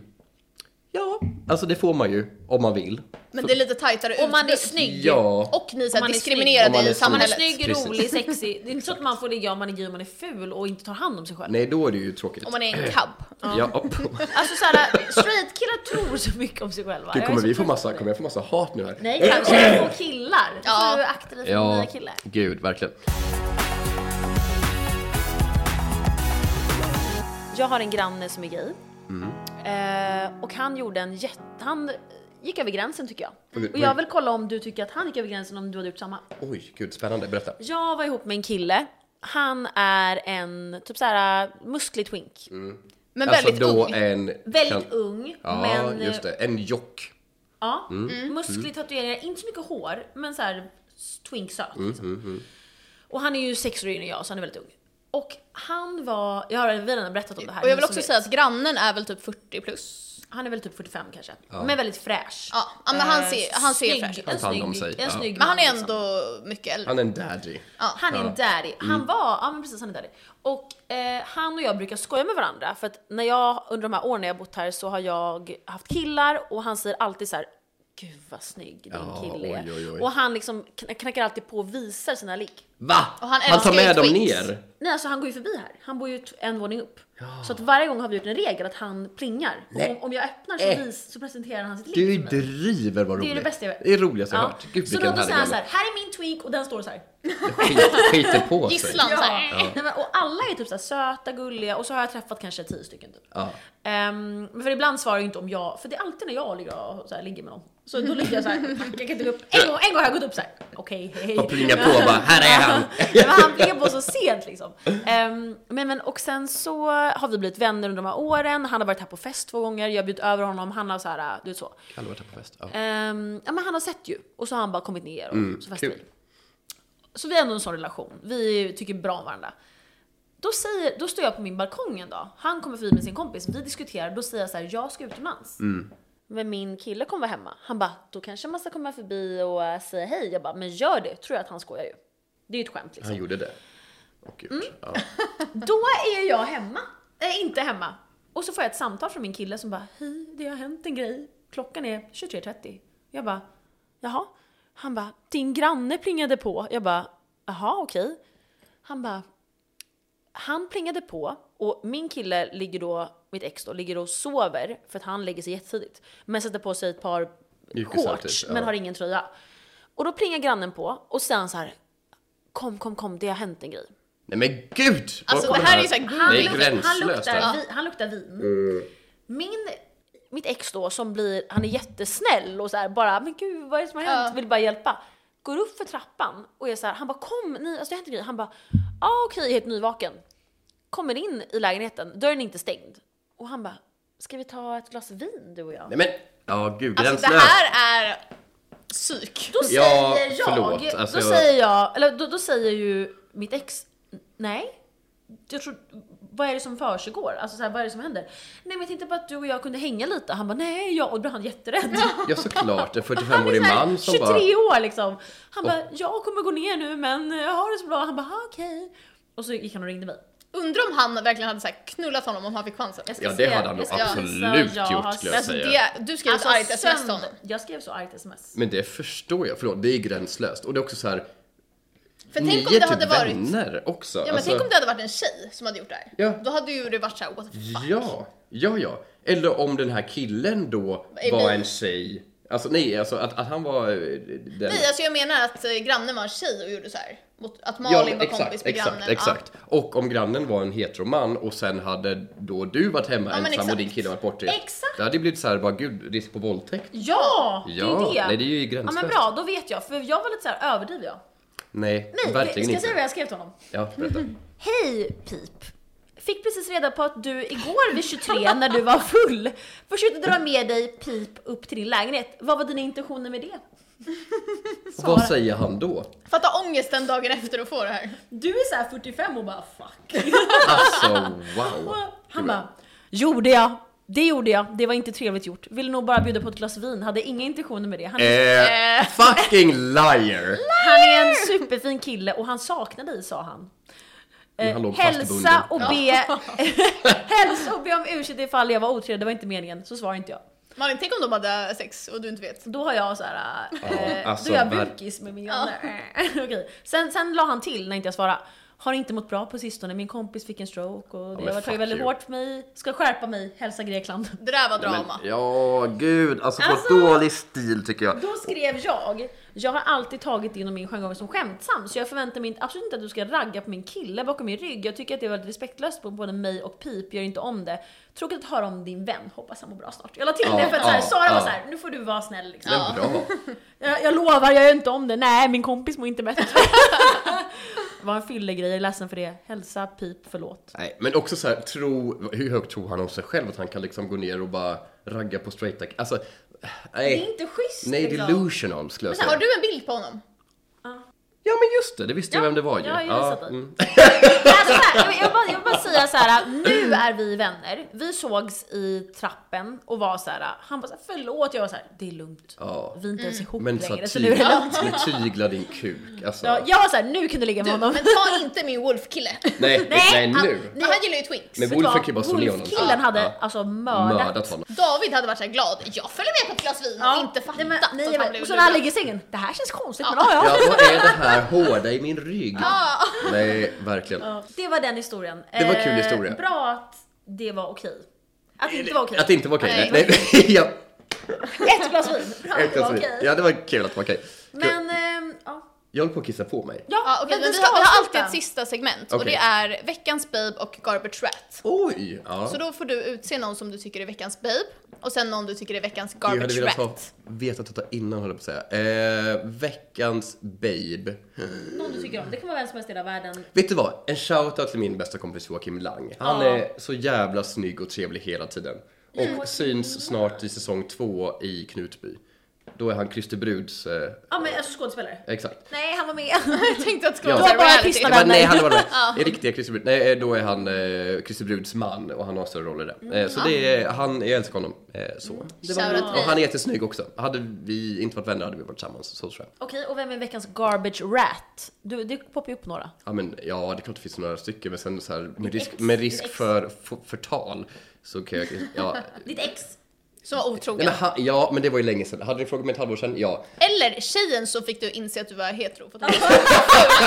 [SPEAKER 2] Ja, alltså det får man ju om man vill.
[SPEAKER 1] Men det är lite tajtare
[SPEAKER 4] Om man är
[SPEAKER 1] utbud.
[SPEAKER 4] snygg.
[SPEAKER 2] Ja.
[SPEAKER 1] Och ni är så här
[SPEAKER 4] Om man är
[SPEAKER 2] snygg. Om man
[SPEAKER 1] diskriminerade
[SPEAKER 2] är
[SPEAKER 1] i
[SPEAKER 2] snygg.
[SPEAKER 4] Om man är
[SPEAKER 1] samhället.
[SPEAKER 4] snygg,
[SPEAKER 2] Precis.
[SPEAKER 4] rolig, sexig. Det är inte så att man får ligga om man är gay och man är ful och inte tar hand om sig själv.
[SPEAKER 2] Nej, då är det ju tråkigt.
[SPEAKER 1] Om man är en cab.
[SPEAKER 2] Ja, upp.
[SPEAKER 4] Alltså såhär, straight killar tror så mycket om sig själva.
[SPEAKER 2] Gud,
[SPEAKER 4] Jag är
[SPEAKER 2] kommer,
[SPEAKER 4] så
[SPEAKER 2] vi få
[SPEAKER 4] trött
[SPEAKER 2] massa,
[SPEAKER 4] på det.
[SPEAKER 2] kommer jag få massa hat nu här?
[SPEAKER 4] Nej, kanske på killar. Du
[SPEAKER 1] Ja.
[SPEAKER 4] får ju akta dig för
[SPEAKER 2] Ja,
[SPEAKER 4] nya killar.
[SPEAKER 2] gud, verkligen.
[SPEAKER 4] Jag har en granne som är gay.
[SPEAKER 2] Mm.
[SPEAKER 4] Eh, och han gjorde en jätte... Han gick över gränsen tycker
[SPEAKER 2] Åh, gud,
[SPEAKER 4] jag. Och jag
[SPEAKER 2] oj.
[SPEAKER 4] vill kolla om du tycker att han gick över gränsen om du hade gjort samma.
[SPEAKER 2] Oj, gud, spännande. Berätta.
[SPEAKER 4] Jag var ihop med en kille. Han är en typ såhär musklig twink.
[SPEAKER 1] Men
[SPEAKER 2] alltså
[SPEAKER 1] väldigt
[SPEAKER 2] då
[SPEAKER 1] ung.
[SPEAKER 2] en...
[SPEAKER 4] Väldigt
[SPEAKER 2] kan-
[SPEAKER 4] ung,
[SPEAKER 2] Ja,
[SPEAKER 4] men...
[SPEAKER 2] just det. En jock.
[SPEAKER 4] Ja,
[SPEAKER 2] Mm.
[SPEAKER 4] Mm. musklig tatueringar, inte så mycket hår, men så här twinksöt.
[SPEAKER 2] Mm,
[SPEAKER 4] liksom. Och han är ju sex år yngre än jag, så han är väldigt ung. Och han var, jag har vi har redan berättat om det här.
[SPEAKER 1] Och jag
[SPEAKER 4] ni
[SPEAKER 1] vill
[SPEAKER 4] som
[SPEAKER 1] också
[SPEAKER 4] vet.
[SPEAKER 1] säga att grannen är väl typ 40 plus.
[SPEAKER 4] han är väl typ 45 kanske, men väldigt fräsch. Eh,
[SPEAKER 1] Ja, ja, men han ser- han ser
[SPEAKER 4] snygg,
[SPEAKER 1] fräsch ut.
[SPEAKER 4] En
[SPEAKER 2] Han tar hand om
[SPEAKER 4] snygg,
[SPEAKER 2] sig,
[SPEAKER 4] en
[SPEAKER 2] ja.
[SPEAKER 4] snygg
[SPEAKER 1] Men han
[SPEAKER 4] man,
[SPEAKER 1] är
[SPEAKER 4] liksom.
[SPEAKER 1] ändå mycket äldre.
[SPEAKER 2] Han är en daddy.
[SPEAKER 4] Han är en daddy. Han
[SPEAKER 2] Mm.
[SPEAKER 4] var, ja men precis han är daddy. Och eh, han och jag brukar skoja med varandra för att när jag, under de här åren när jag har bott här så har jag haft killar och han säger alltid så här. Gud vad snygg din
[SPEAKER 2] Ja,
[SPEAKER 4] kille är.
[SPEAKER 2] oj, oj, oj.
[SPEAKER 4] Och han liksom kn- knackar alltid på och visar sina ligg.
[SPEAKER 2] Va?
[SPEAKER 1] Och han
[SPEAKER 2] tar
[SPEAKER 1] älskar ju
[SPEAKER 2] med dem
[SPEAKER 1] twinks.
[SPEAKER 2] ner?
[SPEAKER 4] Nej alltså han går ju förbi här. Han bor ju t- en våning upp. Så att varje gång har vi gjort en regel att han plingar. Och
[SPEAKER 2] Nej.
[SPEAKER 4] Om, om jag öppnar så,
[SPEAKER 2] Äh.
[SPEAKER 4] vis, så presenterar han sitt
[SPEAKER 2] Du
[SPEAKER 4] ligg för mig.
[SPEAKER 2] driver vad roligt.
[SPEAKER 4] Det är det bästa jag vet.
[SPEAKER 2] Det är det roligaste jag
[SPEAKER 4] Ja.
[SPEAKER 2] hört. Gud
[SPEAKER 4] så då,
[SPEAKER 2] vilken
[SPEAKER 4] då
[SPEAKER 2] härlig
[SPEAKER 4] säger han så
[SPEAKER 2] granne.
[SPEAKER 4] här, här är min twink och den står så här.
[SPEAKER 2] Skit- Skiter på sig.
[SPEAKER 1] Gisslan så här.
[SPEAKER 4] Alltså, eh, Nej, men, och alla är typ så här söta, gulliga och så har jag träffat kanske tio stycken typ.
[SPEAKER 2] Ja.
[SPEAKER 4] Ehm, men för ibland svarar jag inte om jag, för det är alltid när jag ligger, och så här, ligger med någon. Så då ligger jag så här, "Fuck, jag kan inte gå upp. En gång, en gång har jag gått upp så här. okej, hej.
[SPEAKER 2] Och plingar på och bara, här är han.
[SPEAKER 4] men han blev på så sent liksom. Ehm, men, men, och sen så har vi blivit vänner under de här åren, han har varit här på fest två gånger, jag har bjudit över honom, han har så här, du vet så.
[SPEAKER 2] Kan du varit här på fest? Ja. Mm,
[SPEAKER 4] Ehm, ja men han har sett ju, och så har han bara kommit ner och så festar
[SPEAKER 2] kul.
[SPEAKER 4] vi. Så vi har ändå en sån relation, vi tycker bra om varandra. Då, säger, då står jag på min balkong en dag, han kommer förbi med sin kompis, vi diskuterar, då säger jag så här, jag ska utomlands.
[SPEAKER 2] Mm.
[SPEAKER 4] Men min kille kommer vara hemma. Han bara, då kanske man ska komma förbi och äh, säga hej. Jag bara, men gör det, tror jag att han skojar ju. Det är ju ett skämt liksom.
[SPEAKER 2] Han gjorde det. Och
[SPEAKER 1] Mm.
[SPEAKER 2] gjort. Ja.
[SPEAKER 4] Då är jag hemma. Äh, inte hemma. Och så får jag ett samtal från min kille som bara Hej, det har hänt en grej. Klockan är 23.30. Jag bara Jaha? Han bara Din granne plingade på. Jag bara Jaha, okej. Han bara Han plingade på och min kille ligger då, mitt ex då, ligger och sover för att han lägger sig jättetidigt. Men sätter på sig ett par
[SPEAKER 2] Mjukisar
[SPEAKER 4] shorts
[SPEAKER 2] typ, ja.
[SPEAKER 4] men har ingen tröja. Och då plingar grannen på och sen så här Kom, kom, kom, det har hänt en grej.
[SPEAKER 2] Nej men gud! Var
[SPEAKER 1] Alltså,
[SPEAKER 2] kommer
[SPEAKER 1] det här är ju så här Mm.
[SPEAKER 4] Han,
[SPEAKER 2] Det är
[SPEAKER 4] luktar, han,
[SPEAKER 2] gränslöst. det
[SPEAKER 4] luktar,
[SPEAKER 2] här.
[SPEAKER 4] vi, han luktar vin. Min, mitt ex då som blir, han är jättesnäll och så här bara men gud vad är det som har hänt?
[SPEAKER 1] Ja.
[SPEAKER 4] Vill bara hjälpa. Går upp för trappan och är så här, han bara kom, ni, alltså det har hänt en grej. Han bara ja ah, okej, helt nyvaken. Kommer in i lägenheten, dörren är inte stängd. Och han bara ska vi ta ett glas vin du och jag?
[SPEAKER 2] Nej men, ja gud
[SPEAKER 1] Alltså det
[SPEAKER 2] gränslöst.
[SPEAKER 1] här är psyk.
[SPEAKER 4] Då säger
[SPEAKER 2] Ja,
[SPEAKER 4] jag,
[SPEAKER 2] förlåt, alltså
[SPEAKER 4] då
[SPEAKER 2] jag-
[SPEAKER 4] säger jag, eller då, då säger ju mitt ex, nej. Jag tror, vad är det som försiggår? Alltså så här, vad är det som händer? Nej men jag tänkte bara att du och jag kunde hänga lite. Han bara, nej jag, och då blev han jätterädd.
[SPEAKER 2] Ja såklart, en
[SPEAKER 4] Han
[SPEAKER 2] 45-årig
[SPEAKER 4] är så här
[SPEAKER 2] man som
[SPEAKER 4] 23
[SPEAKER 2] bara...
[SPEAKER 4] år liksom. Han bara, jag kommer gå ner nu men jag har det så bra. Han bara, "Ah, okej. Och så gick han och ringde mig.
[SPEAKER 1] Undrar om han verkligen hade så här knullat honom om han fick chansen.
[SPEAKER 4] Jag ska
[SPEAKER 2] Ja det
[SPEAKER 4] säga-
[SPEAKER 2] hade han nog
[SPEAKER 4] jag ska
[SPEAKER 2] absolut
[SPEAKER 4] säga, jag har
[SPEAKER 2] gjort skulle jag
[SPEAKER 1] Alltså,
[SPEAKER 4] sett-
[SPEAKER 2] säga.
[SPEAKER 1] det, du skrev ett argt sms till honom.
[SPEAKER 4] sömn- Jag skrev så argt sms.
[SPEAKER 2] Men det förstår jag, förlåt, det är gränslöst. Och det är också så här,
[SPEAKER 1] För
[SPEAKER 2] ni
[SPEAKER 1] tänk om
[SPEAKER 2] är
[SPEAKER 1] det hade
[SPEAKER 2] typ
[SPEAKER 1] varit...
[SPEAKER 2] vänner också. Alltså,
[SPEAKER 1] Ja men tänk om det hade varit en tjej som hade gjort det här.
[SPEAKER 2] Ja.
[SPEAKER 1] Då hade ju det varit såhär what the fuck.
[SPEAKER 2] Ja, ja, ja. Eller om den här killen då
[SPEAKER 1] Är
[SPEAKER 2] var
[SPEAKER 1] vi-
[SPEAKER 2] en tjej. Alltså nej, alltså att, att han var eh, den...
[SPEAKER 1] Nej alltså jag menar att eh, grannen var en tjej och gjorde så här. Mot, att
[SPEAKER 2] Ja,
[SPEAKER 1] Malin var kompis med
[SPEAKER 2] exakt,
[SPEAKER 1] grannen. Ja.
[SPEAKER 2] exakt. Och om grannen var en heteroman och sen hade då du varit hemma
[SPEAKER 1] men
[SPEAKER 2] ensam och
[SPEAKER 1] exakt.
[SPEAKER 2] din kille varit bortrest.
[SPEAKER 4] Exakt.
[SPEAKER 2] Det hade ju blivit så här, bara gud, risk på våldtäkt.
[SPEAKER 4] Ja, det
[SPEAKER 2] Ja,
[SPEAKER 4] är det.
[SPEAKER 2] nej, det är ju
[SPEAKER 4] Ja
[SPEAKER 2] gränslöst.
[SPEAKER 4] men bra, då vet jag. För jag var lite så här överdriv jag.
[SPEAKER 2] Nej,
[SPEAKER 4] Nej, ska
[SPEAKER 2] verkligen
[SPEAKER 4] jag
[SPEAKER 2] inte.
[SPEAKER 4] säga Mm-hmm. vad jag skrev till honom?
[SPEAKER 2] Ja, berätta.
[SPEAKER 4] Hej Pip! Fick precis reda på att du igår vid 23 när du var full försökte dra med dig Pip upp till din lägenhet. Vad var dina intentioner med det?
[SPEAKER 2] Vad säger han då?
[SPEAKER 1] Fatta ångesten dagen efter att få det här.
[SPEAKER 4] Du är så här 45 och bara fuck.
[SPEAKER 2] Alltså wow.
[SPEAKER 4] Han bara, gjorde jag. Det gjorde jag, det var inte trevligt gjort. Ville nog bara bjuda på ett glas vin, hade inga intentioner med det. Han,
[SPEAKER 2] Eh, fucking liar!
[SPEAKER 4] han är en superfin kille och han saknar dig sa han.
[SPEAKER 2] Men han låg fastbunden.
[SPEAKER 4] Hälsa och, be, hälsa och be om ursäkt ifall jag var otrevlig, det var inte meningen. Så svarar inte jag.
[SPEAKER 1] Malin tänk om de hade sex och du inte vet.
[SPEAKER 4] Då har jag så här,
[SPEAKER 2] Ja,
[SPEAKER 4] eh,
[SPEAKER 2] alltså,
[SPEAKER 4] då är jag
[SPEAKER 2] ver-
[SPEAKER 4] burkis med min granne. Okej. Sen, sen la han till när inte jag svarade. Har inte mått bra på sistone, min kompis fick en stroke och det
[SPEAKER 2] men
[SPEAKER 4] har
[SPEAKER 2] fuck
[SPEAKER 4] tagit väldigt
[SPEAKER 2] you.
[SPEAKER 4] hårt på mig. Ska skärpa mig, hälsa Grekland.
[SPEAKER 1] Det där var
[SPEAKER 2] Men,
[SPEAKER 1] drama.
[SPEAKER 2] ja, gud. Alltså,
[SPEAKER 4] Alltså-
[SPEAKER 2] på dålig stil tycker jag.
[SPEAKER 4] Då skrev jag, jag har alltid tagit in min jargong som skämtsam så jag förväntar mig inte, absolut inte att du ska ragga på min kille bakom min rygg. Jag tycker att det var respektlöst på både mig och Pip, gör inte om det. Tråkigt att höra om din vän, hoppas han mår bra snart. Jag la till
[SPEAKER 2] Ja,
[SPEAKER 4] det för att så här,
[SPEAKER 2] ja,
[SPEAKER 4] Sara var
[SPEAKER 2] ja.
[SPEAKER 4] såhär, nu får du vara snäll liksom.
[SPEAKER 2] Men bra.
[SPEAKER 4] Jag, jag lovar, jag gör inte om det. Nej, min kompis mår inte bättre. det var en fyllegrej, jag är ledsen för det. Hälsa, pip, förlåt.
[SPEAKER 2] Nej, men också så här, tro, hur högt tror han om sig själv att han kan liksom gå ner och bara ragga på straighta Alltså,
[SPEAKER 4] Det
[SPEAKER 2] nej.
[SPEAKER 4] är inte schysst
[SPEAKER 2] nej,
[SPEAKER 4] liksom.
[SPEAKER 2] delusional skulle jag
[SPEAKER 1] Men, har
[SPEAKER 2] säga.
[SPEAKER 1] du en bild på honom?
[SPEAKER 2] Ja, men just det, det visste jag vem det var ju.
[SPEAKER 4] ja, jag har sett det.
[SPEAKER 2] mm.
[SPEAKER 4] Alltså, så här, jag, vill- jag, vill bara, jag vill bara säga så här, nu är vi vänner. Vi sågs i trappen och var så här, han bara så här, förlåt, jag var så här, det är lugnt.
[SPEAKER 2] Ja.
[SPEAKER 4] Vi är inte ens ihop
[SPEAKER 2] Men så här,
[SPEAKER 4] längre, så nu är
[SPEAKER 2] tyg,
[SPEAKER 4] det lugnt.
[SPEAKER 2] men tygla din kuk. Alltså,
[SPEAKER 4] Ja, jag var så här, nu kan du ligga med
[SPEAKER 1] Du,
[SPEAKER 4] honom.
[SPEAKER 1] men ta inte min wolfkille.
[SPEAKER 2] nej, nej,
[SPEAKER 4] han-
[SPEAKER 2] nu.
[SPEAKER 1] Men han gillar ju twinks.
[SPEAKER 2] Men
[SPEAKER 4] Vet du vad?
[SPEAKER 2] Wolfen kan ju bara slå ner honom.
[SPEAKER 4] Wolfkillen hade
[SPEAKER 2] Ja.
[SPEAKER 4] alltså mördat.
[SPEAKER 2] Mördat honom.
[SPEAKER 1] David hade varit så här glad. Jag följer med på ett glas vin och inte fattat
[SPEAKER 4] nej, men, nej,
[SPEAKER 1] att
[SPEAKER 4] jag
[SPEAKER 1] han
[SPEAKER 4] vet.
[SPEAKER 1] blev
[SPEAKER 4] Och så när han
[SPEAKER 1] lurad.
[SPEAKER 4] ligger i sängen, det här känns konstigt
[SPEAKER 1] Ja.
[SPEAKER 4] men ja ja.
[SPEAKER 2] Ja, vad är det här? är hårda i min rygg. Nej, verkligen.
[SPEAKER 4] Det var den historien. Eh,
[SPEAKER 2] Det var en kul historia.
[SPEAKER 4] Bra att det var okej. Att det inte var okej.
[SPEAKER 2] Att det inte var okej.
[SPEAKER 1] Nej.
[SPEAKER 2] Nej, nej. ja,
[SPEAKER 4] Ett glas vin. Bra att det
[SPEAKER 2] exakt
[SPEAKER 4] var
[SPEAKER 2] så.
[SPEAKER 4] okej.
[SPEAKER 2] ja, det var kul att det var okej. Kul.
[SPEAKER 4] Men, ehm, ja.
[SPEAKER 2] Jag håller på att kissa på mig.
[SPEAKER 4] Ja,
[SPEAKER 1] Ja, okej, men vi,
[SPEAKER 4] ska
[SPEAKER 1] har, vi har alltid
[SPEAKER 4] avsluta.
[SPEAKER 1] ett sista segment och
[SPEAKER 2] Okej.
[SPEAKER 1] det är veckans babe och garbage rat.
[SPEAKER 2] Oj! Ja.
[SPEAKER 1] Så då får du utse någon som du tycker är veckans babe och sen någon du tycker är veckans
[SPEAKER 2] Jag hade
[SPEAKER 1] garbage
[SPEAKER 2] velat
[SPEAKER 1] rat.
[SPEAKER 2] ha vetat detta innan, höll jag på att säga. Eh, veckans babe.
[SPEAKER 4] Någon du tycker om. Det kan vara vem som helst i hela världen.
[SPEAKER 2] Vet du vad? En shoutout till min bästa kompis Joakim Lang. Han
[SPEAKER 4] Ja.
[SPEAKER 2] är så jävla snygg och trevlig hela tiden. Och syns snart i säsong två i Knutby. Då är han Christer Bruds... Eh,
[SPEAKER 4] Ja men alltså skådespelare.
[SPEAKER 2] exakt.
[SPEAKER 4] Nej, han var med.
[SPEAKER 1] Jag tänkte att det skulle
[SPEAKER 2] Ja.
[SPEAKER 1] vara
[SPEAKER 2] Det
[SPEAKER 4] var bara
[SPEAKER 1] reality.
[SPEAKER 4] tysta
[SPEAKER 2] Jag bara,
[SPEAKER 4] vänner.
[SPEAKER 2] nej, han var det. Det är riktiga Christer Brud. Nej, eh, då är han eh, Christer Bruds man och han har större roller där. Eh, så det är, han, jag älskar honom. Eh, så. Det var,
[SPEAKER 1] Shoutout
[SPEAKER 2] och han är jättesnygg också. Hade vi inte varit vänner hade vi varit tillsammans. Så tror jag.
[SPEAKER 4] Okej, och vem är veckans garbage rat? Du, det poppar ju upp några.
[SPEAKER 2] Ja, men, ja, det är klart det finns några stycken, men sen så här, med risk,
[SPEAKER 4] ex,
[SPEAKER 2] med
[SPEAKER 4] ditt
[SPEAKER 2] risk
[SPEAKER 4] ex.
[SPEAKER 2] för f- förtal så kan jag... Ja,
[SPEAKER 4] Ditt ex.
[SPEAKER 1] Som var
[SPEAKER 2] nej,
[SPEAKER 1] otrogen.
[SPEAKER 2] men, ha, ja, men det var ju länge sedan. Hade du frågat mig ett halvår sedan? Ja.
[SPEAKER 1] Eller tjejen så fick du inse att du var hetero. För att hon-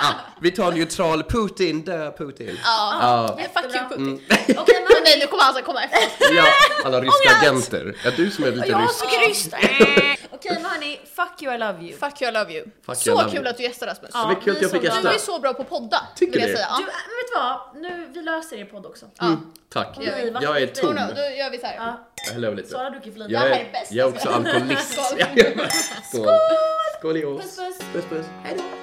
[SPEAKER 2] Ah, Vi tar neutral Putin, dö Putin.
[SPEAKER 1] Ja, Fuck you Putin.
[SPEAKER 4] Okej,
[SPEAKER 1] Men nej, nu kommer han alltså komma efter.
[SPEAKER 2] Ja, alla ryska
[SPEAKER 4] Ångest!
[SPEAKER 2] agenter. Ja, du som är lite
[SPEAKER 4] Jag
[SPEAKER 2] rysk.
[SPEAKER 4] tycker ryskt. Okej, men hörni. Fuck you, I love you.
[SPEAKER 1] Fuck you I love you.
[SPEAKER 2] Fuck
[SPEAKER 1] så
[SPEAKER 2] you, I love
[SPEAKER 1] kul
[SPEAKER 2] you.
[SPEAKER 1] att du gästar Rasmus.
[SPEAKER 2] Det var kul att jag fick
[SPEAKER 4] ni som
[SPEAKER 1] Du
[SPEAKER 2] gästa.
[SPEAKER 1] är så bra på att podda.
[SPEAKER 2] Tycker
[SPEAKER 1] vill jag
[SPEAKER 2] du?
[SPEAKER 1] säga. Ja.
[SPEAKER 4] Du, äh, men vet du vad? Nu, vi löser er podd också.
[SPEAKER 2] Tack.
[SPEAKER 4] Oj, vad
[SPEAKER 2] Jag är
[SPEAKER 4] häftigt.
[SPEAKER 2] tom.
[SPEAKER 1] Oh no, då gör vi så här.
[SPEAKER 4] Ja.
[SPEAKER 2] Jag häller över lite.
[SPEAKER 4] Sara druckit för lite.
[SPEAKER 2] Jag
[SPEAKER 1] Det
[SPEAKER 2] är,
[SPEAKER 1] här är bäst.
[SPEAKER 2] jag är också alkoholist.
[SPEAKER 1] Skål.
[SPEAKER 2] Skål! Skål i oss.
[SPEAKER 4] Puss, puss.
[SPEAKER 2] Puss puss. Hej då.